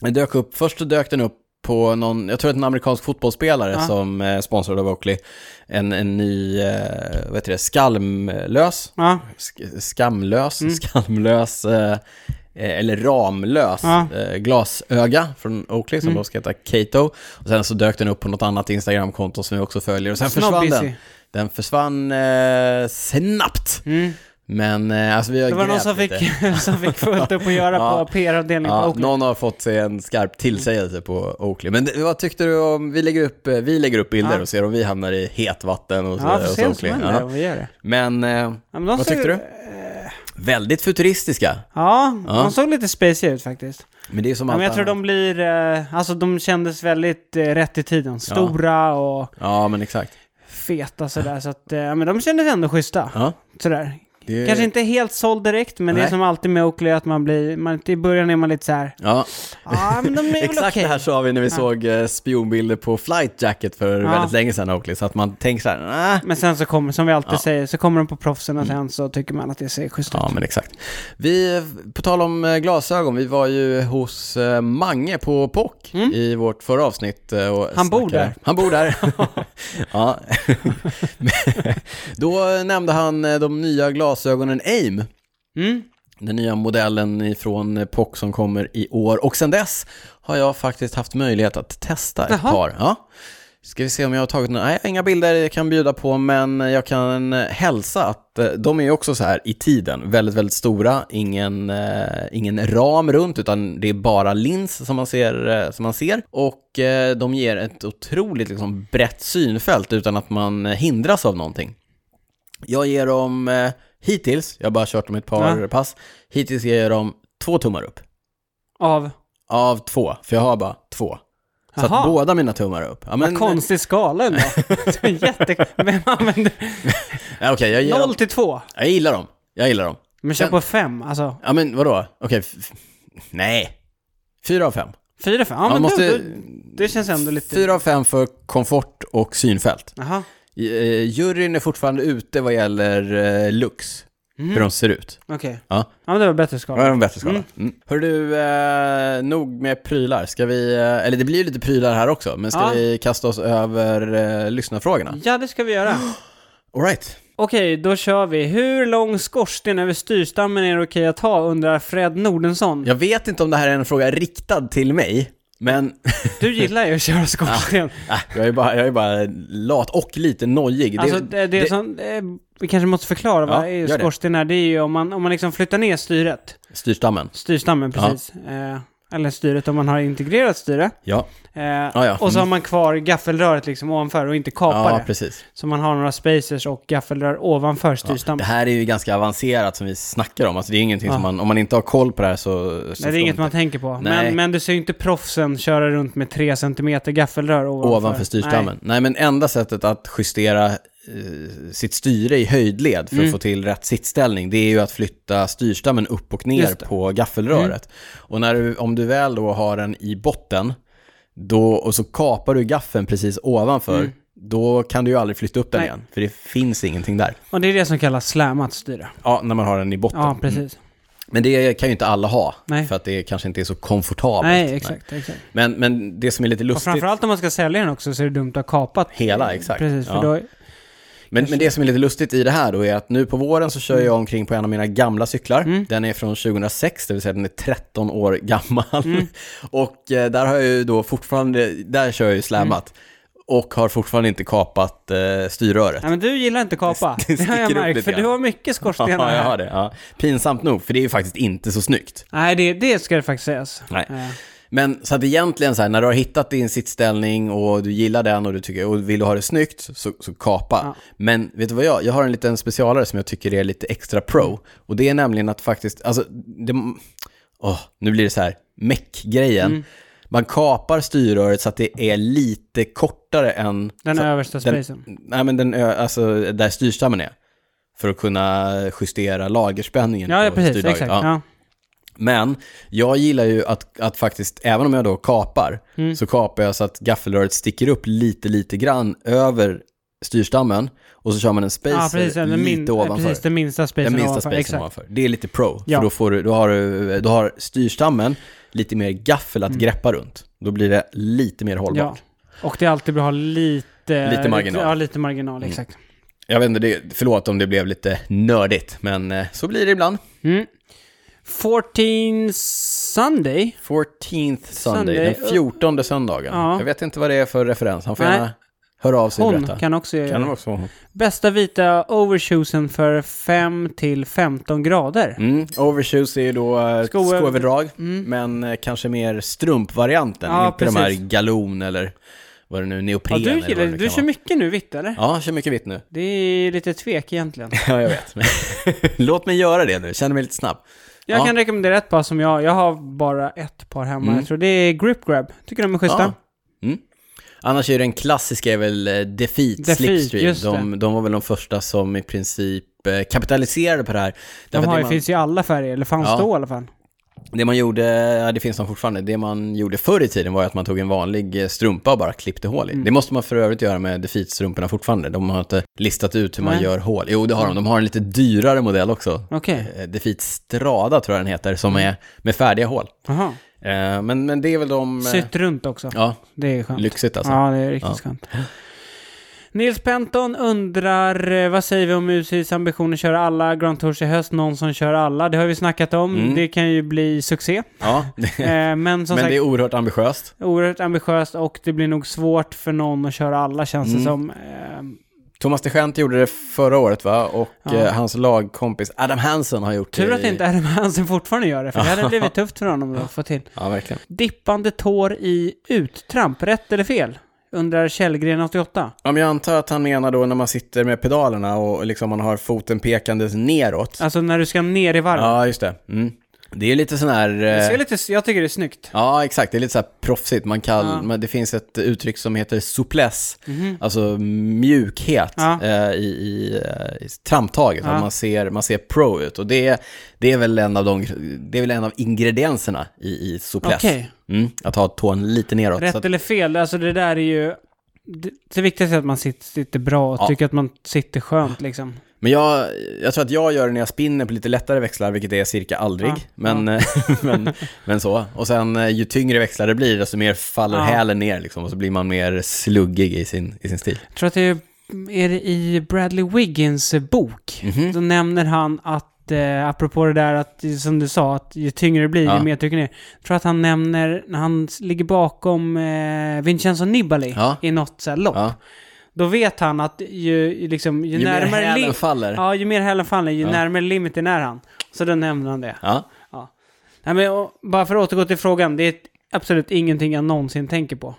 [SPEAKER 1] Den dök upp, först så dök den upp på någon, jag tror att en amerikansk fotbollsspelare
[SPEAKER 2] Ja.
[SPEAKER 1] som eh, sponsrade av Oakley, en, en ny, eh, vad heter det, skalmlös,
[SPEAKER 2] Ja.
[SPEAKER 1] sk- skamlös,
[SPEAKER 2] Mm.
[SPEAKER 1] skamlös, eh, eh, eller ramlös
[SPEAKER 2] Ja. Mm.
[SPEAKER 1] eh, glasöga från Oakley som då ska heta Kato. Och sen så dök den upp på något annat Instagramkonto som vi också följer och sen försvann
[SPEAKER 2] Snobbisy.
[SPEAKER 1] den. Den försvann eh, snabbt.
[SPEAKER 2] Mm.
[SPEAKER 1] Men eh, alltså vi har
[SPEAKER 2] Det var någon
[SPEAKER 1] grävt
[SPEAKER 2] som fick,
[SPEAKER 1] lite.
[SPEAKER 2] som fick fullt upp att göra
[SPEAKER 1] Ja.
[SPEAKER 2] på PR-avdelningen på
[SPEAKER 1] Ja,
[SPEAKER 2] Oakley.
[SPEAKER 1] någon har fått sig en skarp tillsägelse på Oakley. Men det- vad tyckte du om, vi lägger upp, eh, vi lägger upp bilder
[SPEAKER 2] Ja.
[SPEAKER 1] och ser om vi hamnar i hetvatten och så,
[SPEAKER 2] Ja, vi får
[SPEAKER 1] och
[SPEAKER 2] se
[SPEAKER 1] så
[SPEAKER 2] vad som
[SPEAKER 1] Oakley.
[SPEAKER 2] händer
[SPEAKER 1] Ja.
[SPEAKER 2] om vi gör det.
[SPEAKER 1] Men, eh,
[SPEAKER 2] Ja, men de
[SPEAKER 1] vad
[SPEAKER 2] ser- eh,
[SPEAKER 1] tyckte du? Väldigt futuristiska.
[SPEAKER 2] Ja,
[SPEAKER 1] Ja.
[SPEAKER 2] de såg lite spacey ut faktiskt.
[SPEAKER 1] Men det är som
[SPEAKER 2] Ja,
[SPEAKER 1] allt
[SPEAKER 2] men jag tror
[SPEAKER 1] annat.
[SPEAKER 2] de blir, eh, alltså de kändes väldigt eh, rätt i tiden. Stora och
[SPEAKER 1] Ja, men exakt.
[SPEAKER 2] feta sådär. Så att, eh, ja, men de kändes ändå schyssta.
[SPEAKER 1] Ja.
[SPEAKER 2] Sådär.
[SPEAKER 1] Det-
[SPEAKER 2] Kanske inte helt såld direkt, men det
[SPEAKER 1] Nej.
[SPEAKER 2] är som alltid med Oakley att man blir, man, i början är man lite så här.
[SPEAKER 1] Ja,
[SPEAKER 2] ja men de är väl
[SPEAKER 1] exakt
[SPEAKER 2] okej.
[SPEAKER 1] det här sa vi när vi såg eh, spionbilder på Flight Jacket för
[SPEAKER 2] Ja.
[SPEAKER 1] väldigt länge sedan Oakley, så att man tänker så här, "Nä."
[SPEAKER 2] Men sen så kommer, som vi alltid
[SPEAKER 1] Ja. Mm.
[SPEAKER 2] säger, så kommer de på proffsen och sen så tycker man att det ser schysst ut.
[SPEAKER 1] Ja, men exakt. Vi, på tal om eh, glasögon, vi var ju hos eh, Mange på POC i vårt förra avsnitt. eh, Och
[SPEAKER 2] Mm. Han bor
[SPEAKER 1] snackade-
[SPEAKER 2] där.
[SPEAKER 1] Han bor där. ja. Men Då nämnde han eh, de nya glasögonen AIM.
[SPEAKER 2] Mm.
[SPEAKER 1] Den nya modellen ifrån POC som kommer i år. Och sen dess har jag faktiskt haft möjlighet att testa ett
[SPEAKER 2] Jaha.
[SPEAKER 1] par. Ja. Ska vi se om jag har tagit några, nej jag har inga bilder jag kan bjuda på men jag kan eh, hälsa att eh, de är ju också så här i tiden, väldigt, väldigt stora, ingen, eh, ingen ram runt utan det är bara lins som man ser. Eh, som man ser. Och eh, de ger ett otroligt liksom, brett synfält utan att man eh, hindras av någonting. Jag ger dem, eh, hittills, jag har bara kört dem ett par pass, hittills ger jag dem två tummar upp.
[SPEAKER 2] Av?
[SPEAKER 1] Av två, för jag har bara två. Så att
[SPEAKER 2] Jaha.
[SPEAKER 1] båda mina tummar är upp. Ja, men,
[SPEAKER 2] Konstig skala ändå. Det är Jätte... Vem använder...
[SPEAKER 1] eh, Ja, okej, jag, gillar
[SPEAKER 2] 0
[SPEAKER 1] dem.
[SPEAKER 2] till 2.
[SPEAKER 1] jag gillar dem. Jag gillar dem.
[SPEAKER 2] Men kör på 5, alltså.
[SPEAKER 1] Ja, men vadå? Okej, f- f- nej. Fyra av fem.
[SPEAKER 2] 4, 5. Ja,
[SPEAKER 1] Man
[SPEAKER 2] men
[SPEAKER 1] måste-
[SPEAKER 2] du, du, det känns ändå lite...
[SPEAKER 1] Fyra av fem för komfort och synfält.
[SPEAKER 2] Jaha.
[SPEAKER 1] Eh, juryn är fortfarande ute vad gäller eh, looks,
[SPEAKER 2] Mhm.
[SPEAKER 1] hur de ser ut.
[SPEAKER 2] Okej.
[SPEAKER 1] Ja.
[SPEAKER 2] Ja, men det var bättre
[SPEAKER 1] Det
[SPEAKER 2] skala.
[SPEAKER 1] är en bättre skala. Mm. Hör du, eh, nog med prylar. Ska vi, eh, eller det blir ju lite prylar här också, men ska
[SPEAKER 2] Ja.
[SPEAKER 1] vi kasta oss över eh, lyssnarfrågorna?
[SPEAKER 2] Ja, det ska vi göra.
[SPEAKER 1] Alright.
[SPEAKER 2] Okej, då kör vi. Hur lång skorsten över styrstammen är det okej att ha, undrar Fred Nordensson.
[SPEAKER 1] Jag vet inte om det här är en fråga riktad till mig, men
[SPEAKER 2] Du gillar ju att köra skorsten.
[SPEAKER 1] äh, jag, är bara, jag är bara lat och lite nojig.
[SPEAKER 2] Alltså, det, det, är som, eh, vi kanske måste förklara
[SPEAKER 1] Ja,
[SPEAKER 2] vad ja,
[SPEAKER 1] gör det.
[SPEAKER 2] skorsten är. Det är ju om man, om man liksom flyttar ner styret,
[SPEAKER 1] Styrstammen.
[SPEAKER 2] styrstammen
[SPEAKER 1] Ja.
[SPEAKER 2] precis, eh, eller styret om man har integrerat styre.
[SPEAKER 1] Ja,
[SPEAKER 2] Eh,
[SPEAKER 1] ja. Mm.
[SPEAKER 2] Och så har man kvar gaffelröret liksom ovanför och inte kapar
[SPEAKER 1] ja
[SPEAKER 2] det.
[SPEAKER 1] precis.
[SPEAKER 2] Så man har några spacers och gaffelrör ovanför
[SPEAKER 1] Det
[SPEAKER 2] styrstammen.
[SPEAKER 1] här är ju ganska avancerat som vi snackar om. Alltså det är ingenting
[SPEAKER 2] Ja.
[SPEAKER 1] som man, om man inte har koll på det här så... så
[SPEAKER 2] Nej, det är inget man tänker på.
[SPEAKER 1] Nej.
[SPEAKER 2] Men, men du ser ju inte proffsen köra runt med 3 cm gaffelrör ovanför.
[SPEAKER 1] ovanför styrstammen. Nej. men enda sättet att justera eh, sitt styre i höjdled för att
[SPEAKER 2] Mm.
[SPEAKER 1] få till rätt sittställning, det är ju att flytta styrstammen upp och ner
[SPEAKER 2] Just det. Mm.
[SPEAKER 1] på gaffelröret. Och när du, om du väl då har den i botten, då, och så kapar du gaffeln precis ovanför,
[SPEAKER 2] Mm.
[SPEAKER 1] då kan du ju aldrig flytta upp den
[SPEAKER 2] Nej.
[SPEAKER 1] igen, för det finns ingenting där.
[SPEAKER 2] Nej. Och det är det som kallas slämat styre.
[SPEAKER 1] Ja, när man har den i botten.
[SPEAKER 2] Ja, precis.
[SPEAKER 1] Men det kan ju inte alla ha,
[SPEAKER 2] Nej.
[SPEAKER 1] för att det kanske inte är så komfortabelt.
[SPEAKER 2] Nej, exakt. exakt.
[SPEAKER 1] Men, men det som är lite
[SPEAKER 2] Och
[SPEAKER 1] lustigt...
[SPEAKER 2] framförallt om man ska sälja den också så är det dumt att ha kapat.
[SPEAKER 1] Hela, exakt.
[SPEAKER 2] Precis, för
[SPEAKER 1] Ja.
[SPEAKER 2] då...
[SPEAKER 1] Men, men det som är lite lustigt i det här då är att nu på våren så kör jag omkring på en av mina gamla cyklar. Den är från 2006, det vill säga den är 13 år gammal. Och eh, där har jag ju då fortfarande, där kör jag ju slämat. Och har fortfarande inte kapat eh, styrröret.
[SPEAKER 2] Nej, men du gillar inte kapa.
[SPEAKER 1] det
[SPEAKER 2] Det har jag
[SPEAKER 1] sticker upp lite
[SPEAKER 2] märkt, för
[SPEAKER 1] grann.
[SPEAKER 2] du har mycket
[SPEAKER 1] Ja,
[SPEAKER 2] skorstenar
[SPEAKER 1] jag har
[SPEAKER 2] här.
[SPEAKER 1] det. Ja. Pinsamt nog, för det är ju faktiskt inte så snyggt.
[SPEAKER 2] Nej, det, det ska det faktiskt sägas.
[SPEAKER 1] Nej.
[SPEAKER 2] Eh,
[SPEAKER 1] Men så att egentligen så här, när du har hittat din sittställning och du gillar den och du tycker, och vill du ha det snyggt, så, så kapa.
[SPEAKER 2] Ja.
[SPEAKER 1] Men vet du vad jag, jag har en liten specialare som jag tycker är lite extra
[SPEAKER 2] Mm.
[SPEAKER 1] pro. Och det är nämligen att faktiskt, alltså, det, åh, nu blir det så här, meck-grejen.
[SPEAKER 2] Mm.
[SPEAKER 1] Man kapar styrröret så att det är lite kortare än
[SPEAKER 2] Den
[SPEAKER 1] så,
[SPEAKER 2] översta
[SPEAKER 1] den-
[SPEAKER 2] spacen.
[SPEAKER 1] nej, men den, ö- alltså, där styrstammen är. För att kunna justera lagerspänningen
[SPEAKER 2] Ja, ja,
[SPEAKER 1] på
[SPEAKER 2] precis.
[SPEAKER 1] styrdraget.
[SPEAKER 2] Exakt.
[SPEAKER 1] Ja.
[SPEAKER 2] Ja.
[SPEAKER 1] Men jag gillar ju att, att faktiskt, även om jag då kapar,
[SPEAKER 2] Mm.
[SPEAKER 1] så kapar jag så att gaffelröret sticker upp lite, lite grann över styrstammen och så kör man en spacer
[SPEAKER 2] Ja, precis. Den,
[SPEAKER 1] lite
[SPEAKER 2] min, eh,
[SPEAKER 1] ovanför.
[SPEAKER 2] precis, den minsta spacen
[SPEAKER 1] den minsta
[SPEAKER 2] ovanför.
[SPEAKER 1] spacen
[SPEAKER 2] Exakt.
[SPEAKER 1] ovanför. Det är lite pro,
[SPEAKER 2] Ja.
[SPEAKER 1] för då, får du, då, har du, då har styrstammen lite mer gaffel att greppa runt. Då blir det lite mer
[SPEAKER 2] Mm. Ja.
[SPEAKER 1] hållbart.
[SPEAKER 2] Och det är alltid bra att ha lite...
[SPEAKER 1] Lite marginal. Mm.
[SPEAKER 2] Ja, lite marginal. Exakt.
[SPEAKER 1] Jag vet inte, det, förlåt om det blev lite nördigt, men eh, så blir det ibland.
[SPEAKER 2] Mm. 14 Sunday.
[SPEAKER 1] 14th Sunday,
[SPEAKER 2] Sunday.
[SPEAKER 1] den 14 söndagen.
[SPEAKER 2] Ja.
[SPEAKER 1] Jag vet inte vad det är för referens, han får
[SPEAKER 2] Nej.
[SPEAKER 1] gärna höra av sig och berätta.
[SPEAKER 2] Hon kan också göra
[SPEAKER 1] Kan
[SPEAKER 2] det.
[SPEAKER 1] de också vara
[SPEAKER 2] Bästa vita overshoesen för 5 till 15 grader.
[SPEAKER 1] Mm, overshoes är ju då eh,
[SPEAKER 2] Sko-
[SPEAKER 1] skoöverdrag, men eh, kanske mer strumpvarianten,
[SPEAKER 2] Mm. Ja,
[SPEAKER 1] inte de här
[SPEAKER 2] precis.
[SPEAKER 1] galon eller vad det nu,
[SPEAKER 2] Ja,
[SPEAKER 1] neopren
[SPEAKER 2] du
[SPEAKER 1] eller
[SPEAKER 2] gillar
[SPEAKER 1] vad det
[SPEAKER 2] det.
[SPEAKER 1] nu
[SPEAKER 2] Du
[SPEAKER 1] kan
[SPEAKER 2] kör
[SPEAKER 1] vara.
[SPEAKER 2] mycket nu vitt, eller?
[SPEAKER 1] Ja, jag kör mycket vitt nu.
[SPEAKER 2] Det är lite tvek egentligen.
[SPEAKER 1] Ja, jag vet. Låt mig göra det nu, känner mig lite snabb.
[SPEAKER 2] Jag
[SPEAKER 1] Ja. Mm.
[SPEAKER 2] kan rekommendera ett par som jag, jag har bara ett par hemma. Jag tror det är Grip Grab. Tycker de är schyssta.
[SPEAKER 1] Ja. Mm. Annars är ju den klassiska är väl eh, Defeat,
[SPEAKER 2] Defeat,
[SPEAKER 1] Slipstream.
[SPEAKER 2] just
[SPEAKER 1] De, de var väl de första som i princip eh, kapitaliserade på det här.
[SPEAKER 2] De
[SPEAKER 1] Därför att
[SPEAKER 2] har,
[SPEAKER 1] det,
[SPEAKER 2] ju-
[SPEAKER 1] man,
[SPEAKER 2] finns ju i alla färger, eller fanns
[SPEAKER 1] Ja.
[SPEAKER 2] då i alla fall.
[SPEAKER 1] det man gjorde, ja, det finns de fortfarande, det man gjorde förr i tiden var ju att man tog en vanlig eh, strumpa och bara klippte hål i.
[SPEAKER 2] Mm.
[SPEAKER 1] Det måste man för övrigt göra med Defeat-strumporna fortfarande. De har inte listat ut hur man
[SPEAKER 2] Nej.
[SPEAKER 1] gör hål. Jo, det har de. De har en lite dyrare modell också.
[SPEAKER 2] Okej.
[SPEAKER 1] Eh, Defeat Strada tror jag den heter, som
[SPEAKER 2] Mm.
[SPEAKER 1] är med färdiga hål.
[SPEAKER 2] Jaha.
[SPEAKER 1] Eh, Men, men det är väl de... eh,
[SPEAKER 2] Sytt runt också.
[SPEAKER 1] Ja,
[SPEAKER 2] Det är skönt.
[SPEAKER 1] lyxigt alltså.
[SPEAKER 2] Ja, det är riktigt
[SPEAKER 1] Ja.
[SPEAKER 2] skönt. Nils Penton undrar, eh, vad säger vi om UCs ambition att köra alla Grand Tours i höst? Någon som kör alla? Det har vi snackat om.
[SPEAKER 1] Mm.
[SPEAKER 2] Det kan ju bli succé.
[SPEAKER 1] Ja.
[SPEAKER 2] Eh, men som
[SPEAKER 1] Men
[SPEAKER 2] sagt,
[SPEAKER 1] det är oerhört ambitiöst.
[SPEAKER 2] oerhört ambitiöst och det blir nog svårt för någon att köra alla känns
[SPEAKER 1] Mm.
[SPEAKER 2] det som. Eh,
[SPEAKER 1] Thomas de Gent gjorde det förra året va? Och
[SPEAKER 2] Ja.
[SPEAKER 1] eh, hans lagkompis Adam Hansen har gjort
[SPEAKER 2] tur
[SPEAKER 1] det.
[SPEAKER 2] att inte Adam Hansen fortfarande gör det, för det hade blivit tufft för honom att få till.
[SPEAKER 1] Ja, verkligen.
[SPEAKER 2] Dippande tår i uttramp, rätt eller fel? Undrar Källgren 88.
[SPEAKER 1] Ja, men jag antar att han menar då när man sitter med pedalerna och liksom man har foten pekandes neråt.
[SPEAKER 2] Alltså när du ska ner i varv.
[SPEAKER 1] Ja, just det. Mm. Det är lite sån här...
[SPEAKER 2] Det
[SPEAKER 1] eh,
[SPEAKER 2] ser lite, jag tycker det är snyggt.
[SPEAKER 1] Ja, exakt. Det är lite så här proffsigt. Man kan,
[SPEAKER 2] Ja. Mhm.
[SPEAKER 1] men det finns ett uttryck som heter souplesse, alltså mjukhet
[SPEAKER 2] Ja.
[SPEAKER 1] eh, i, i, eh, i tramtaget.
[SPEAKER 2] Ja.
[SPEAKER 1] Att man, ser, man ser pro ut. Och det, det, är, väl en av de, det är väl en av ingredienserna i, i souplesse.
[SPEAKER 2] Okej.
[SPEAKER 1] Mm, att ha tån lite neråt.
[SPEAKER 2] Rätt
[SPEAKER 1] så att,
[SPEAKER 2] eller fel, alltså det där är ju... Det, det viktigaste är att man sitter, sitter bra och
[SPEAKER 1] Ja.
[SPEAKER 2] tycker att man sitter skönt liksom.
[SPEAKER 1] men jag, jag tror att jag gör det när jag spinner på lite lättare växlar, vilket är cirka aldrig.
[SPEAKER 2] Ja.
[SPEAKER 1] Men, eh, men, men så. Och sen eh, ju tyngre växlar det blir, desto mer faller
[SPEAKER 2] Ja.
[SPEAKER 1] hälen ner liksom, och så blir man mer sluggig i sin, i sin stil.
[SPEAKER 2] Jag tror att det är, är det i Bradley Wiggins eh, bok.
[SPEAKER 1] Mhm.
[SPEAKER 2] Då nämner han att, eh, apropå det där att, som du sa, att ju tyngre det blir,
[SPEAKER 1] Ja.
[SPEAKER 2] ju mer trycker ner. Jag tror att han nämner, när han s- ligger bakom eh, Vincenzo Nibali
[SPEAKER 1] Ja.
[SPEAKER 2] i något så här lopp.
[SPEAKER 1] Ja.
[SPEAKER 2] Då vet han att ju, ju liksom, ju,
[SPEAKER 1] Ju mer
[SPEAKER 2] närmare
[SPEAKER 1] hälen
[SPEAKER 2] lim-
[SPEAKER 1] faller.
[SPEAKER 2] Ja, ju mer hälen faller, ju närmare limiten är han. Så då nämner han det.
[SPEAKER 1] Ja.
[SPEAKER 2] Ja. Nej, men, och, bara för att återgå till frågan, det är absolut ingenting jag någonsin tänker på.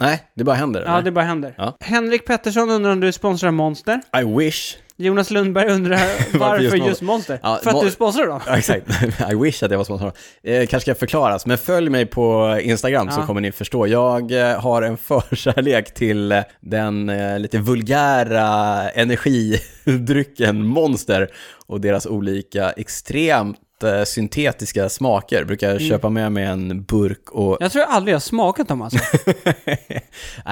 [SPEAKER 1] Nej, det bara händer.
[SPEAKER 2] Ja,
[SPEAKER 1] eller?
[SPEAKER 2] det bara händer.
[SPEAKER 1] Ja.
[SPEAKER 2] Henrik Pettersson undrar om du sponsrar Monster.
[SPEAKER 1] I wish.
[SPEAKER 2] Jonas Lundberg undrar varför
[SPEAKER 1] just
[SPEAKER 2] just,
[SPEAKER 1] Monster?
[SPEAKER 2] Monster?
[SPEAKER 1] Ja,
[SPEAKER 2] för att
[SPEAKER 1] Mon-
[SPEAKER 2] du sponsrar dem?
[SPEAKER 1] Ja, exakt. I wish att jag var sponsor. Eh, kanske ska förklaras, men följ mig på Instagram så
[SPEAKER 2] Ja.
[SPEAKER 1] kommer ni förstå. Jag eh, har en förkärlek till eh, den eh, lite vulgära energidrycken Monster och deras olika extremt eh, syntetiska smaker. Brukar jag
[SPEAKER 2] Mm.
[SPEAKER 1] köpa med mig en burk och...
[SPEAKER 2] Jag tror jag aldrig har smakat dem alltså.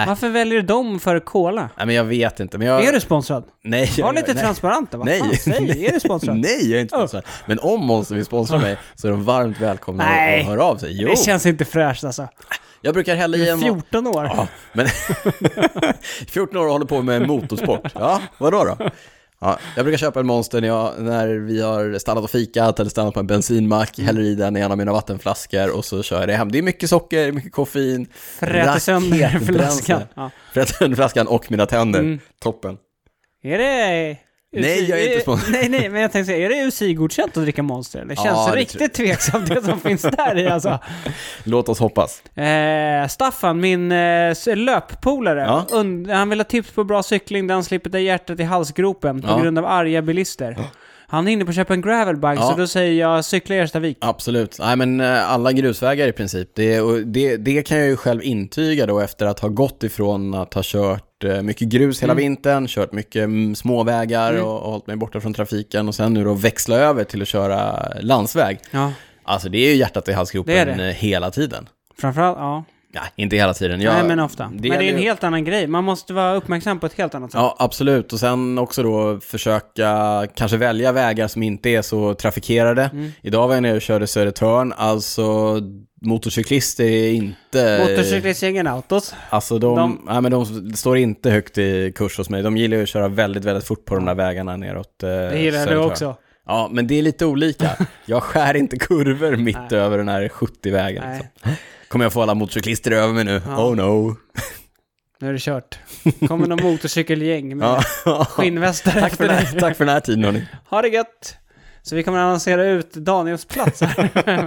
[SPEAKER 2] Varför väljer du dem för cola?
[SPEAKER 1] Nej, men jag vet inte. Men jag...
[SPEAKER 2] Är du sponsrad?
[SPEAKER 1] Nej, jag-
[SPEAKER 2] Var lite
[SPEAKER 1] nej.
[SPEAKER 2] transparenta. Vad
[SPEAKER 1] Nej.
[SPEAKER 2] fan säg, är Oh. du sponsrad?
[SPEAKER 1] Nej, jag är inte sponsrad. Men om Monster vill sponsra mig så är de varmt välkomna
[SPEAKER 2] Oh. Nej.
[SPEAKER 1] att höra av sig. Jo,
[SPEAKER 2] Det känns inte fräscht alltså.
[SPEAKER 1] jag brukar hälla i en...
[SPEAKER 2] 14 år.
[SPEAKER 1] Ja, men 14 år och håller på med motorsport. Ja, vadå då? Ja, jag brukar köpa en Monster när, jag, när vi har stannat och fikat eller stannat på en
[SPEAKER 2] Mm.
[SPEAKER 1] bensinmack, häller i den i en av mina vattenflaskor och så kör jag det hem. Det är mycket socker, mycket koffein,
[SPEAKER 2] Fräter sönder
[SPEAKER 1] raketbränsle.
[SPEAKER 2] flaskan. Ja.
[SPEAKER 1] Fräter sönder flaskan och mina tänder.
[SPEAKER 2] Mm.
[SPEAKER 1] Toppen.
[SPEAKER 2] Är det...
[SPEAKER 1] Nej, jag är inte sponsrad.
[SPEAKER 2] Nej, nej, men jag tänkte säga, är det UCI-godkänt att dricka Monster? Det
[SPEAKER 1] Ja,
[SPEAKER 2] känns
[SPEAKER 1] det tror
[SPEAKER 2] riktigt tveksamt det som finns där i alltså.
[SPEAKER 1] Låt oss hoppas.
[SPEAKER 2] Eh, Staffan, min eh, s- löppolare,
[SPEAKER 1] Ja.
[SPEAKER 2] und- han vill ha tips på bra cykling där han slipper ta hjärtat i halsgropen på
[SPEAKER 1] Ja.
[SPEAKER 2] grund av arga bilister. Han är inne på att köpa en gravelbike,
[SPEAKER 1] Ja.
[SPEAKER 2] så då säger jag cykla i Erstavik.
[SPEAKER 1] Absolut. Nej, men eh, alla grusvägar i princip. Det, och det, det kan jag ju själv intyga då efter att ha gått ifrån att ha kört eh, mycket grus
[SPEAKER 2] Mm.
[SPEAKER 1] hela vintern, kört mycket mm, småvägar och, och hållit mig borta från trafiken och sen nu då växla över till att köra landsväg.
[SPEAKER 2] Ja,
[SPEAKER 1] Alltså det är ju hjärtat i halsgropen
[SPEAKER 2] Det är det.
[SPEAKER 1] eh, hela tiden.
[SPEAKER 2] framförallt, ja.
[SPEAKER 1] Nej, inte hela tiden. Jag,
[SPEAKER 2] Nej, men ofta. men det är
[SPEAKER 1] gäller
[SPEAKER 2] en
[SPEAKER 1] ju-
[SPEAKER 2] helt annan grej. Man måste vara uppmärksam på ett helt annat sätt.
[SPEAKER 1] Ja, absolut. Och sen också då försöka kanske välja vägar som inte är så trafikerade.
[SPEAKER 2] Mm.
[SPEAKER 1] Idag var jag nere och körde Södertörn, alltså motorcyklister är inte...
[SPEAKER 2] Motorcyklistgängen Autos.
[SPEAKER 1] Alltså de,
[SPEAKER 2] de-
[SPEAKER 1] Nej, men de står inte högt i kurs hos mig. De gillar ju att köra väldigt, väldigt fort på de där vägarna neråt eh,
[SPEAKER 2] Det gillar du
[SPEAKER 1] Södertörn.
[SPEAKER 2] också.
[SPEAKER 1] Ja, men det är lite olika. Jag skär inte kurvor mitt
[SPEAKER 2] Nej.
[SPEAKER 1] över den här 70-vägen.
[SPEAKER 2] Nej,
[SPEAKER 1] liksom. Kommer jag få alla motorcyklister över mig nu? Oh no.
[SPEAKER 2] nu är det kört. Kommer någon motorcykelgäng med
[SPEAKER 1] Ja.
[SPEAKER 2] skinnvästar
[SPEAKER 1] Tack, för
[SPEAKER 2] efter
[SPEAKER 1] den
[SPEAKER 2] dig.
[SPEAKER 1] här, tack för den här tiden hörni.
[SPEAKER 2] Ha det gött! Så vi kommer annonsera ut Daniels plats här.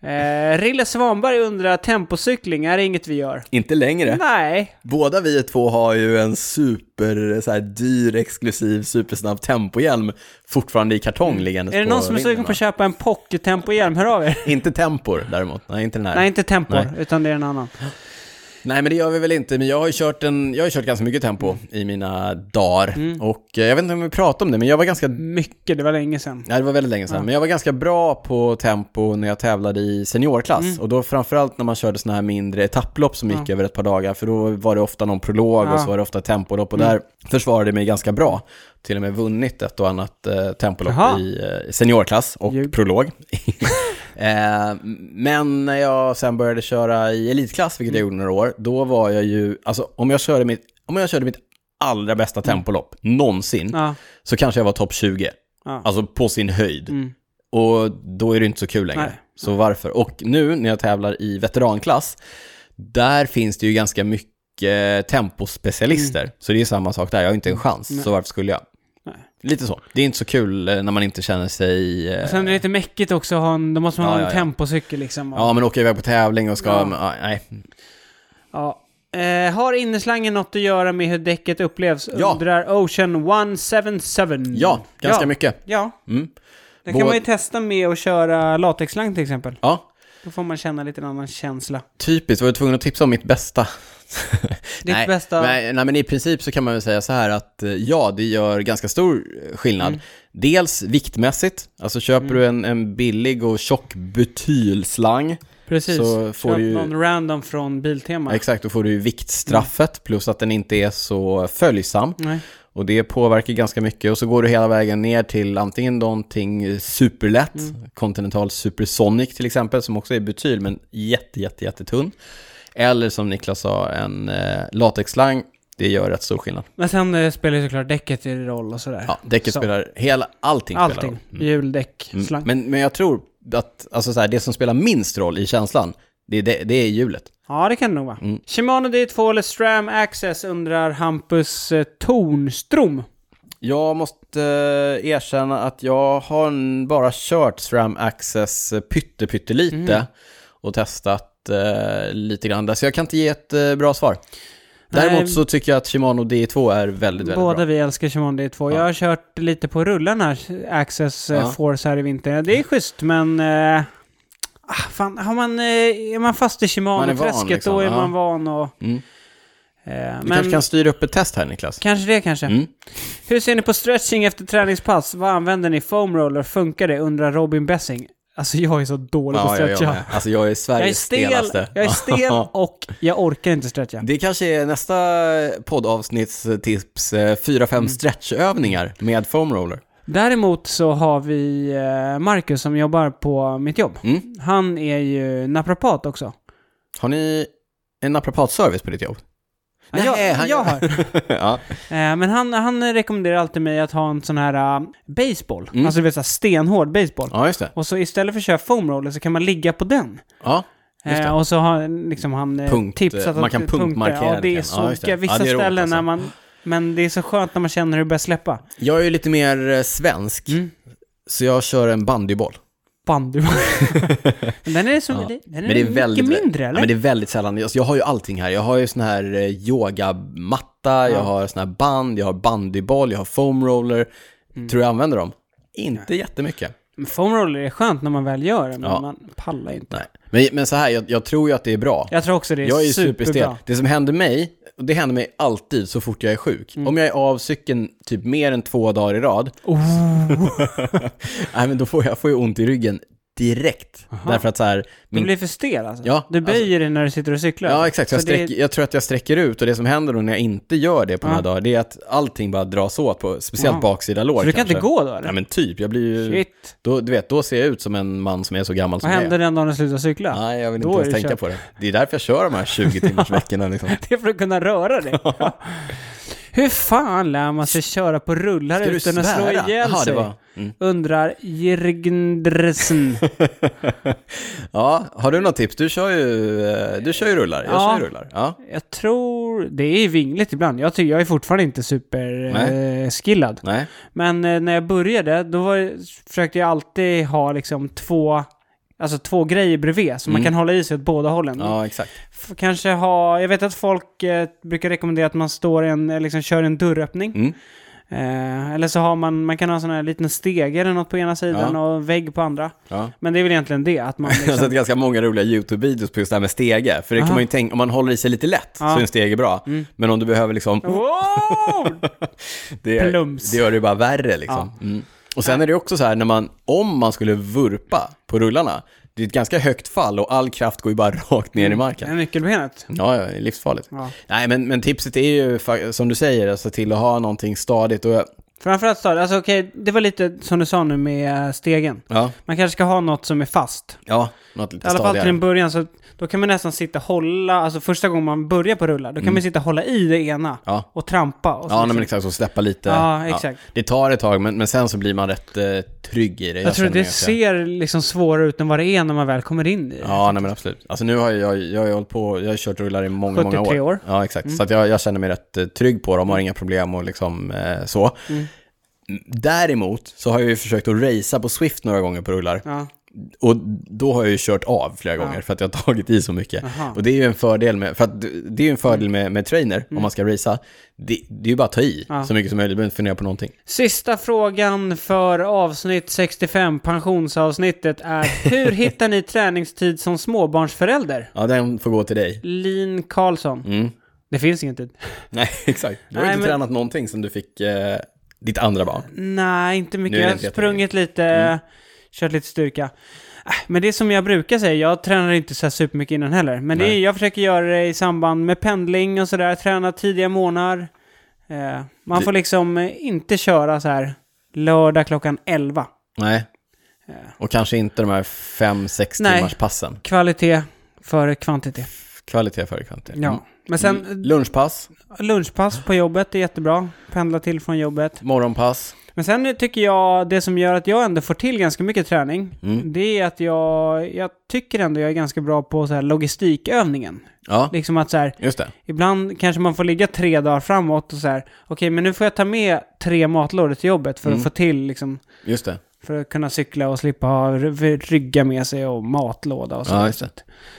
[SPEAKER 2] eh, Rille Svanberg undrar, tempocykling, är det inget vi gör?
[SPEAKER 1] Inte längre.
[SPEAKER 2] Nej.
[SPEAKER 1] Båda vi två har ju en super så här, dyr, exklusiv, supersnabb tempohjälm fortfarande i kartong liggandes
[SPEAKER 2] Mm. Är det någon som är
[SPEAKER 1] vinden,
[SPEAKER 2] sugen på
[SPEAKER 1] va?
[SPEAKER 2] att köpa en pocket-tempohjälm? Hör av er.
[SPEAKER 1] Inte tempor däremot, nej inte den här.
[SPEAKER 2] Nej,
[SPEAKER 1] Nej.
[SPEAKER 2] inte Tempor,
[SPEAKER 1] Nej.
[SPEAKER 2] utan det är en annan.
[SPEAKER 1] men det gör vi väl inte, men jag har ju kört, en, jag har ju kört ganska mycket tempo i mina dagar.
[SPEAKER 2] Mm.
[SPEAKER 1] Och eh, jag vet inte om vi pratade om det, men jag var ganska
[SPEAKER 2] Mycket, det var länge sedan.
[SPEAKER 1] Nej, det var väldigt länge sedan. Men jag var ganska bra på tempo när jag tävlade i seniorklass.
[SPEAKER 2] Mm.
[SPEAKER 1] Och då framförallt när man körde sådana här mindre etapplopp som gick över ett par dagar. För då var det ofta någon prolog
[SPEAKER 2] Ja. Mm.
[SPEAKER 1] och så var det ofta tempolopp. Och där försvarade jag mig ganska bra. Till och med vunnit ett och annat eh, tempolopp
[SPEAKER 2] Jaha.
[SPEAKER 1] i eh, seniorklass och
[SPEAKER 2] Ljug.
[SPEAKER 1] prolog. Eh, men när jag sen började köra i elitklass,
[SPEAKER 2] Mm.
[SPEAKER 1] vilket jag gjorde några år, då var jag ju, alltså om jag körde mitt, om jag körde mitt allra bästa tempolopp någonsin,
[SPEAKER 2] Mm. Ja,
[SPEAKER 1] så kanske jag var topp 20.
[SPEAKER 2] ja.
[SPEAKER 1] Alltså på sin höjd.
[SPEAKER 2] Mm.
[SPEAKER 1] Och då är det inte så kul längre.
[SPEAKER 2] Nej.
[SPEAKER 1] Så varför? Och nu när jag tävlar i veteranklass, där finns det ju ganska mycket tempospecialister. Så det är samma sak där, jag har inte en chans. Så varför skulle jag?
[SPEAKER 2] Mm. Nej.
[SPEAKER 1] Lite så. Det är inte så kul eh, när man inte känner sig... eh,
[SPEAKER 2] Och Sen är det lite mäckigt också, att ha en, då måste man
[SPEAKER 1] Ja,
[SPEAKER 2] ha en
[SPEAKER 1] ja, ja.
[SPEAKER 2] tempocykel liksom. Och,
[SPEAKER 1] Ja, men åka iväg på tävling och ska...
[SPEAKER 2] Ja.
[SPEAKER 1] men, ah, nej.
[SPEAKER 2] ja. Eh, har innerslangen något att göra med hur däcket upplevs?
[SPEAKER 1] Ja.
[SPEAKER 2] Undrar Ocean 177.
[SPEAKER 1] Ja, ganska
[SPEAKER 2] Mm. Ja.
[SPEAKER 1] mycket.
[SPEAKER 2] Ja.
[SPEAKER 1] Mm.
[SPEAKER 2] Där
[SPEAKER 1] Båda-
[SPEAKER 2] kan man ju testa med att köra latexslang till exempel.
[SPEAKER 1] Ja,
[SPEAKER 2] Då får man känna lite en annan känsla.
[SPEAKER 1] typiskt. Var du tvungen att tipsa om mitt bästa?
[SPEAKER 2] Ditt bästa-
[SPEAKER 1] Nej, nej, men i princip så kan man väl säga så här att eh, ja, det gör ganska stor eh, skillnad.
[SPEAKER 2] Mm.
[SPEAKER 1] Dels viktmässigt, alltså köper du en, en billig och tjock butylslang,
[SPEAKER 2] Precis.
[SPEAKER 1] Så får
[SPEAKER 2] Köp
[SPEAKER 1] du ju-
[SPEAKER 2] någon random från Biltema.
[SPEAKER 1] exakt, då får du ju viktstraffet,
[SPEAKER 2] Mm.
[SPEAKER 1] plus att den inte är så följsam.
[SPEAKER 2] Nej.
[SPEAKER 1] Och det påverkar ganska mycket och så går du hela vägen ner till antingen någonting superlätt,
[SPEAKER 2] Mm.
[SPEAKER 1] Continental Supersonic till exempel, som också är butyl men jätte, jätte, jättetunn. Eller som Niklas sa, en eh, latexslang. Det gör rätt stor skillnad.
[SPEAKER 2] Men sen eh, spelar ju såklart däcket i roll och sådär.
[SPEAKER 1] Ja, däcket
[SPEAKER 2] Så.
[SPEAKER 1] spelar, hela, allting, spelar
[SPEAKER 2] Allting.
[SPEAKER 1] roll.
[SPEAKER 2] Hjul, däck,
[SPEAKER 1] Mm.
[SPEAKER 2] slang.
[SPEAKER 1] Men, men jag tror att alltså så här, det som spelar minst roll i känslan, det, är det, det är hjulet.
[SPEAKER 2] Ja, det kan det nog vara.
[SPEAKER 1] Mm.
[SPEAKER 2] Shimano D2 eller Stram Access undrar Hampus eh, Tornstrom.
[SPEAKER 1] Jag måste eh, erkänna att jag har n- bara kört SRAM Access eh, pytte, pyttelite
[SPEAKER 2] Mhm.
[SPEAKER 1] och testat eh, lite grann där, så jag kan inte ge ett eh, bra svar. Däremot
[SPEAKER 2] Nej.
[SPEAKER 1] så tycker jag att Shimano D2 är väldigt, väldigt
[SPEAKER 2] Båda
[SPEAKER 1] bra.
[SPEAKER 2] vi älskar Shimano D2. Jag har kört lite på rullarna, Access eh,
[SPEAKER 1] Ja. Mm.
[SPEAKER 2] Force här i vinter. Det är schysst, men... Eh, ah, fan, har man, eh, är man fast i
[SPEAKER 1] Man är van,
[SPEAKER 2] Shimano-träsket
[SPEAKER 1] liksom.
[SPEAKER 2] då är
[SPEAKER 1] Ja.
[SPEAKER 2] man van och...
[SPEAKER 1] Mm.
[SPEAKER 2] Eh,
[SPEAKER 1] Du kanske
[SPEAKER 2] men
[SPEAKER 1] kan styra upp ett test här Niklas?
[SPEAKER 2] kanske det kanske.
[SPEAKER 1] Mm.
[SPEAKER 2] Hur ser ni på stretching efter träningspass? Vad använder ni? Foam roller? Funkar det? Undrar Robin Bessing. Alltså jag är så dålig på att
[SPEAKER 1] Ja, ja,
[SPEAKER 2] stretcha.
[SPEAKER 1] ja. Alltså jag är
[SPEAKER 2] Jag är
[SPEAKER 1] Sveriges
[SPEAKER 2] stel,
[SPEAKER 1] stelaste.
[SPEAKER 2] jag är stel och jag orkar inte stretcha.
[SPEAKER 1] Det kanske är nästa eh, poddavsnittstips, 4-5
[SPEAKER 2] Mm.
[SPEAKER 1] stretchövningar med foam roller.
[SPEAKER 2] Däremot så har vi eh, Marcus som jobbar på mitt jobb.
[SPEAKER 1] Mm.
[SPEAKER 2] Han är ju naprapat också.
[SPEAKER 1] Har ni en naprapatservice på ditt jobb?
[SPEAKER 2] Ja, jag- jag har.
[SPEAKER 1] ja.
[SPEAKER 2] Eh, men han, han rekommenderar alltid mig att ha en sån här eh, baseball.
[SPEAKER 1] Mm.
[SPEAKER 2] Alltså du vet såhär stenhård baseball.
[SPEAKER 1] ja, just det.
[SPEAKER 2] Och så istället för att köra foam roller så kan man ligga på den.
[SPEAKER 1] Ja. Just det.
[SPEAKER 2] Eh, och så har liksom han eh,
[SPEAKER 1] Punkt, eh,
[SPEAKER 2] tipsat
[SPEAKER 1] man kan
[SPEAKER 2] punkter.
[SPEAKER 1] punktmarkera
[SPEAKER 2] Ja, det är
[SPEAKER 1] lite.
[SPEAKER 2] så
[SPEAKER 1] Ja, just det.
[SPEAKER 2] ja, vissa
[SPEAKER 1] Ja, det är roligt,
[SPEAKER 2] ställen
[SPEAKER 1] alltså.
[SPEAKER 2] när man... Men det är så skönt när man känner hur det börjar släppa.
[SPEAKER 1] Jag är ju lite mer eh, svensk,
[SPEAKER 2] Mm.
[SPEAKER 1] så jag kör en bandyboll.
[SPEAKER 2] Bandy. men den är så...
[SPEAKER 1] Ja.
[SPEAKER 2] Den
[SPEAKER 1] Men
[SPEAKER 2] är,
[SPEAKER 1] det är
[SPEAKER 2] mycket
[SPEAKER 1] väldigt,
[SPEAKER 2] mindre
[SPEAKER 1] ja,
[SPEAKER 2] eller?
[SPEAKER 1] men det är väldigt sällan. Alltså, jag har ju allting här. Jag har ju sån här eh, yogamatta, jag har sån här band, jag har bandyboll, jag har foam roller.
[SPEAKER 2] Mm.
[SPEAKER 1] Tror jag använder dem? Inte jättemycket.
[SPEAKER 2] Men Foam roller är skönt när man väl gör det, men
[SPEAKER 1] Ja.
[SPEAKER 2] man pallar ju inte.
[SPEAKER 1] Nej. Men, men så här, jag, jag tror ju att det är bra.
[SPEAKER 2] Jag tror också det är,
[SPEAKER 1] jag är ju superstel.
[SPEAKER 2] superbra.
[SPEAKER 1] Det som händer mig, och det händer mig alltid så fort jag är sjuk.
[SPEAKER 2] Mm.
[SPEAKER 1] Om jag är av cykeln typ mer än två dagar i rad,
[SPEAKER 2] Oh.
[SPEAKER 1] nej men då får jag, jag får ju ont i ryggen direkt. Därför att så här,
[SPEAKER 2] Du
[SPEAKER 1] min
[SPEAKER 2] blir för stel alltså.
[SPEAKER 1] Ja,
[SPEAKER 2] du böjer
[SPEAKER 1] alltså-
[SPEAKER 2] dig när du sitter och cyklar.
[SPEAKER 1] Ja, exakt. Jag,
[SPEAKER 2] Så det är-
[SPEAKER 1] sträcker, jag tror att jag sträcker ut och det som händer då när jag inte gör det på
[SPEAKER 2] Ja.
[SPEAKER 1] några dagar, det är att allting bara dras åt på, speciellt
[SPEAKER 2] Ja.
[SPEAKER 1] baksida lår
[SPEAKER 2] Så du kan inte gå då eller?
[SPEAKER 1] Nej, men typ. Jag blir ju...
[SPEAKER 2] Shit.
[SPEAKER 1] Då, du vet, då ser jag ut som en man som är så gammal
[SPEAKER 2] Vad
[SPEAKER 1] som jag
[SPEAKER 2] händer
[SPEAKER 1] är.
[SPEAKER 2] den dagen du slutar cykla?
[SPEAKER 1] Nej, jag vill
[SPEAKER 2] Då
[SPEAKER 1] inte
[SPEAKER 2] är
[SPEAKER 1] ens
[SPEAKER 2] det
[SPEAKER 1] tänka
[SPEAKER 2] kört.
[SPEAKER 1] på det. Det är därför jag kör de här 20 timmars veckorna liksom.
[SPEAKER 2] Det är för att kunna röra dig. Hur fan lär man sig köra på rullar
[SPEAKER 1] Ska du
[SPEAKER 2] utan att slå
[SPEAKER 1] svära?
[SPEAKER 2] ihjäl
[SPEAKER 1] Jaha, det
[SPEAKER 2] sig?
[SPEAKER 1] var- Mm.
[SPEAKER 2] Undrar Jirgndresen.
[SPEAKER 1] Ja, har du något tips? Du kör ju, eh, du kör ju rullar. Jag
[SPEAKER 2] Ja.
[SPEAKER 1] kör ju rullar. Ja.
[SPEAKER 2] jag tror... Det är vingligt ibland. Jag, tycker, jag är fortfarande inte superskillad. Eh, skillad.
[SPEAKER 1] Nej.
[SPEAKER 2] Men eh, när jag började, då var, försökte jag alltid ha liksom två, alltså två grejer bredvid som man kan hålla i sig åt båda hållen.
[SPEAKER 1] Mm. Ja, exakt.
[SPEAKER 2] F- Kanske ha, jag vet att folk eh, brukar rekommendera att man står i en, eh, liksom kör en dörröppning.
[SPEAKER 1] Mm.
[SPEAKER 2] Eh, eller så har man, man kan ha en sån här liten stege eller något på ena sidan och en vägg på andra.
[SPEAKER 1] Ja.
[SPEAKER 2] Men det är väl egentligen det, att man
[SPEAKER 1] Jag har sett
[SPEAKER 2] liksom,
[SPEAKER 1] ganska många roliga YouTube-videos på just det här med stege. För det kan
[SPEAKER 2] Aha. Mm.
[SPEAKER 1] man ju tänka, om man håller i sig lite lätt så är en stege bra. Men om du behöver liksom...
[SPEAKER 2] wow!
[SPEAKER 1] Det,
[SPEAKER 2] Oh, Plums.
[SPEAKER 1] det gör det ju bara värre liksom. Mm. Och sen är det ju också så här, när man, om man skulle vurpa på rullarna, det är ett ganska högt fall och all kraft går ju bara rakt ner i marken.
[SPEAKER 2] En nyckelbenet.
[SPEAKER 1] Ja, ja, det är livsfarligt.
[SPEAKER 2] Mm. Ja.
[SPEAKER 1] Nej, men, men tipset är ju fa- som du säger, alltså till att ha någonting stadigt och...
[SPEAKER 2] Framförallt så, alltså okej, det var lite som du sa nu med eh, stegen.
[SPEAKER 1] Ja,
[SPEAKER 2] Man kanske ska ha något som är fast.
[SPEAKER 1] ja något lite
[SPEAKER 2] I alla fall till en
[SPEAKER 1] stadigare.
[SPEAKER 2] början, så då kan man nästan sitta och hålla, alltså första gången man börjar på rullar, då kan man sitta och hålla i det ena
[SPEAKER 1] Mm. Ja.
[SPEAKER 2] och trampa. Och så
[SPEAKER 1] Ja, nej,
[SPEAKER 2] liksom-
[SPEAKER 1] men exakt, så släppa lite.
[SPEAKER 2] Ja, exakt.
[SPEAKER 1] Det tar ett tag, men, men sen så blir man rätt eh, trygg i det.
[SPEAKER 2] jag tror
[SPEAKER 1] känner
[SPEAKER 2] det
[SPEAKER 1] mig ganska-
[SPEAKER 2] ser liksom svårare ut än vad det är när man väl kommer in i det.
[SPEAKER 1] Ja, nej men absolut. Alltså nu har jag, jag har ju hållit på, jag har ju kört rullar i många, många år.
[SPEAKER 2] 73 år. Mm.
[SPEAKER 1] Ja, exakt. Så att jag, jag känner mig rätt eh, trygg på dem, har inga problem och liksom eh,
[SPEAKER 2] Mm.
[SPEAKER 1] så. Däremot så har jag ju försökt att racea på Swift några gånger på rullar.
[SPEAKER 2] Ja.
[SPEAKER 1] och då har jag ju kört av flera gånger för att jag har tagit i så mycket.
[SPEAKER 2] Aha. Mm.
[SPEAKER 1] Och det är ju en fördel med, för att det är ju en fördel med, med trainer om man ska racea. Det, det är ju bara att ta i
[SPEAKER 2] Ja.
[SPEAKER 1] så mycket som möjligt, du behöver inte fundera på någonting.
[SPEAKER 2] Sista frågan för avsnitt 65, pensionsavsnittet, är hur hittar ni träningstid som småbarnsförälder?
[SPEAKER 1] Ja, den får gå till dig.
[SPEAKER 2] Lin Karlsson.
[SPEAKER 1] Mm.
[SPEAKER 2] Det finns ingen tid.
[SPEAKER 1] Nej, exakt. Du har
[SPEAKER 2] Nej,
[SPEAKER 1] inte
[SPEAKER 2] men-
[SPEAKER 1] tränat någonting sen du fick eh, ditt andra barn.
[SPEAKER 2] Nej, inte
[SPEAKER 1] Nu
[SPEAKER 2] mycket.
[SPEAKER 1] är det
[SPEAKER 2] Jag har
[SPEAKER 1] inte Mm.
[SPEAKER 2] sprungit lite, kört lite styrka. Äh, Men det är som jag brukar säga, jag tränar inte så här supermycket innan heller. Men det är,
[SPEAKER 1] Nej.
[SPEAKER 2] jag försöker göra det i samband med pendling och sådär, träna tidiga morgnar. Eh, man
[SPEAKER 1] Det-
[SPEAKER 2] får liksom eh, inte köra så här lördag klockan 11.
[SPEAKER 1] Nej. Och kanske inte de här fem sex
[SPEAKER 2] Nej.
[SPEAKER 1] timmars passen.
[SPEAKER 2] Kvalitet före kvantitet.
[SPEAKER 1] Kvalitet före kvantitet.
[SPEAKER 2] Ja.
[SPEAKER 1] Mm.
[SPEAKER 2] Men sen
[SPEAKER 1] Lunchpass,
[SPEAKER 2] lunchpass på jobbet är jättebra. Pendla till från jobbet.
[SPEAKER 1] morgonpass.
[SPEAKER 2] Men sen nu tycker jag, det som gör att jag ändå får till ganska mycket träning,
[SPEAKER 1] Mm.
[SPEAKER 2] det är att jag, jag tycker ändå jag är ganska bra på så här logistikövningen.
[SPEAKER 1] Ja,
[SPEAKER 2] Liksom att så här,
[SPEAKER 1] just det.
[SPEAKER 2] ibland kanske man får ligga tre dagar framåt och så här, okej men nu får jag ta med tre matlådor till jobbet
[SPEAKER 1] Mm.
[SPEAKER 2] för att få till liksom,
[SPEAKER 1] Just det.
[SPEAKER 2] för att kunna cykla och slippa ha ry- rygga med sig och matlåda och så.
[SPEAKER 1] Ja, just det.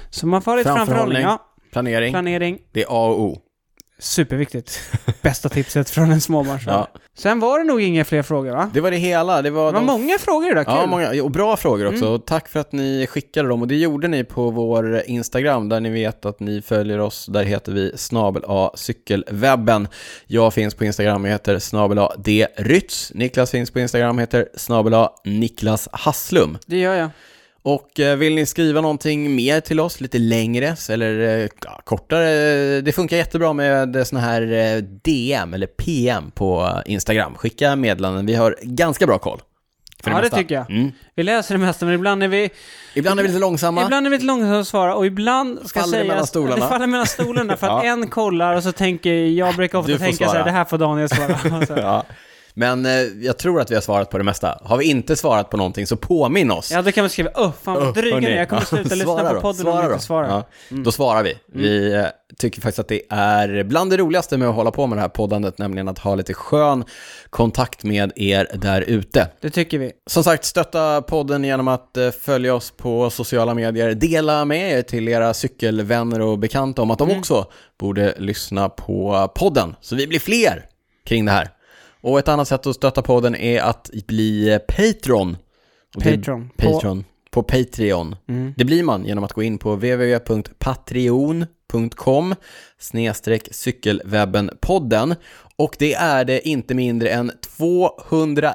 [SPEAKER 2] Så man får ha lite framförhållning.
[SPEAKER 1] Framförhållning.
[SPEAKER 2] Ja,
[SPEAKER 1] Planering,
[SPEAKER 2] planering.
[SPEAKER 1] det är A och O.
[SPEAKER 2] Superviktigt. Bästa tipset från en småbarnsförälder.
[SPEAKER 1] Ja.
[SPEAKER 2] Sen var det nog inga fler frågor va?
[SPEAKER 1] Det var det hela. Det var,
[SPEAKER 2] Det var
[SPEAKER 1] de-
[SPEAKER 2] många frågor idag, kul. Mm.
[SPEAKER 1] Ja, många, och bra frågor också. Och tack för att ni skickade dem. Och det gjorde ni på vår Instagram, där ni vet att ni följer oss. Där heter vi snabel A cykelwebben. Jag finns på Instagram, jag heter snabel A D Rytz. Niklas finns på Instagram, heter snabel A Niklas Hasslum.
[SPEAKER 2] Det gör jag.
[SPEAKER 1] Och eh, vill ni skriva någonting mer till oss, lite längre eller eh, ja, kortare, det funkar jättebra med eh, såna här eh, DM eller PM på eh, Instagram. Skicka meddelanden, vi har ganska bra koll.
[SPEAKER 2] Ja, det
[SPEAKER 1] mesta.
[SPEAKER 2] tycker jag.
[SPEAKER 1] Mm.
[SPEAKER 2] Vi läser det mesta, men ibland är vi,
[SPEAKER 1] Ibland är vi lite långsamma.
[SPEAKER 2] ibland är vi lite långsamma att svara och ibland ska
[SPEAKER 1] Faller det
[SPEAKER 2] sägas...
[SPEAKER 1] mellan stolarna?
[SPEAKER 2] Det faller mellan stolarna för att
[SPEAKER 1] Ja.
[SPEAKER 2] en kollar och så tänker jag, brukar ofta
[SPEAKER 1] Du får
[SPEAKER 2] tänka så här,
[SPEAKER 1] svara.
[SPEAKER 2] det här får Daniel svara. Och så.
[SPEAKER 1] Ja. Men eh, jag tror att vi har svarat på det mesta. Har vi inte svarat på någonting så påminn oss.
[SPEAKER 2] Ja, då kan man skriva, öh, fan vad dryg ni är. jag kommer sluta lyssna på podden om ni inte svarar. Mm.
[SPEAKER 1] Ja, Då svarar vi. Vi eh, tycker faktiskt att det är bland det roligaste med att hålla på med det här poddandet, nämligen att ha lite skön kontakt med er där ute.
[SPEAKER 2] Det tycker vi.
[SPEAKER 1] Som sagt, stötta podden genom att eh, följa oss på sociala medier. Dela med er till era cykelvänner och bekanta om att de också borde lyssna på podden. Så vi blir fler kring det här. Och ett annat sätt att stötta podden är att bli eh, Patreon. Och det-
[SPEAKER 2] Patreon. Mm. På-
[SPEAKER 1] Patreon. På Patreon. Det blir man genom att gå in på www.patreon.com snedstreck cykelwebbenpodden. Och det är det inte mindre än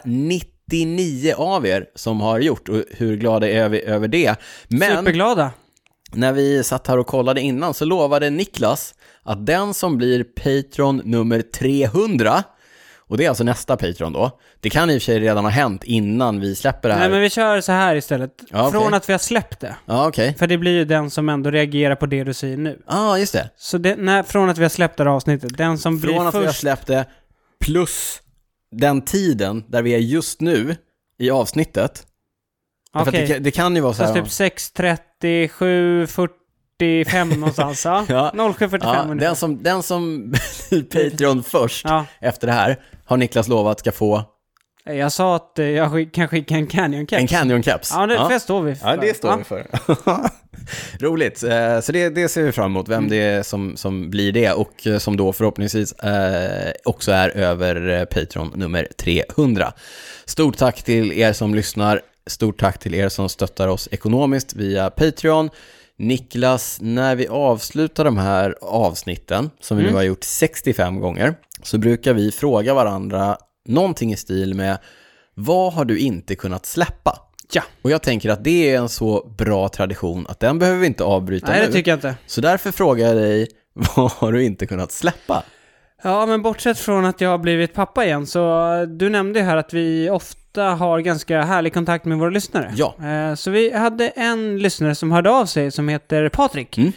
[SPEAKER 1] 299 av er som har gjort och hur glada är vi över det. Men
[SPEAKER 2] Superglada.
[SPEAKER 1] när vi satt här och kollade innan så lovade Niklas att den som blir Patreon nummer 300, och det är alltså nästa Patreon då, det kan i och för sig redan ha hänt innan vi släpper det här.
[SPEAKER 2] Nej, men vi kör så här istället.
[SPEAKER 1] Ja, okej.
[SPEAKER 2] Från att vi har släppt det.
[SPEAKER 1] Ja, okej.
[SPEAKER 2] För det blir ju den som ändå reagerar på det du säger nu.
[SPEAKER 1] Ja, ah, just det.
[SPEAKER 2] Så det, när, från att vi har släppt det här avsnittet, den som
[SPEAKER 1] Från
[SPEAKER 2] blir
[SPEAKER 1] att vi har
[SPEAKER 2] först...
[SPEAKER 1] släppt det, plus den tiden där vi är just nu i avsnittet. Därför att
[SPEAKER 2] Okej.
[SPEAKER 1] Det, kan- det kan ju vara så
[SPEAKER 2] Så
[SPEAKER 1] här.
[SPEAKER 2] typ 6.30, 7.45 någonstans ja.
[SPEAKER 1] Ja.
[SPEAKER 2] 07.45
[SPEAKER 1] ja,
[SPEAKER 2] ungefär.
[SPEAKER 1] den som, den som blir Patreon först
[SPEAKER 2] Ja,
[SPEAKER 1] efter det här har Niklas lovat ska få
[SPEAKER 2] jag sa att eh, jag skick, kan skicka en canyon
[SPEAKER 1] en
[SPEAKER 2] caps.
[SPEAKER 1] canyon caps.
[SPEAKER 2] Ja, det, det står vi för.
[SPEAKER 1] Ja, det står vi för. Roligt. Eh, Så det, det ser vi fram emot, vem
[SPEAKER 2] Mm.
[SPEAKER 1] det är som, som blir det och eh, som då förhoppningsvis eh, också är över eh, Patreon nummer 300. Stort tack till er som lyssnar. Stort tack till er som stöttar oss ekonomiskt via Patreon. Niklas, när vi avslutar de här avsnitten, som vi
[SPEAKER 2] Mm.
[SPEAKER 1] nu har gjort 65 gånger, så brukar vi fråga varandra någonting i stil med vad har du inte kunnat släppa?
[SPEAKER 2] Ja.
[SPEAKER 1] Och jag tänker att det är en så bra tradition att den behöver vi inte avbryta
[SPEAKER 2] Nej,
[SPEAKER 1] nu.
[SPEAKER 2] det tycker jag inte.
[SPEAKER 1] Så därför frågar jag dig, vad har du inte kunnat släppa?
[SPEAKER 2] Ja, men bortsett från att jag har blivit pappa igen, så eh, du nämnde ju här att vi ofta har ganska härlig kontakt med våra lyssnare.
[SPEAKER 1] Ja.
[SPEAKER 2] Eh, Så vi hade en lyssnare som hörde av sig som heter Patrik.
[SPEAKER 1] Mm.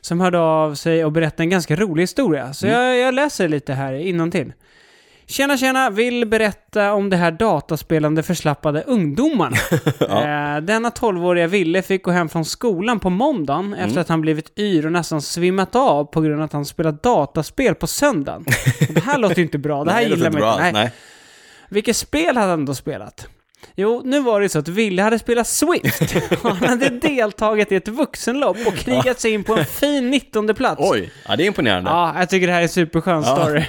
[SPEAKER 2] Som hörde av sig och berättade en ganska rolig historia. Så
[SPEAKER 1] Mm.
[SPEAKER 2] jag, jag läser lite här till. Tjena tjena, vill berätta om det här dataspelande förslappade ungdomarna. eh, denna 12-åriga Ville fick gå hem från skolan på måndagen efter att han blivit yr och nästan svimmat av på grund av att han spelat dataspel på söndagen. Och det här låter ju inte bra, det här
[SPEAKER 1] Nej, låter
[SPEAKER 2] gillar man
[SPEAKER 1] bra.
[SPEAKER 2] inte. Nej.
[SPEAKER 1] Nej.
[SPEAKER 2] Vilket spel hade han då spelat? Jo, nu var det så att Wille hade spelat Swift. Han hade deltagit i ett vuxenlopp och krigat sig in på en fin 19 plats.
[SPEAKER 1] Oj, ja, det är imponerande.
[SPEAKER 2] Ja, jag tycker det här är en superskön
[SPEAKER 1] Ja.
[SPEAKER 2] story.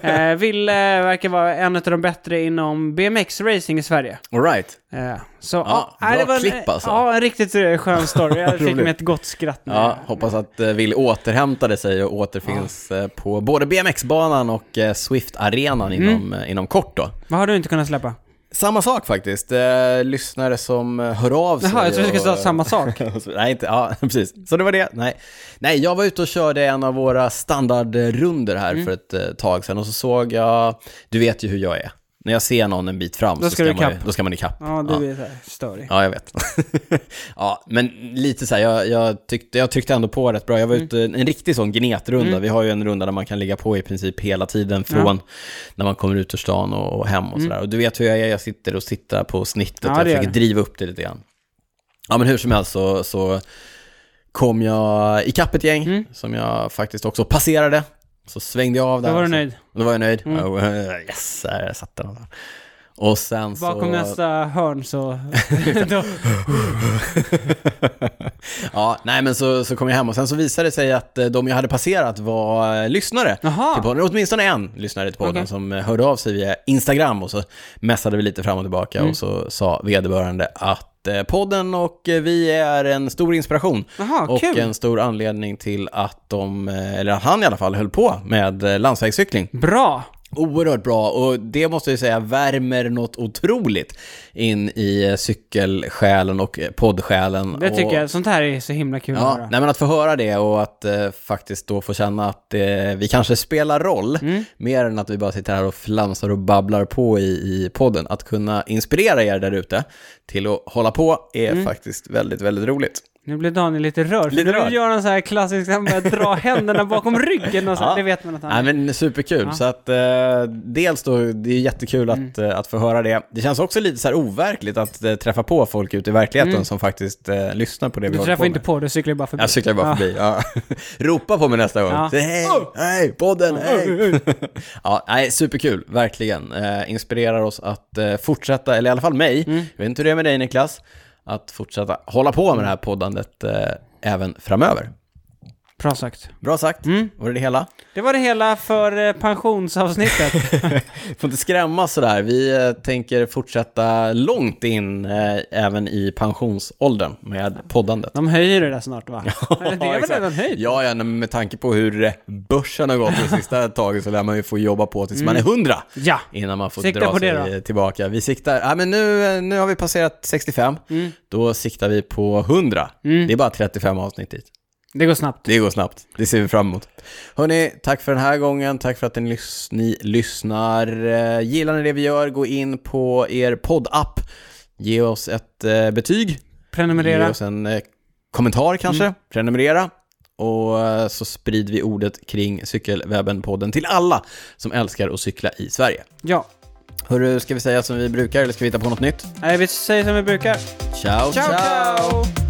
[SPEAKER 2] eh, Wille verkar vara en av de bättre inom BMX-racing i Sverige.
[SPEAKER 1] All right.
[SPEAKER 2] Eh, så,
[SPEAKER 1] Ja,
[SPEAKER 2] nej,
[SPEAKER 1] bra
[SPEAKER 2] det var en,
[SPEAKER 1] klipp alltså.
[SPEAKER 2] Ja, en riktigt eh, skön story. Jag fick
[SPEAKER 1] Roligt.
[SPEAKER 2] mig ett gott skratt nu.
[SPEAKER 1] Ja, hoppas att eh, Will återhämtade sig och återfinns eh, på både BMX-banan och eh, Swift-arenan inom, eh, inom kort då.
[SPEAKER 2] Vad har du inte kunnat släppa?
[SPEAKER 1] Samma sak faktiskt. Eh, lyssnare som eh, hör av sig.
[SPEAKER 2] Jaha, jag trodde du skulle
[SPEAKER 1] och-
[SPEAKER 2] säga samma sak.
[SPEAKER 1] Nej, inte, ja, precis. Så det var det. Nej. Nej, jag var ute och körde en av våra standardrunder här för ett eh, tag sedan och så såg jag, du vet ju hur jag är. När jag ser någon en bit fram
[SPEAKER 2] Då ska du
[SPEAKER 1] man, ju-
[SPEAKER 2] ikapp.
[SPEAKER 1] då ska man ikapp.
[SPEAKER 2] Ja, du är så här story.
[SPEAKER 1] Ja, jag vet. ja, men lite så här, jag, jag, tyckte, jag tryckte ändå på rätt bra. Jag var
[SPEAKER 2] Mm.
[SPEAKER 1] ute en riktig sån gnetrunda. Vi har ju en runda där man kan ligga på i princip hela tiden från när man kommer ut ur stan och, och hem och sådär. Och du vet hur jag är, jag sitter och sitter på snittet.
[SPEAKER 2] Mm. Ja,
[SPEAKER 1] jag
[SPEAKER 2] det gör
[SPEAKER 1] försöker
[SPEAKER 2] det.
[SPEAKER 1] driva upp det lite grann. Ja, men hur som helst så, så kom jag ikapp ett gäng
[SPEAKER 2] Mm.
[SPEAKER 1] som jag faktiskt också passerade. Så svängde jag av där.
[SPEAKER 2] Då var du
[SPEAKER 1] Så-
[SPEAKER 2] nöjd. Mm.
[SPEAKER 1] Då var jag nöjd. Oh, Yes, där satt den. Och sen så...
[SPEAKER 2] Bakom nästa hörn så... då,
[SPEAKER 1] Ja, nej men så, så kom jag hem och sen så visade det sig att eh, de jag hade passerat var eh, lyssnare
[SPEAKER 2] Jaha.
[SPEAKER 1] till podden. Åtminstone en lyssnare till podden
[SPEAKER 2] Okej.
[SPEAKER 1] som eh, hörde av sig via Instagram och så messade vi lite fram och tillbaka
[SPEAKER 2] Mm.
[SPEAKER 1] och så sa vederbörande att eh, podden och eh, vi är en stor inspiration
[SPEAKER 2] Jaha,
[SPEAKER 1] och
[SPEAKER 2] kul.
[SPEAKER 1] en stor anledning till att de, eh, eller att han i alla fall, höll på med eh, landsvägscykling.
[SPEAKER 2] Bra!
[SPEAKER 1] Oerhört bra och det måste jag säga värmer något otroligt in i eh, cykelsjälen och eh, poddsjälen.
[SPEAKER 2] Det
[SPEAKER 1] och,
[SPEAKER 2] tycker jag. Sånt här är så himla kul att
[SPEAKER 1] Ja,
[SPEAKER 2] höra.
[SPEAKER 1] nej, men att få höra det och att eh, faktiskt då få känna att eh, vi kanske spelar roll,
[SPEAKER 2] Mm.
[SPEAKER 1] mer än att vi bara sitter här och flamsar och babblar på i, i podden. Att kunna inspirera er där ute till att hålla på är
[SPEAKER 2] Mm.
[SPEAKER 1] faktiskt väldigt, väldigt roligt.
[SPEAKER 2] Nu blir Daniel lite rörd. för
[SPEAKER 1] Lite
[SPEAKER 2] nu
[SPEAKER 1] rörd.
[SPEAKER 2] gör han så här klassiskt, han börjar dra händerna bakom ryggen och så här.
[SPEAKER 1] Ja.
[SPEAKER 2] Det vet man att han
[SPEAKER 1] Nej, men superkul. Så att eh, dels då, det är jättekul att,
[SPEAKER 2] Mm.
[SPEAKER 1] eh, att få höra det. Det känns också lite så här overkligt att eh, träffa på folk ute i verkligheten
[SPEAKER 2] Mm.
[SPEAKER 1] som faktiskt eh, lyssnar på det vi
[SPEAKER 2] Du
[SPEAKER 1] håller på
[SPEAKER 2] träffar
[SPEAKER 1] med.
[SPEAKER 2] inte på, du cyklar bara förbi.
[SPEAKER 1] Jag cyklar bara
[SPEAKER 2] Ja.
[SPEAKER 1] förbi. Ja. Ropa på mig nästa gång.
[SPEAKER 2] Ja.
[SPEAKER 1] Säg hej, hej, podden, hej. ja, nej, superkul, verkligen. Eh, inspirerar oss att eh, fortsätta, eller i alla fall mig,
[SPEAKER 2] Mm.
[SPEAKER 1] jag vet inte hur det är med dig Niklas, att fortsätta hålla på med det här poddandet eh, även framöver.
[SPEAKER 2] Bra sagt.
[SPEAKER 1] Bra sagt,
[SPEAKER 2] Mm.
[SPEAKER 1] var det det hela?
[SPEAKER 2] Det var det hela för eh, pensionsavsnittet.
[SPEAKER 1] Får inte skrämmas sådär, vi eh, tänker fortsätta långt in, eh, även i pensionsåldern, med poddandet.
[SPEAKER 2] De höjer det där snart va? Eller det är väl
[SPEAKER 1] exakt.
[SPEAKER 2] redan höjt?
[SPEAKER 1] Ja, ja, men med tanke på hur eh, börsen har gått det sista taget så lär man ju få jobba på tills man är 100
[SPEAKER 2] Ja.
[SPEAKER 1] innan man får
[SPEAKER 2] Mm. Sikta
[SPEAKER 1] dra
[SPEAKER 2] på
[SPEAKER 1] sig
[SPEAKER 2] det
[SPEAKER 1] tillbaka. Vi siktar, ja men nu, eh, nu har vi passerat 65,
[SPEAKER 2] Mm.
[SPEAKER 1] då siktar vi på 100. Det är bara 35 avsnitt dit.
[SPEAKER 2] Det går snabbt.
[SPEAKER 1] Det går snabbt, det ser vi fram emot. Hörni, tack för den här gången, tack för att ni, lys- ni lyssnar. Eh, Gillar ni det vi gör, gå in på er poddapp, ge oss ett eh, betyg. Ge
[SPEAKER 2] Prenumerera.
[SPEAKER 1] oss en eh, kommentar kanske, prenumerera. Och eh, så sprider vi ordet kring Cykelwebben-podden till alla som älskar att cykla i Sverige.
[SPEAKER 2] Ja.
[SPEAKER 1] Hörru, ska vi säga som vi brukar eller ska vi hitta på något nytt?
[SPEAKER 2] Nej, vi säger som vi brukar.
[SPEAKER 1] Ciao, ciao!
[SPEAKER 2] ciao. ciao.